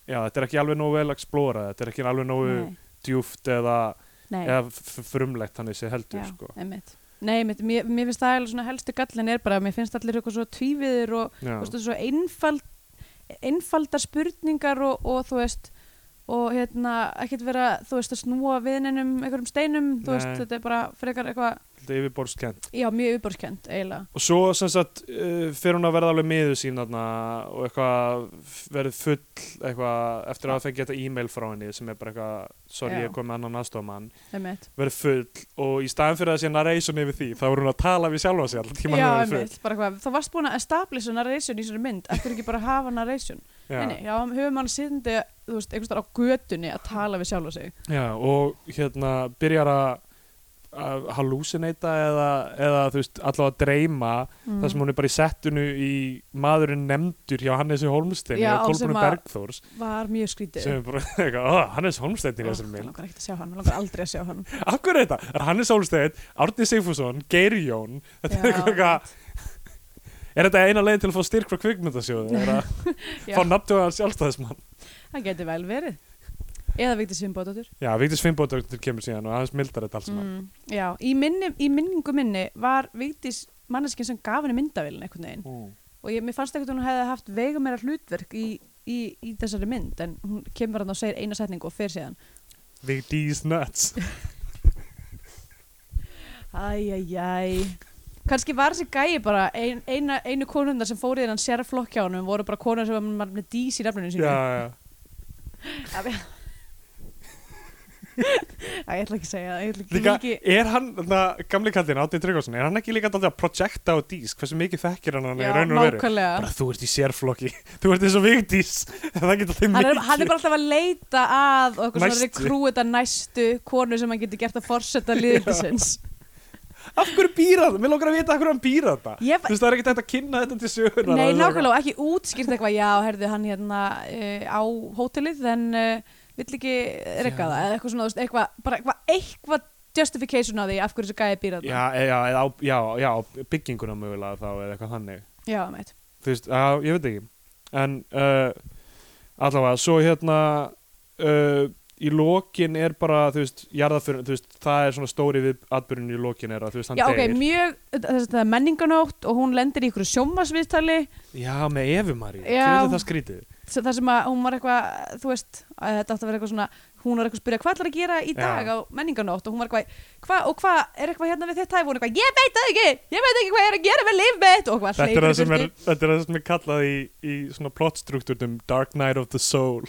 Speaker 3: já, þetta er ekki alveg nógu vel að explora, þetta er ekki alveg nógu
Speaker 2: Nei,
Speaker 3: djúft eða,
Speaker 2: nei,
Speaker 3: eða f- frumlegt þannig sé heldur,
Speaker 2: já,
Speaker 3: sko
Speaker 2: einmitt Nei, einmitt, mér, mér finnst það eiginlega svona helstu gallin er bara, að mér finnst allir eitthvað svo tvíviðir og
Speaker 3: já,
Speaker 2: þú veist, svo einfald, einfaldar spurningar og, og þú veist og hérna, ekkert vera, þú veist, að snúa viðninum einhverjum steinum, þú veist,
Speaker 3: Nei.
Speaker 2: þetta er bara frekar eitthvað,
Speaker 3: þetta er yfirborðskend
Speaker 2: já, mjög yfirborskjönd eiginlega.
Speaker 3: Og svo sem sagt uh, fyrir hún að verða alveg miður sín þarna og eitthvað f- verið full eitthvað eftir að fengja þetta e-mail frá henni sem er bara eitthvað, sorry
Speaker 2: Já.
Speaker 3: ég kom með annan aðstofamann,
Speaker 2: Einmitt.
Speaker 3: verið full og í staðin fyrir að sé narration yfir því þá er hún að tala við sjálfa sér alltaf tíma
Speaker 2: Já,
Speaker 3: hún er full.
Speaker 2: einmitt, bara hvað, þá varst búin að establish a narration í svona mynd, eftir ekki bara hafa narration.
Speaker 3: Já.
Speaker 2: Nei, nei, já, höfum hann sýndi, þú veist, einhvers þar á götunni að tala við sjálf og sig.
Speaker 3: Já, og hérna byrjar að að hallucinata eða, eða þú veist allavega að dreyma
Speaker 2: Mm.
Speaker 3: þar sem hún er bara í settinu í maðurinn nefndur hjá Hannesi Holmstein
Speaker 2: Já,
Speaker 3: og
Speaker 2: sem
Speaker 3: Kolbrunum
Speaker 2: að-
Speaker 3: Bergþórs
Speaker 2: Var mjög skrítið.
Speaker 3: sem er bara (laughs) eitthvað, oh, Hannes Holmstein í þessum
Speaker 2: Mér
Speaker 3: mynd
Speaker 2: langar ekki að sjá hann, mér langar aldrei að sjá hann.
Speaker 3: Akkur er þetta? Það er Hannes Álsteinn, Árni Sigfússon, Geir Jón Þetta er
Speaker 2: Já.
Speaker 3: eitthvað eitthvað- Er þetta eina leiðin til að fá styrk frá kvikmyndasjóðu? Er að
Speaker 2: (laughs) Já,
Speaker 3: fá nafntuga sjálfstæðismann?
Speaker 2: það geti vel verið. Eða Vigdís Finnbóðdóttur.
Speaker 3: Já, Vigdís Finnbóðdóttir kemur síðan og aðeins mildar þetta alls mann
Speaker 2: Mm, já, í, minni, í minningu minni var Vigdís manneskinn sem gaf henni myndavélin einhvern veginn
Speaker 3: mm.
Speaker 2: og ég, mér fannst ekkert að hún hefði haft veiga meira hlutverk í, í, í þessari mynd en hún kemur hann og segir eina setningu og fer síðan (laughs)
Speaker 3: Vigdís Nuts
Speaker 2: Æjæjæj Kanski var þessi gæi bara ein, eina, einu konundar sem fór í þennan sérflokk hjá honum voru bara konar sem var með dís í nefninu sínu
Speaker 3: Já, já
Speaker 2: Það ég ætla ekki að segja það, ég ætla ekki,
Speaker 3: Líka,
Speaker 2: ekki
Speaker 3: er hann, þarna, gamli kallinn, Átni Tryggvason Er hann ekki líka dálítið að projekta á dís? Hversu mikið þekkir hann hann í
Speaker 2: Já,
Speaker 3: raun og veru?
Speaker 2: nákvæmlega
Speaker 3: Bara, þú ert í sérflokki, (laughs) þú ert eins og Vigdís (laughs) Það getur
Speaker 2: hann
Speaker 3: þið
Speaker 2: er,
Speaker 3: mikið
Speaker 2: hann er bara alltaf að leita að og eitthvað svona
Speaker 3: Næstu.
Speaker 2: rekrúta næstu konu sem hann getur gert að
Speaker 3: (laughs)
Speaker 2: forsetta liðisins
Speaker 3: Af hverju býra þetta? Mér langar að vita af hverju hann býra þetta
Speaker 2: Ég
Speaker 3: Þú
Speaker 2: bara-
Speaker 3: veist, það er ekkert hægt að kynna þetta til söguna
Speaker 2: Nei, nákvæmlega, og ekki útskýrt eitthvað já, herðu hann hérna uh, á hótelið en uh, vill ekki rekka
Speaker 3: Já.
Speaker 2: það eða eitthvað svona, þú veist, eitthvað, bara eitthvað eitthvað justification á því af hverju þessu gæði býr þarna.
Speaker 3: Já, e- já, eða á, já, já, á bygginguna mögulega þá eða eitthvað þannig
Speaker 2: Já, meitt
Speaker 3: Þú veist, já, ég veit ekki En uh, allavega, svo hérna uh, í lokin er bara, þú veist, jarðaförun þú veist, það er svona stóri við atbyrjun í lokin er að, þú veist, hann
Speaker 2: Já, ok,
Speaker 3: deyr
Speaker 2: mjög, þess að það er menninganótt og hún lendir í ykkur sjómasviðtali
Speaker 3: Já, með Efumaríu, þú
Speaker 2: Já.
Speaker 3: veist það skrítið
Speaker 2: þar sem að hún var eitthvað, þú veist að þetta átti að vera eitthvað svona, hún var eitthvað að spyrja hvað ætlar að gera í
Speaker 3: Já.
Speaker 2: dag á menninganótt og hún var eitthvað, hva, og hvað er eitthvað hérna við þitt hæf og hún eitthvað, ég veit það ekki, ég veit ekki hvað ég er að gera með líf mitt og hvað
Speaker 3: Þetta er það sem er,
Speaker 2: burtu.
Speaker 3: þetta er, það sem er kallað í, í svona plotstruktúrnum Dark Night of the
Speaker 2: (laughs)
Speaker 3: Soul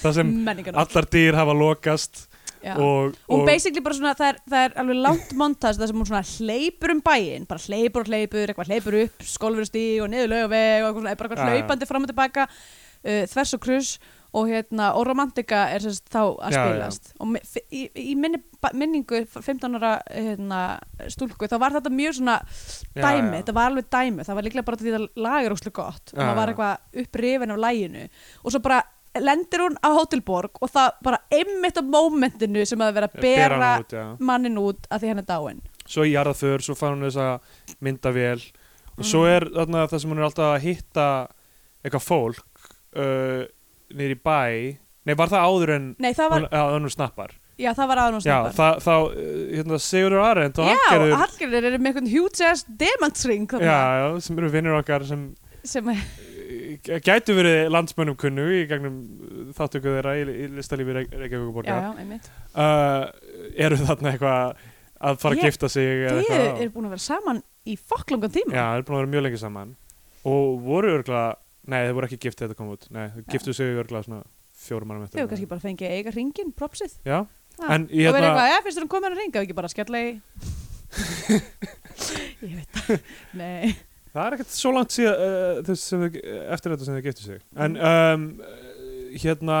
Speaker 3: Það sem
Speaker 2: menninganótt
Speaker 3: allar dýr hafa lokast
Speaker 2: Já.
Speaker 3: og,
Speaker 2: Hún basically bara svona, það er, það er alveg langt montas það sem hún svona hleypur um bæinn bara hleypur og hleypur, eitthvað hleypur upp skolfur og stíg og niður laugaveg og eitthvað svona, er bara
Speaker 3: Já,
Speaker 2: eitthvað
Speaker 3: já.
Speaker 2: hlaupandi fram og tilbaka uh, þvers og krus og hérna, og romantika er sérst þá að
Speaker 3: Já, já.
Speaker 2: spilast og mi- fi- í, í minni, ba- minningu 15 ára hérna, stúlku, þá var þetta mjög svona
Speaker 3: Já,
Speaker 2: dæmi,
Speaker 3: já.
Speaker 2: þetta var alveg dæmi það var líklega bara því að lag er óslu gott og
Speaker 3: Já,
Speaker 2: það var
Speaker 3: já.
Speaker 2: eitthvað upprifin af læginu og svo bara lendir hún á Hotelborg og það bara einmitt á mómentinu sem að vera að
Speaker 3: bera
Speaker 2: bera
Speaker 3: hann Eh, út, já.
Speaker 2: mannin út að því hann er dáin
Speaker 3: svo í jarðaför, svo fann hún þess að mynda vel og svo
Speaker 2: Mm.
Speaker 3: er þarna það sem hún er alltaf að hitta eitthvað fólk uh, niður í bæ nei, var það áður en
Speaker 2: Nei, það var,
Speaker 3: hún, að hún snappar
Speaker 2: já, það var aðan og
Speaker 3: já,
Speaker 2: snappar
Speaker 3: það, þá, uh, hérna, Sigurður Arendt og
Speaker 2: Já,
Speaker 3: Hallgerður
Speaker 2: Hallgerður er með einhvern huge ass demantsring
Speaker 3: já, já, sem eru vinnir okkar sem
Speaker 2: sem er,
Speaker 3: uh, gætu verið landsmönnum kunnu í gegnum uh, þáttöku þeirra í, í listalífi Reyk-
Speaker 2: já,
Speaker 3: Reykjavíkuborgar
Speaker 2: já, einmitt
Speaker 3: uh, eru þarna eitthvað að fara
Speaker 2: Ég-
Speaker 3: að gifta sig eða
Speaker 2: Þið
Speaker 3: eitthvað
Speaker 2: eru búin að vera saman í fokklangan tíma
Speaker 3: Já, það er búin að vera mjög lengi saman og voru örgla, nei þeir voru ekki gift þegar þetta kom út, nei, þau
Speaker 2: Já.
Speaker 3: giftu sig örgla svona fjórum árum
Speaker 2: Þau
Speaker 3: eftir
Speaker 2: hefur kannski bara fengið að eiga ringin, propsið
Speaker 3: Já,
Speaker 2: Ha,
Speaker 3: En
Speaker 2: ég
Speaker 3: ég
Speaker 2: hefna...
Speaker 3: hérna-
Speaker 2: eitthvað, ja, finnst þér hún komið hann að ringa og ekki bara að skella
Speaker 3: (laughs)
Speaker 2: í ég veit það nei,
Speaker 3: það er ekkert svo langt síðan uh, þess sem þau, eftir þetta sem þau giftu sig en um, eh, hérna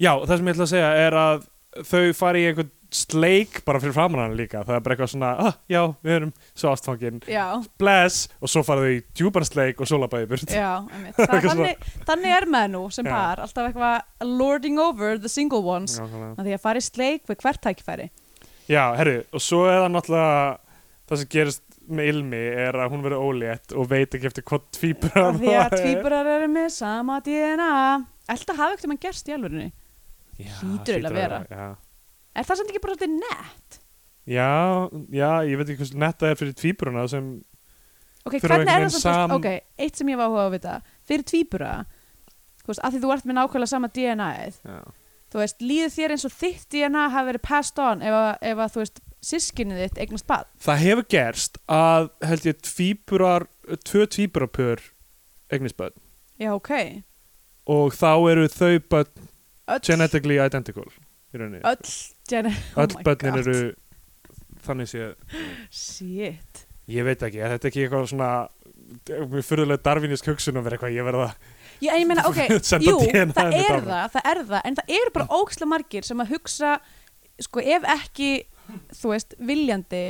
Speaker 3: já, það sem ég ætla að segja er að þau fari í einhvern sleik bara fyrir framann hann líka, það er bara eitthvað svona ah, já, við erum svo ástfangin
Speaker 2: já,
Speaker 3: bless, og svo fara þau í djúpan sleik og svo labbaði burt
Speaker 2: já einmitt. Það,
Speaker 3: (laughs) Eitthvað svona.
Speaker 2: þannig, þannig er maður nú sem
Speaker 3: Já.
Speaker 2: par alltaf eitthvað lording over the single ones
Speaker 3: Nákvæmlega.
Speaker 2: að því að fara í sleik við hvert tækifæri
Speaker 3: Já, herru, og svo er það náttúrulega það sem gerist með ilmi er að hún verður ólétt og veit ekki eftir hvað tvíburar
Speaker 2: af því að tvíburar eru með sama DNA Ætla hafa ekkert um hann gerst í alvörinu hlýtur eiginlega að vera.
Speaker 3: já.
Speaker 2: Er það samt ekki bara svolítið nett?
Speaker 3: já, já, ég veit ekki hversu netta er fyrir tvíburuna sem
Speaker 2: Ok,
Speaker 3: Þurfa
Speaker 2: hvernig er
Speaker 3: einhvern
Speaker 2: það
Speaker 3: veginn
Speaker 2: samt Ok, eitt sem ég var áhuga á að vita Fyrir tvíbura Þú veist, að því þú ert með nákvæmlega sama DNA-ið
Speaker 3: já.
Speaker 2: Þú veist, líður þér eins og þitt DNA hafi verið passed on ef að, ef að þú veist, sískinnið þitt eignast bad
Speaker 3: það hefur gerst að held ég tvíburar tvö tvíburapör eignisbönn
Speaker 2: Já, ok
Speaker 3: og þá eru þau bönn
Speaker 2: Öll,
Speaker 3: genetically identical í rauninni.
Speaker 2: öll, oh gen
Speaker 3: öll bönnin eru þannig séð
Speaker 2: Shit
Speaker 3: Ég veit ekki, er þetta ekki eitthvað svona mjög fyrðulega darvinist hugsun að vera eitthvað, ég verða
Speaker 2: Já, en ég meina, ok,
Speaker 3: (laughs) Senda
Speaker 2: jú,
Speaker 3: DNA
Speaker 2: það
Speaker 3: mitt
Speaker 2: er
Speaker 3: áfram.
Speaker 2: það, það er það, en það eru bara óksla margir sem að hugsa, sko, ef ekki, þú veist, viljandi,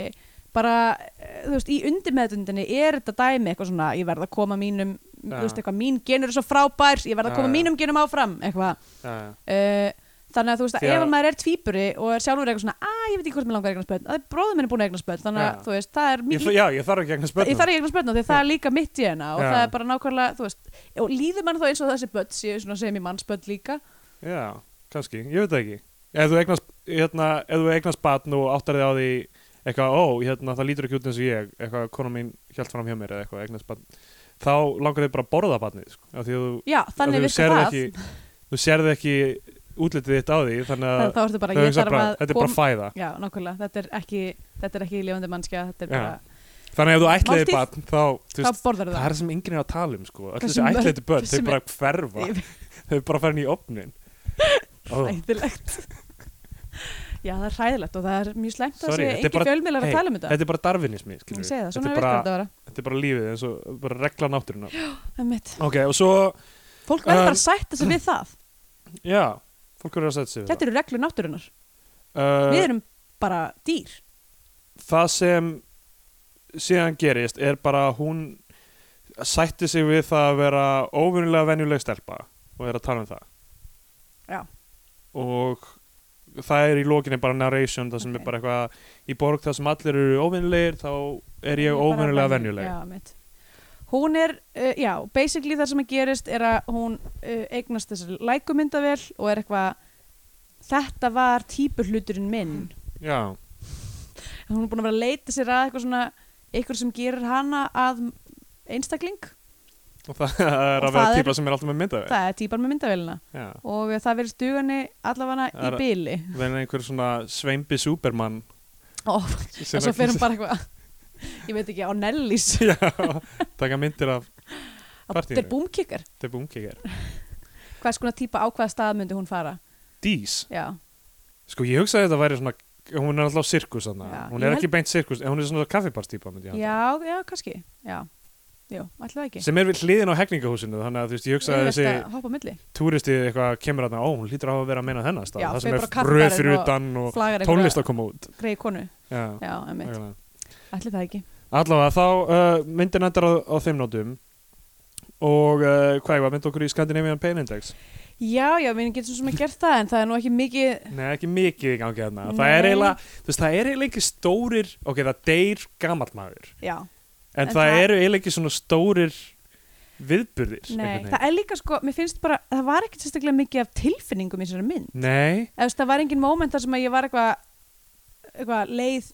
Speaker 2: bara, eh, þú veist, í undirmeðdundinni er þetta dæmi eitthvað svona, ég verð að koma mínum,
Speaker 3: Já.
Speaker 2: þú veist, eitthvað, mín genur er svo frábær, ég verð
Speaker 3: Já,
Speaker 2: að koma
Speaker 3: já.
Speaker 2: mínum genum áfram, eitthvað.
Speaker 3: uh,
Speaker 2: Uh, þannig að þú veist, að
Speaker 3: Því að-
Speaker 2: ef að maður er tvíburi og er sjálfur eitthvað svona, að, ég veit ekki hvort mér langar að eignast börn, það er bróðum minn er búin að eignast börn, þannig að,
Speaker 3: Já.
Speaker 2: þú veist, það er
Speaker 3: ég,
Speaker 2: mikið
Speaker 3: þa- Já, ég þarf ekki að eignast börnum
Speaker 2: ég þarf ekki að spötna því það er líka mitt í hennar og
Speaker 3: Já.
Speaker 2: það er bara nákvæmlega, þú veist og líður mann þá eins og þessi börn séu svona sem í mannsbörn líka
Speaker 3: Já, kannski, ég veit það ekki Ef þú eignast, hérna, ef þú eignast batn og áttar þig á því eitthvað, ó, hérna, það lítur ekki út eins og ég eitthvað, konan mín hjælt fram hjá mér eða eitthvað, eignast batn þá langar þig bara að borða batnið sko, af því að þú,
Speaker 2: já,
Speaker 3: af því
Speaker 2: þannig
Speaker 3: þú
Speaker 2: virkar það
Speaker 3: ekki, þú sérð ekki útlitið þitt á því þannig
Speaker 2: þannig
Speaker 3: að
Speaker 2: (laughs) þá ertu bara,
Speaker 3: þau
Speaker 2: ég
Speaker 3: hugsa
Speaker 2: þarf
Speaker 3: bara,
Speaker 2: að
Speaker 3: þetta er
Speaker 2: kom-
Speaker 3: bara fæða
Speaker 2: já, nákvæmlega, þetta er ekki þetta er ekki lifandi mannskja, þetta er
Speaker 3: Já.
Speaker 2: bara
Speaker 3: þannig að ef þú ætliði
Speaker 2: Máltíð.
Speaker 3: batn þá, þú veist,
Speaker 2: þá borðar
Speaker 3: Það
Speaker 2: það
Speaker 3: er það sem yngri er að tala um sko Öll
Speaker 2: Hversu
Speaker 3: þessi
Speaker 2: mörg-
Speaker 3: ætlæti börn,
Speaker 2: hversu
Speaker 3: þau bara hverfa Þau bara farin í
Speaker 2: (laughs)
Speaker 3: opnin oh,
Speaker 2: ræðilegt (laughs) já, það er ræðilegt og það er mjög slæmt að
Speaker 3: Sorry,
Speaker 2: sé
Speaker 3: þetta er
Speaker 2: engin
Speaker 3: bara-
Speaker 2: fjölmiðlar
Speaker 3: hey,
Speaker 2: að tala um þetta
Speaker 3: Þetta er bara darvinismi skilurðu.
Speaker 2: ég segi það,
Speaker 3: þetta,
Speaker 2: svona
Speaker 3: er
Speaker 2: virkar
Speaker 3: bara,
Speaker 2: þetta að vera
Speaker 3: þetta er bara lífið eins og bara regla náttúruna
Speaker 2: Einmitt.
Speaker 3: Ok, og svo,
Speaker 2: fólk verður
Speaker 3: Um,
Speaker 2: bara að sætta sig við það
Speaker 3: já Fólk verður að setja sig við
Speaker 2: þetta eru reglur náttúrunar,
Speaker 3: það
Speaker 2: við erum bara dýr
Speaker 3: Það sem síðan gerist er bara að hún sætti sig við það að vera óvinnulega venjuleg stelpa og er að tala um það
Speaker 2: Já.
Speaker 3: og það er í lokinni bara narration það sem
Speaker 2: Ok.
Speaker 3: er bara eitthvað í borg það sem allir eru óvinnulegir þá er ég
Speaker 2: bara
Speaker 3: óvinnulega
Speaker 2: venju-
Speaker 3: venjuleg
Speaker 2: já, mitt. hún er, uh, já, basically það sem að gerist er að hún uh, eignast þessar lækumyndavel og er eitthvað þetta var típuhluturinn minn
Speaker 3: já,
Speaker 2: hún er búin að vera að leita sér að eitthvað svona eitthvað sem gerir hana að einstakling,
Speaker 3: Eh. og það (laughs) er
Speaker 2: Og
Speaker 3: að vera
Speaker 2: það er-
Speaker 3: típa sem er alltaf með myndavél
Speaker 2: það er típan með myndavélina
Speaker 3: já,
Speaker 2: og það verið stugani allavega
Speaker 3: Það er-
Speaker 2: í byli
Speaker 3: verður einhver svona sveimbi supermann
Speaker 2: og
Speaker 3: sem
Speaker 2: svo fer hún bara eitthvað ég veit ekki, á Nellís
Speaker 3: (laughs) já, taka myndir af
Speaker 2: þetta er
Speaker 3: partíinu,
Speaker 2: búmkikkar,
Speaker 3: þetta er búmkikir
Speaker 2: hvers konar típa á hvaða stað myndi hún fara
Speaker 3: Dís
Speaker 2: já,
Speaker 3: Sko ég hugsaði að þetta væri svona hún er alltaf sirkus þarna,
Speaker 2: Já,
Speaker 3: hún
Speaker 2: ég
Speaker 3: er
Speaker 2: held-
Speaker 3: ekki beint sirkus en hún er svona kaffibarstýpa myndi ég halda.
Speaker 2: já, já, kannski já, já, allavega ekki
Speaker 3: sem er við hliðin á hekningahúsinu þannig að þú veist ég hugsaði að
Speaker 2: Auðvelt
Speaker 3: þessi
Speaker 2: að hoppa á milli
Speaker 3: túristi eitthvað kemur þarna, ó hún lítur á að vera að meina þennan stað
Speaker 2: Já,
Speaker 3: það
Speaker 2: fer
Speaker 3: sem er
Speaker 2: bara á kaffibarinn
Speaker 3: röð fyrir
Speaker 2: og
Speaker 3: utan og
Speaker 2: flagar
Speaker 3: tónlist
Speaker 2: einhverja
Speaker 3: að koma út
Speaker 2: greið konu
Speaker 3: já,
Speaker 2: já, emmitt,
Speaker 3: nákvæmlega.
Speaker 2: allir það ekki
Speaker 3: Allavega þá uh, myndin endar á, á þeim nótum og uh, hvað ég var myndi okkur í Scandinavian Pain Index
Speaker 2: já, já, mér getur svo sem að gert það en það er nú ekki mikið
Speaker 3: Nei, ekki mikið í gangi þarna það er
Speaker 2: Nei.
Speaker 3: eiginlega, þú veist, það er eiginlega ekki stórir ok, það deyr gamall maður
Speaker 2: já,
Speaker 3: En,
Speaker 2: En
Speaker 3: það,
Speaker 2: það-
Speaker 3: eru eiginlega ekki svona stórir viðburðir.
Speaker 2: nei,
Speaker 3: einhvern
Speaker 2: það er líka sko mér finnst bara, það var ekki sérstaklega mikið af tilfinningum í þessari mynd,
Speaker 3: veginn. Nei,
Speaker 2: eða þú veist, það var engin moment þar sem að ég var eitthvað eitthvað leið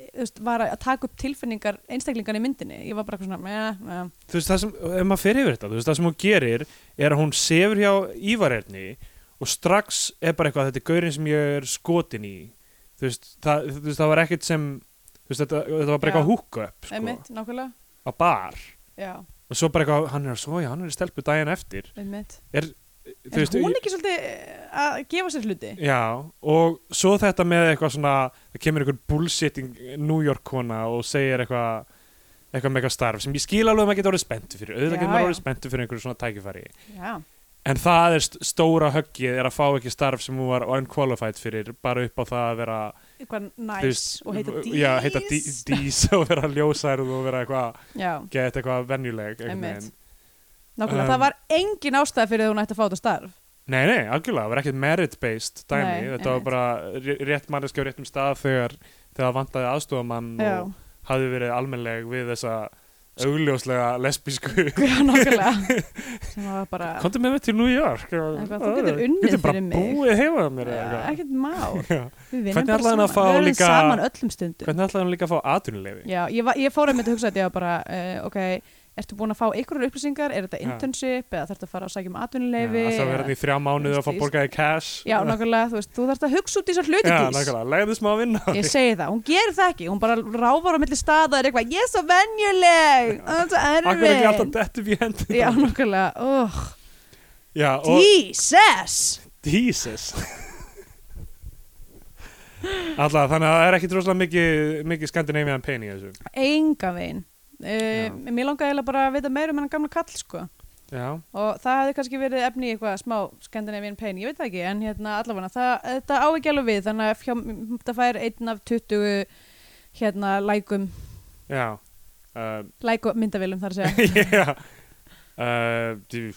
Speaker 2: þú veist, var að taka upp tilfinningar einstaklingan í myndinni, ég var bara eitthvað svona meh, meh.
Speaker 3: þú veist það sem, ef maður fer yfir þetta, þú veist það sem hún gerir er að hún sefur hjá Ívarerni og strax er bara eitthvað þetta er gaurinn sem ég er skotin í. Þú veist, það, þú veist, það var ekkert sem, þú veist, þetta, þetta var bara
Speaker 2: Já.
Speaker 3: eitthvað húkköp, sko,
Speaker 2: einmitt, nákvæmlega
Speaker 3: á bar.
Speaker 2: já,
Speaker 3: Og svo bara eitthvað, hann er að svoja, hann er í stelpu daginn eftir.
Speaker 2: einmitt
Speaker 3: Þú
Speaker 2: er
Speaker 3: veist,
Speaker 2: hún ekki svolítið eh, að gefa sér hluti?
Speaker 3: Já, og svo þetta með eitthvað svona, það kemur einhver bullshitting New York kona og segir eitthvað eitthvað með eitthvað starf sem ég skil alveg að maður geta orðið spenntu fyrir, auðvitað
Speaker 2: Já,
Speaker 3: getur maður
Speaker 2: já.
Speaker 3: orðið spenntu fyrir einhverju svona tækifæri
Speaker 2: já,
Speaker 3: en það er st stóra höggið er að fá ekki starf sem hún var unqualified fyrir bara upp á það að vera
Speaker 2: eitthvað næs
Speaker 3: þú veist,
Speaker 2: og heita dís
Speaker 3: já, heita dí- dís (laughs) og vera ljósærð og vera eitthvað
Speaker 2: já,
Speaker 3: gett eitthvað venjuleg einhvern
Speaker 2: Einmitt.
Speaker 3: veginn.
Speaker 2: nákvæmlega,
Speaker 3: Um,
Speaker 2: það var engin ástæða fyrir að hún ætti að fá þetta starf
Speaker 3: Nei, nei, algjörlega, það var ekkert merit-based dæmi,
Speaker 2: Nei,
Speaker 3: þetta var
Speaker 2: einmitt.
Speaker 3: bara ré- rétt manneskja á réttum stað þegar, þegar það vantaði aðstofamann og,
Speaker 2: já,
Speaker 3: hafði verið almennleg við þessa
Speaker 2: Sko-
Speaker 3: augljóslega lesbísku
Speaker 2: (laughs)
Speaker 3: (laughs)
Speaker 2: nákvæmlega sem var bara
Speaker 3: komdu með mig til New York
Speaker 2: Eitthvað, þú getur unnið
Speaker 3: bara
Speaker 2: fyrir mig.
Speaker 3: búið heima með mér eða
Speaker 2: ja,
Speaker 3: eitthvað.
Speaker 2: ekkert mál
Speaker 3: (laughs) Já.
Speaker 2: við
Speaker 3: Hvernig
Speaker 2: vinnum bara
Speaker 3: ætlaði hann
Speaker 2: saman,
Speaker 3: að fá
Speaker 2: við erum
Speaker 3: líka-
Speaker 2: saman öllum stundum
Speaker 3: hvernig ætlaði hann líka að fá atvinnuleifi
Speaker 2: Já, ég, var, ég fór einmitt að hugsa þetta, ég var bara, uh, ok, ertu búin að fá einhverjar upplýsingar, er þetta
Speaker 3: Já.
Speaker 2: internship eða þarftu að fara að sækja um
Speaker 3: alltaf
Speaker 2: atvinnuleifi?
Speaker 3: verið
Speaker 2: eða-
Speaker 3: hérna í þrjá mánuði að fá
Speaker 2: Veist,
Speaker 3: borgaði cash
Speaker 2: Já, nákvæmlega, þú veist, þú þarftu að hugsa út í þessar hluti
Speaker 3: Já,
Speaker 2: dís.
Speaker 3: nákvæmlega, legðu smá vinna á
Speaker 2: Ég
Speaker 3: því.
Speaker 2: segi það, hún gerir það ekki, hún bara ráfar á milli staða og er eitthvað, ég er svo venjuleg, það er svo
Speaker 3: Akkur ekki alltaf
Speaker 2: erfið.
Speaker 3: dettum í hendur
Speaker 2: Já, nákvæmlega, oh,
Speaker 3: Já, og
Speaker 2: Jesus!
Speaker 3: Jesus Alltaf, þannig að það er ekki droslega mikið, mikið Scandinavian pain í þessu
Speaker 2: Enga veginn.
Speaker 3: Já.
Speaker 2: Uh, mér langaði eiginlega bara að vita meira um hennan gamla kall, sko.
Speaker 3: Já,
Speaker 2: og það hefði kannski verið efni í eitthvað smá Scandinavian pain, ég veit það ekki en hérna allavega, það, þetta á ekki alveg við þannig að hjá- þetta fær einn af 20 hérna lækum,
Speaker 3: já uh,
Speaker 2: lækum myndavélum þar að segja
Speaker 3: (laughs) Já uh, djú,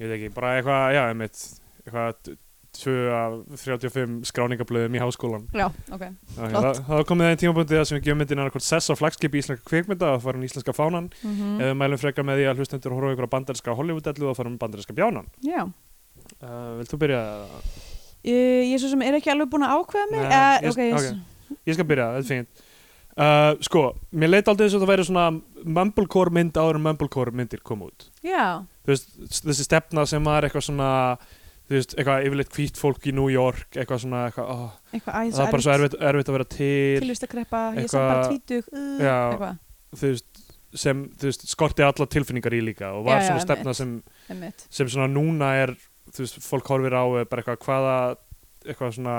Speaker 3: Ég veit ekki, bara eitthvað, já, einmitt Eitthvað, t- tvö af 35 skráningablöðum í háskólan
Speaker 2: Já, ok,
Speaker 3: Já, já,
Speaker 2: Flott.
Speaker 3: Það það var komið að einn tímabundi þar sem við gefum myndin annarkvort sess á flagskipi íslenska kvikmynda og það var hann íslenska fánan
Speaker 2: mm
Speaker 3: mm. eða við mælum frekar með því að hlustendur horfa á ykkur á bandarinska Hollywood-ellu og fara með bandarinska bjánan
Speaker 2: já
Speaker 3: uh, Vilt þú byrja? eða?
Speaker 2: Uh, ég svo sem er ekki alveg búin að ákveða mig
Speaker 3: Nei,
Speaker 2: uh,
Speaker 3: ég-
Speaker 2: ok, ég,
Speaker 3: ok. Ég skal byrja, þetta er fínt uh, Sko, mér leit aldrei eins og það væri svona mumblecore mynd áður en mumblecore myndir kom út
Speaker 2: já,
Speaker 3: Þú veist, þessi stefna sem var eitthvað svona þú veist, eitthvað yfirleitt hvít fólk í New York eitthvað svona, eitthvað, oh,
Speaker 2: eitthvað æs
Speaker 3: það er bara svo erfitt, erfitt að vera til
Speaker 2: tilvist að kreppa, ég sem
Speaker 3: Eitthvað-
Speaker 2: bara tvítug uh,
Speaker 3: Já.
Speaker 2: eitthvað,
Speaker 3: þú veist, sem þú veist, skorti alla tilfinningar í líka og var
Speaker 2: Já, já,
Speaker 3: svona stefna
Speaker 2: einmitt.
Speaker 3: sem
Speaker 2: einmitt
Speaker 3: sem svona núna er þú veist, fólk horfir á eh, bara eitthvað hvaða eitthvað svona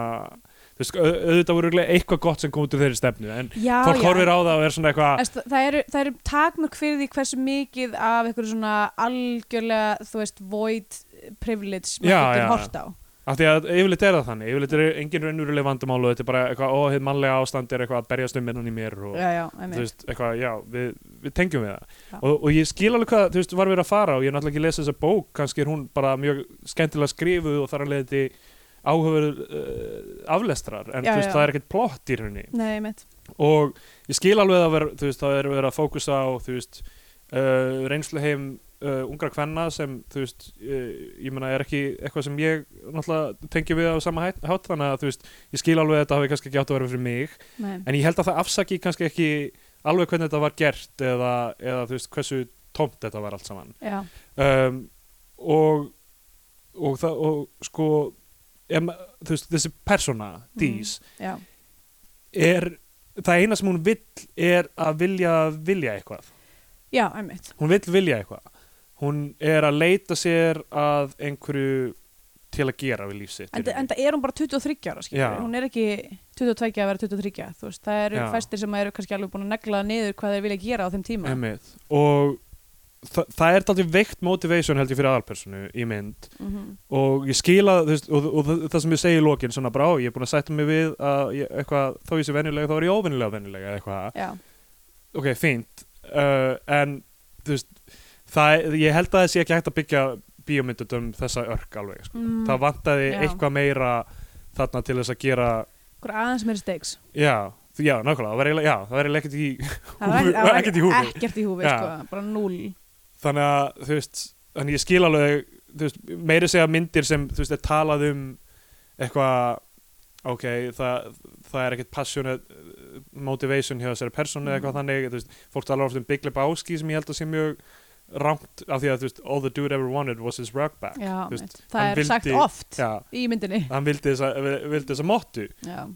Speaker 3: þú veist, au- auðvitað voru örugglega eitthvað gott sem kom út úr þeirri stefnu en
Speaker 2: já, já.
Speaker 3: fólk horfir á það og er svona eitthvað
Speaker 2: Æst, það eru, það eru takmörk fyrir því hversu mikið af einhverju svona algjörlega, þú veist, void privilege maður
Speaker 3: Já,
Speaker 2: getur
Speaker 3: já,
Speaker 2: hort á.
Speaker 3: af því að yfirleitt er það þannig, yfirleitt er engin raunveruleg vandamál og þetta er bara eitthvað, ó, hitt mannlega ástand er eitthvað að berjast um innan í mér og
Speaker 2: Já, já,
Speaker 3: þú
Speaker 2: einmitt.
Speaker 3: veist, eitthvað, já, við, við tengjum við það
Speaker 2: Já.
Speaker 3: og, og ég skil alveg hvað, þú veist, var verið að fara og ég er náttúrulega ekki lesa þessa bók, kannski er hún bara mjög skemmtilega skrifuð og þar að leiði áhöfur uh, aflestrar en
Speaker 2: Já,
Speaker 3: þú veist,
Speaker 2: já.
Speaker 3: það er ekkert plott í rauninni
Speaker 2: Nei, einmitt.
Speaker 3: og ég skil alveg að vera, þú veist, það er verið að fókusa á þú veist, uh, reynsluheim uh, ungra kvenna sem þú veist, uh, ég meina er ekki eitthvað sem ég náttúrulega tengi við á sama hætt, hátt þannig að þú veist, ég skil alveg að þetta hafi kannski ekki átt að vera fyrir mig
Speaker 2: Nei.
Speaker 3: en ég held að það afsaki kannski ekki alveg hvernig þetta var gert eða, eða þú veist, hversu tómt þetta var allt saman
Speaker 2: Já,
Speaker 3: um, og og það, og sko em, þú veist, þessi persóna,
Speaker 2: Mhm.
Speaker 3: Dís
Speaker 2: já,
Speaker 3: er það eina sem hún vill er að vilja vilja eitthvað
Speaker 2: já, einmitt.
Speaker 3: hún vill vilja eitthvað hún er að leita sér að einhverju til að gera við líf sitt
Speaker 2: En, en það er hún bara 23 ára, skilur.
Speaker 3: Já.
Speaker 2: Hún er ekki 22 að vera 23, þú veist. Það eru
Speaker 3: Já.
Speaker 2: fæstir sem eru kannski alveg búin að negla niður hvað þeir vilja gera á þeim tíma.
Speaker 3: Einmitt. og það, það er daldið veikt motivation held ég fyrir aðalpersonu í mynd
Speaker 2: Mhm.
Speaker 3: og ég skila veist, og, og, og það sem ég segi í lokin svona bara á ég er búin að sætta mig við að ég, eitthvað, þó ég sé venjulega þá er ég óvenjulega venjulega eða eitthvað
Speaker 2: Já,
Speaker 3: ok, fínt uh, en þú veist það, ég held að það sé ekki hægt að byggja bíómyndut um þessa örk alveg sko.
Speaker 2: Mm.
Speaker 3: það vantaði
Speaker 2: Já.
Speaker 3: eitthvað meira þarna til þess að gera
Speaker 2: hver aðeins meiri
Speaker 3: (laughs)
Speaker 2: steiks.
Speaker 3: já, þú- já nákvæmlega, það var eiginlega- já, það verið ekkert í
Speaker 2: Það var-
Speaker 3: Húfi-
Speaker 2: það var
Speaker 3: ekkert í húfi.
Speaker 2: Ekkert í húfi,
Speaker 3: Já.
Speaker 2: sko. Bara núl.
Speaker 3: þannig að þú veist, þannig ég skil alveg þú veist, meiri segja myndir sem þú veist, er talað um eitthvað ok, það, það er ekkert passionate uh, motivation hjá þessari persónu eða
Speaker 2: Mhm.
Speaker 3: eitthvað þannig, þú veist, fólk talar ofta um Big Lebowski sem ég held að sé mjög rangt af því að þú veist, all the dude ever wanted was his rock back
Speaker 2: Já,
Speaker 3: þú veist,
Speaker 2: einmitt.
Speaker 3: hann
Speaker 2: Það er sagt
Speaker 3: vildi-
Speaker 2: oft
Speaker 3: Já,
Speaker 2: í myndinni.
Speaker 3: hann vildi þessa, vildi þessa mottu
Speaker 2: Já.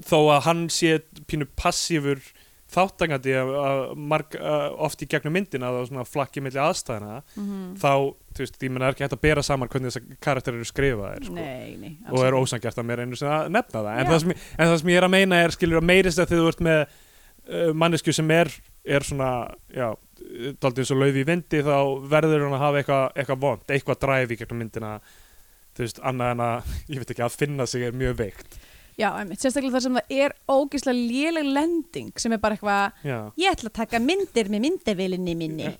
Speaker 3: þó að hann sé pínu passífur þáttangandi að, að marg, að oft í gegnum myndina þá svona flakki milli aðstæðina
Speaker 2: Mhm.
Speaker 3: þá, þú veist, ég menna er ekki hægt að bera saman hvernig þessar karakter eru skrifaðir sko.
Speaker 2: Nei, nei,
Speaker 3: og er
Speaker 2: absolutt.
Speaker 3: ósangjart að mér einu sem að nefna það en
Speaker 2: Já.
Speaker 3: það, sem, ég- en það sem ég er að meina er skilur að meirist að þið vart með uh, mannesku sem er, er svona já, daldið eins og laufi í vindi þá verður hún að hafa eitthvað eitthva vond eitthvað dræfi í gegnum myndina þú veist, annað en að, (laughs) ég veit ekki, að finna sig er mjög veikt
Speaker 2: Já, einmitt, sérstaklega þar sem það er ógeðslega léleg lending sem er bara eitthvað
Speaker 3: já.
Speaker 2: ég ætla að taka myndir með myndavélinni minni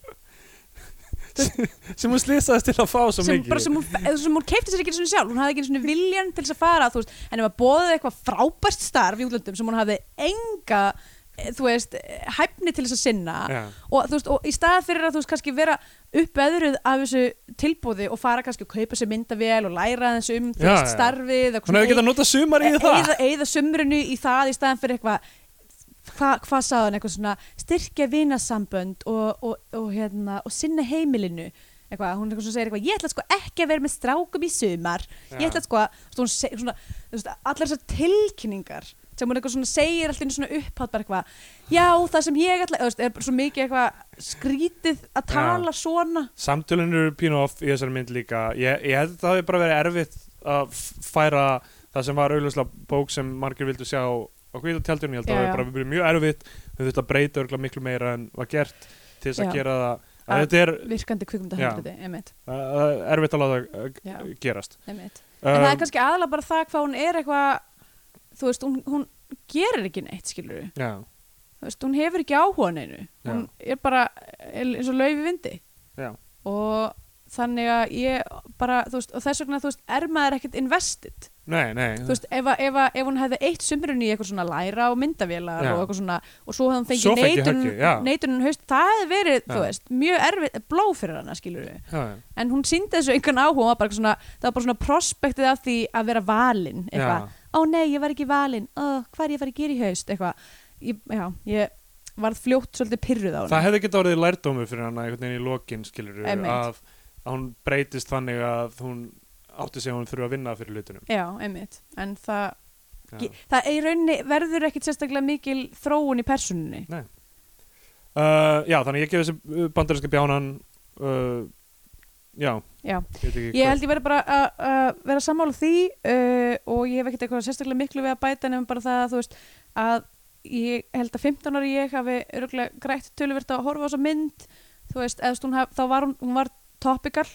Speaker 3: sem hún slýsaðist til að fá svo
Speaker 2: sem,
Speaker 3: mikið
Speaker 2: bara, sem, hún, eða sem hún keipti sér ekki einu sinni sjálf hún hafði ekki einu svona viljan til þess að fara þú veist, en ef að bóðið eitthvað frábært starf í útlöndum sem hún hafði enga eh, þú veist, eh, hæfni til þess að sinna
Speaker 3: já,
Speaker 2: og, þú veist, og í stað fyrir að þú veist kannski vera uppeðruð af þessu tilbúði og fara kannski að kaupa sér myndavél og læra aðeins um þú
Speaker 3: Já,
Speaker 2: veist,
Speaker 3: já.
Speaker 2: starfið eða
Speaker 3: svona ef við geta nota sumar í það
Speaker 2: eða, eða E- sumrinu í það í staðan fyrir eitthvað hvað hva sagði hann eitthvað svona styrkja vinasambönd og, og, og, hérna, og sinna heimilinu eitthvað, hún eitthvað svona segir eitthvað ég ætla sko ekki að vera með strákum í sumar ég
Speaker 3: Já.
Speaker 2: ætla sko að þú veist, hún segir svona, þú veist, allar þessar tilkynningar sem hún eitthvað svona segir allir svona upphátt bara eitthvað já það sem ég ætla þú veist, er svo mikið eitthvað skrítið að tala svona
Speaker 3: samtölun eru pínu off í þessari mynd líka ég, ég held að það hefði bara verið erfitt að f- færa það sem var auðvitað bók sem margir vildu sjá á hvita tjaldunni, ég held að
Speaker 2: Já,
Speaker 3: það
Speaker 2: já.
Speaker 3: hefði bara verið mjög erfitt við þurfum að breyta örgulega miklu meira en var gert til þess að
Speaker 2: Já.
Speaker 3: gera það að
Speaker 2: Að-
Speaker 3: þetta er
Speaker 2: virkandi kvikmyndahandriði, emitt,
Speaker 3: uh, erfitt að láta uh,
Speaker 2: Já.
Speaker 3: gerast
Speaker 2: emitt En það er
Speaker 3: um,
Speaker 2: kannski aðalega bara það hvað hún er eitthvað, þú veist, hún, hún gerir ekki neitt, skilur við.
Speaker 3: já,
Speaker 2: Þú veist, hún hefur ekki áhuga á neinu.
Speaker 3: Já.
Speaker 2: Hún er bara er eins og laufi vindi.
Speaker 3: já,
Speaker 2: Og þannig að ég bara, þú veist, og þess vegna, þú veist, er maður ekkert invested.
Speaker 3: nei, nei
Speaker 2: Þú veist, ef, að- ef, að- ef hún hefði eitt sumrun í eitthvað svona læra og myndavélar
Speaker 3: Já.
Speaker 2: og eitthvað svona, og svo hefði hún
Speaker 3: Svo
Speaker 2: fengið
Speaker 3: fengi
Speaker 2: neitun,
Speaker 3: höggið, já.
Speaker 2: neitunum haust, það hefði verið, þú
Speaker 3: Já.
Speaker 2: veist, mjög erfið, blóð fyrir hana, skilur við.
Speaker 3: já, já.
Speaker 2: En hún síndi þessu einhvern áhuga, hún var bara eitthvað svona, það var bara svona prospektið af því að vera valinn, eitthvað.
Speaker 3: Já.
Speaker 2: ó nei, ég var ekki valinn, ó, hvað er ég að fara að gera í haust, eitthvað. Ég- Já, ég varð fljótt svolítið pyrruð á hana.
Speaker 3: Það hefði geta orðið lærdómur fyrir hana einhvern veginn í lokin skilur
Speaker 2: Einmitt.
Speaker 3: að, að hún breytist þannig að hún átti sig að hún þurfa að vinna fyrir hlutunum
Speaker 2: Já, einmitt, en það,
Speaker 3: Já.
Speaker 2: það er í rauninni, verður ekkit sérstaklega mikil þróun í persónunni.
Speaker 3: Uh, já, þannig ég gef þessi bandarinska bjánan uh, já,
Speaker 2: Já,
Speaker 3: ég veit ekki
Speaker 2: ég held ég verði bara að- að vera sammála því uh, og ég hef ekkit eitthvað sérstaklega miklu við að bæta nefnum bara það að þú veist að ég held að 15 ári ég hafi örgulega grætt töluvert að horfa á þessa mynd, þú veist, eða þú veist, hún haf, þá var hún, hún var topical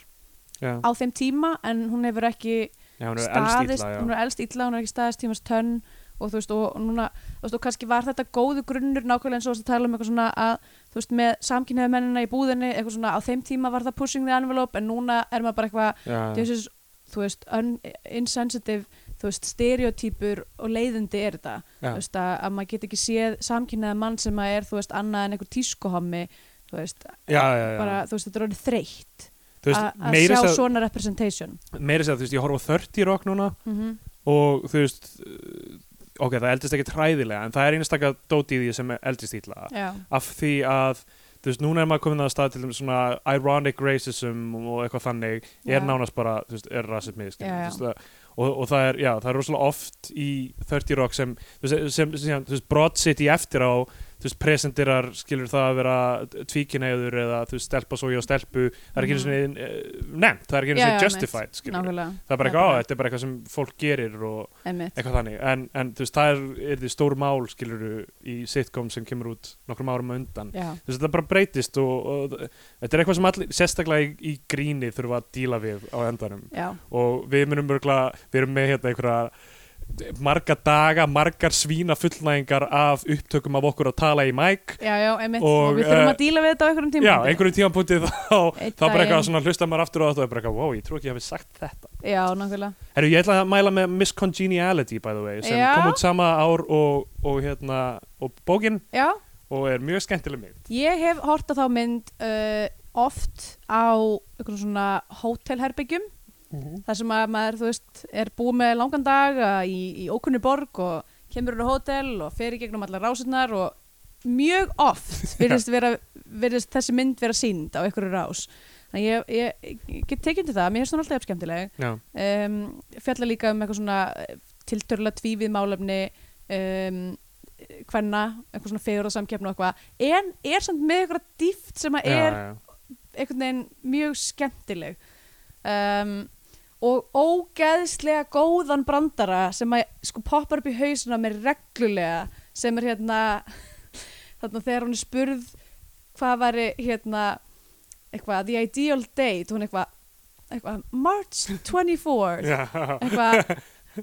Speaker 3: já,
Speaker 2: á þeim tíma en hún hefur ekki
Speaker 3: já, hún er
Speaker 2: staðist,
Speaker 3: elst ítla
Speaker 2: hún
Speaker 3: já.
Speaker 2: er elst illa, hún er ekki staðist tímast tönn og þú veist, og núna, þú veist, og kannski var þetta góðu grunnur nákvæmlega eins og þú varst að tala um eitthvað svona að, þú veist, með samkynniðu mennina í búðinni, eitthvað svona, á þeim tíma var það pushing the envelope, en núna er maður bara eitthvað,
Speaker 3: Já,
Speaker 2: this is, þú veist, un, insensitive, þú veist, stereotypur og leiðindi er þetta,
Speaker 3: já,
Speaker 2: þú veist, að, að maður get ekki séð samkynniðu mann sem að er, þú veist, annað en einhver tískohommi, þú veist,
Speaker 3: já, já, já.
Speaker 2: bara, þú veist, þetta er orðið þreytt að
Speaker 3: þú veist,
Speaker 2: að
Speaker 3: meiri
Speaker 2: sjá
Speaker 3: sér svo...
Speaker 2: svona representation.
Speaker 3: meiri sér, þú veist, ég horfa á 30 rock núna
Speaker 2: Mm
Speaker 3: og þú veist uh, ok, það eldist ekki træðilega en það er einstakka dóti í því sem eldist ítla
Speaker 2: Já,
Speaker 3: af því að þú veist, núna er maður komin að stað til dæmis svona ironic racism og eitthvað þannig
Speaker 2: Já.
Speaker 3: er nánast bara, þú veist, er rasismi skilur,
Speaker 2: Já, já.
Speaker 3: þú veist, það- og, og það er, já, það er rosalega oft í 30 Rock sem, þú veist, sem, sem þú veist, Broad City eftir á þú veist, presenterar skilur það að vera tvíkinæður eða þú veist, stelpa svo ég á stelpu það er ekki einu sinni eh, nefnt, það er ekki einu
Speaker 2: Mhm. Já,
Speaker 3: sinni
Speaker 2: já,
Speaker 3: justified, skilur
Speaker 2: nákvæmlega.
Speaker 3: það er bara eitthvað, á, þetta er bara eitthvað sem fólk gerir og
Speaker 2: Einmitt.
Speaker 3: eitthvað þannig, en, en þú veist, það er, er því stór mál, skilur í sitcom sem kemur út nokkrum árum á undan
Speaker 2: Já,
Speaker 3: þú veist, þetta bara breytist og, og þetta er eitthvað sem allir, sérstaklega í, í gríni þurfa að díla við á endanum
Speaker 2: já,
Speaker 3: og við munum örgla, við erum með hérna einhverja marga daga, margar svína fullnæðingar af upptökum af okkur að tala í mæk
Speaker 2: já, já, einmitt.
Speaker 3: Og,
Speaker 2: Og, við þurfum
Speaker 3: eh,
Speaker 2: að díla við þetta á einhverjum tíma.
Speaker 3: Já, einhverjum tímanpunti
Speaker 2: Einn
Speaker 3: þá, þá bara
Speaker 2: daginn.
Speaker 3: eitthvað svona hlusta maður aftur á þetta og er bara eitthvað, wow, ég trú ekki að hafi sagt þetta
Speaker 2: Já, nákvæmlega.
Speaker 3: Herru, ég ætla að mæla með Miss Congeniality, by the way, sem
Speaker 2: Já.
Speaker 3: kom út sama ár og, og hérna, og bókin
Speaker 2: Já,
Speaker 3: og er mjög skemmtileg mynd
Speaker 2: ég hef hort á þá mynd uh, oft á einhverjum svona hótelherbyggjum, þar sem að maður, þú veist, er búið með langan dag uh, í, í ókunni borg og kemur úr á hótel og fer í gegnum allar rásunar og mjög
Speaker 3: (laughs)
Speaker 2: oft virðist, vera, virðist þessi mynd vera sínd á einhverju rás. Þannig ég, ég, ég get tekið til það, mér finnst hún alltaf skemmtileg.
Speaker 3: Já,
Speaker 2: um, fjalla líka um eitthvað svona tiltörlega tvífið málefni um, hvenna eitthvað svona fegur og samkeppna og eitthvað en er samt með eitthvað dýft sem að
Speaker 3: já,
Speaker 2: er
Speaker 3: já.
Speaker 2: einhvern veginn mjög skemmtileg um, og ógeðslega góðan brandara sem að sko poppar upp í hausuna með reglulega sem er hérna (laughs) þarna þegar hún er spurð hvað væri hérna eitthvað, the ideal date hún eitthvað, eitthvað March 24
Speaker 3: Já. (laughs)
Speaker 2: eitthvað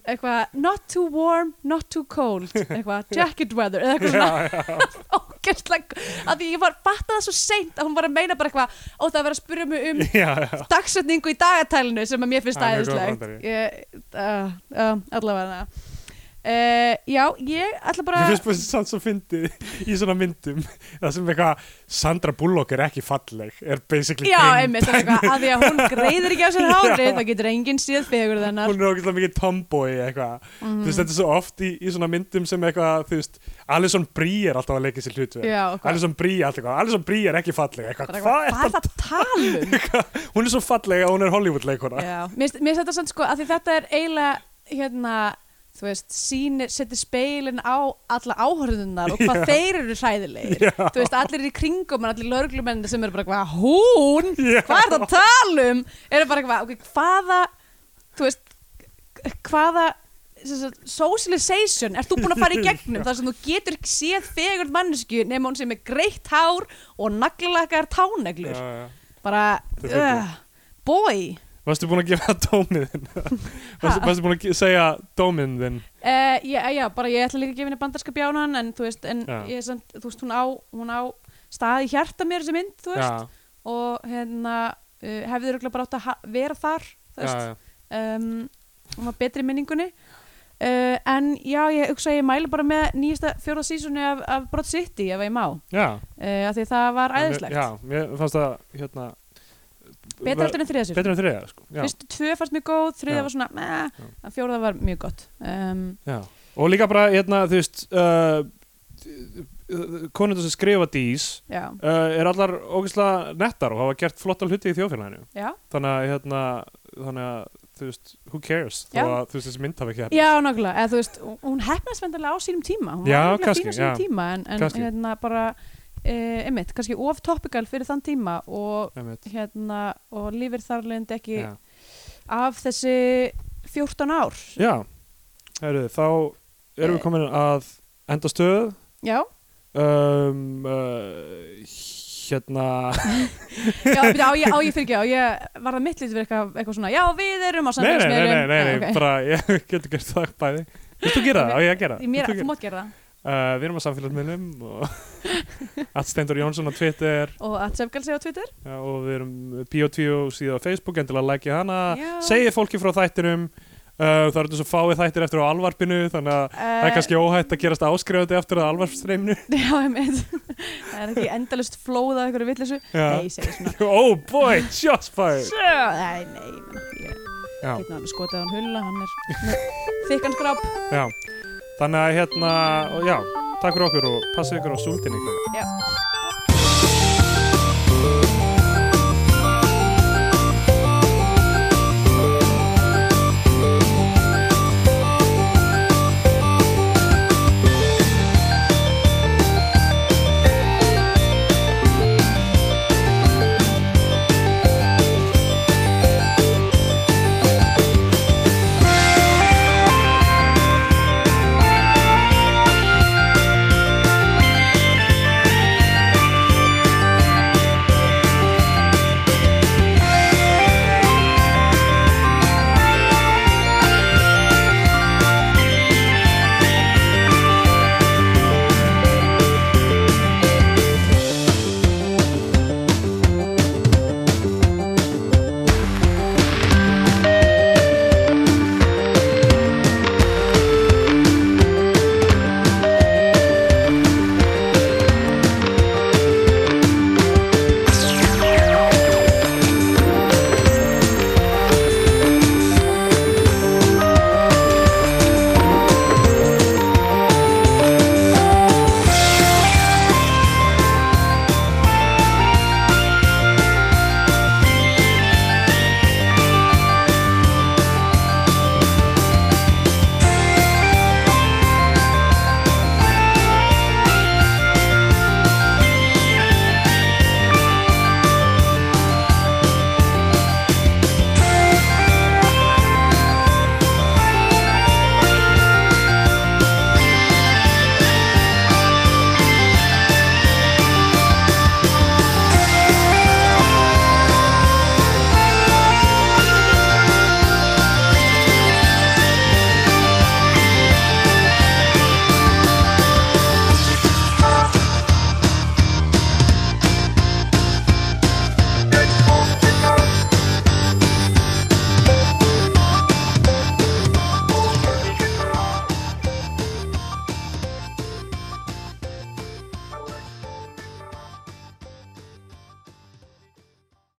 Speaker 2: eitthvað, not too warm, not too cold eitthvað, jacket weather eða eitthvað svona (laughs) ógæstlega að því ég var fatta það svo seint að hún var að meina bara eitthvað, ó það var að spyrja mig um
Speaker 3: já, já.
Speaker 2: dagsetningu í dagatælinu sem að mér finnst
Speaker 3: Það er mjög góð
Speaker 2: aðeinslegt
Speaker 3: brandari.
Speaker 2: uh, uh, allavega uh, já, ég ætla bara
Speaker 3: Mér finnst bara sann svo fyndið í svona myndum það sem eitthvað Sandra Bullock er ekki falleg er basically
Speaker 2: já,
Speaker 3: pimp.
Speaker 2: einmitt, það er eitthvað að því að hún greiðir ekki á sér hári
Speaker 3: Já.
Speaker 2: þá getur enginn síð fegur þennar
Speaker 3: hún er ógeðslega mikið tomboy eitthvað
Speaker 2: Mhm.
Speaker 3: þú veist þetta er svo oft í, í svona myndum sem eitthvað þú veist Alison Brie er alltaf að leika sér hlutverk
Speaker 2: Já, og hvað?
Speaker 3: Alison Brie er alltaf eitthvað Alison Brie er ekki falleg eitthvað
Speaker 2: Bara
Speaker 3: hvað
Speaker 2: eitthvað,
Speaker 3: er
Speaker 2: hvað er
Speaker 3: það
Speaker 2: það að tala um
Speaker 3: hún er svo falleg að hún er Hollywood leikona
Speaker 2: Já, mér finnst- mér finnst þetta samt sko að því þetta er eiginlega hérna, þú veist, sýnir, setur speilin á alla áhörðunar og hvað
Speaker 3: Já.
Speaker 2: þeir eru sæðilegir
Speaker 3: Já.
Speaker 2: þú veist, allir eru í kringum en allir lörglumennir sem eru bara hvað, hún
Speaker 3: Já.
Speaker 2: hvað er það að tala um eru bara hvað, okay, hvaða þú veist, hvaða sem sagt, socialization er þú búin að fara í gegnum þar sem þú getur ekki séð fegurð mannesku nema hún sem er greitt hár og naglakar táneglur
Speaker 3: Já, já.
Speaker 2: bara,
Speaker 3: Þetta er fyndið.
Speaker 2: uh, boy
Speaker 3: varstu búin að gefa dómið
Speaker 2: (laughs)
Speaker 3: þinn varstu,
Speaker 2: Ha?
Speaker 3: varstu búin að ge- segja dómið þinn
Speaker 2: Uh, já, já, bara ég ætla líka að gefa henni bandarska bjánan en þú veist, en
Speaker 3: Já.
Speaker 2: ég er samt, þú veist, hún á, hún á staði hjarta mér þessi mynd, þú veist, og hérna uh, hefði þurfa bara átt að ha- vera þar, þú
Speaker 3: já,
Speaker 2: veist,
Speaker 3: já.
Speaker 2: um, hún var betri í minningunni, uh, en já, ég hugsa að ég mæli bara með nýjasta fjóra sísunni af, af Brot City ef ég má, uh,
Speaker 3: já.
Speaker 2: af því það var æðislegt,
Speaker 3: já, mér fannst það hérna
Speaker 2: betra heldur en þriða sér,
Speaker 3: betur en þriða sko. já,
Speaker 2: fyrstu tvö fannst mjög góð,
Speaker 3: Já.
Speaker 2: þriða var svona, meh,
Speaker 3: Já.
Speaker 2: en fjóraða var mjög gott, um,
Speaker 3: já. og líka bara hérna þú veist uh, konundar sem skrifa dís
Speaker 2: já,
Speaker 3: uh, er allar ógeðslega nettar og hafa gert flotta hluti í þjóðfélaginu
Speaker 2: já.
Speaker 3: þannig að hérna þannig að þú veist, who cares þá
Speaker 2: Já.
Speaker 3: að þú veist þessi mynd hafi ekki hérna
Speaker 2: Já, nákvæmlega, eða þú veist, hún hefnast vendilega á sínum tíma, hún
Speaker 3: Já,
Speaker 2: var nefnilega
Speaker 3: kannski,
Speaker 2: fín á sínum
Speaker 3: já.
Speaker 2: tíma en, en
Speaker 3: Kannski.
Speaker 2: hérna bara, uh, einmitt, kannski of topical fyrir þann tíma og hérna, og lífir þarlegandi ekki
Speaker 3: já,
Speaker 2: af þessi 14 ár
Speaker 3: já. Heru, þá erum við
Speaker 2: Eh.
Speaker 3: komin að enda stöð
Speaker 2: Já,
Speaker 3: um, uh, hérna
Speaker 2: já, byrja, á ég, á ég fyrir ekki, á ég var það mitt lítið fyrir eitthvað, eitthvað svona, já, við erum á
Speaker 3: nei, nei, nei, nei, nei,
Speaker 2: samfélagsmiðlum
Speaker 3: nei,
Speaker 2: Já, Ah, ok.
Speaker 3: bara ég (laughs) getur gert það bæði Viltu gera það? Á ég að gera? það?
Speaker 2: Í Mér,
Speaker 3: Viltu
Speaker 2: þú
Speaker 3: gera-
Speaker 2: mátt gera það
Speaker 3: Uh, við erum á samfélagsmiðlum og
Speaker 2: (laughs)
Speaker 3: allt Steindur Jónsson á Twitter
Speaker 2: og að Sefgal segja á Twitter
Speaker 3: Já, og við erum P.O.T.O. síðan á Facebook endilega lækja hana,
Speaker 2: Já.
Speaker 3: segið fólki frá þættinum uh, það eru þessu fáið þættir eftir á alvarpinu þannig að
Speaker 2: Eh.
Speaker 3: það er kannski óhætt að gerast áskrifandi eftir að alvarpstreiminu
Speaker 2: (laughs) Já, einmitt, það er ekki endalust flóða eitthvað vitleysu Nei,
Speaker 3: Já.
Speaker 2: ég segi svona
Speaker 3: oh boy, shots fired
Speaker 2: Sjö, nei, nei, ég meina, ég
Speaker 3: já,
Speaker 2: getur hann skotið á hann hulla, hann er með þykkan skráp.
Speaker 3: já. þannig að hérna, og já, takk fyrir okkur og passa ykkur á súldinni
Speaker 2: Já.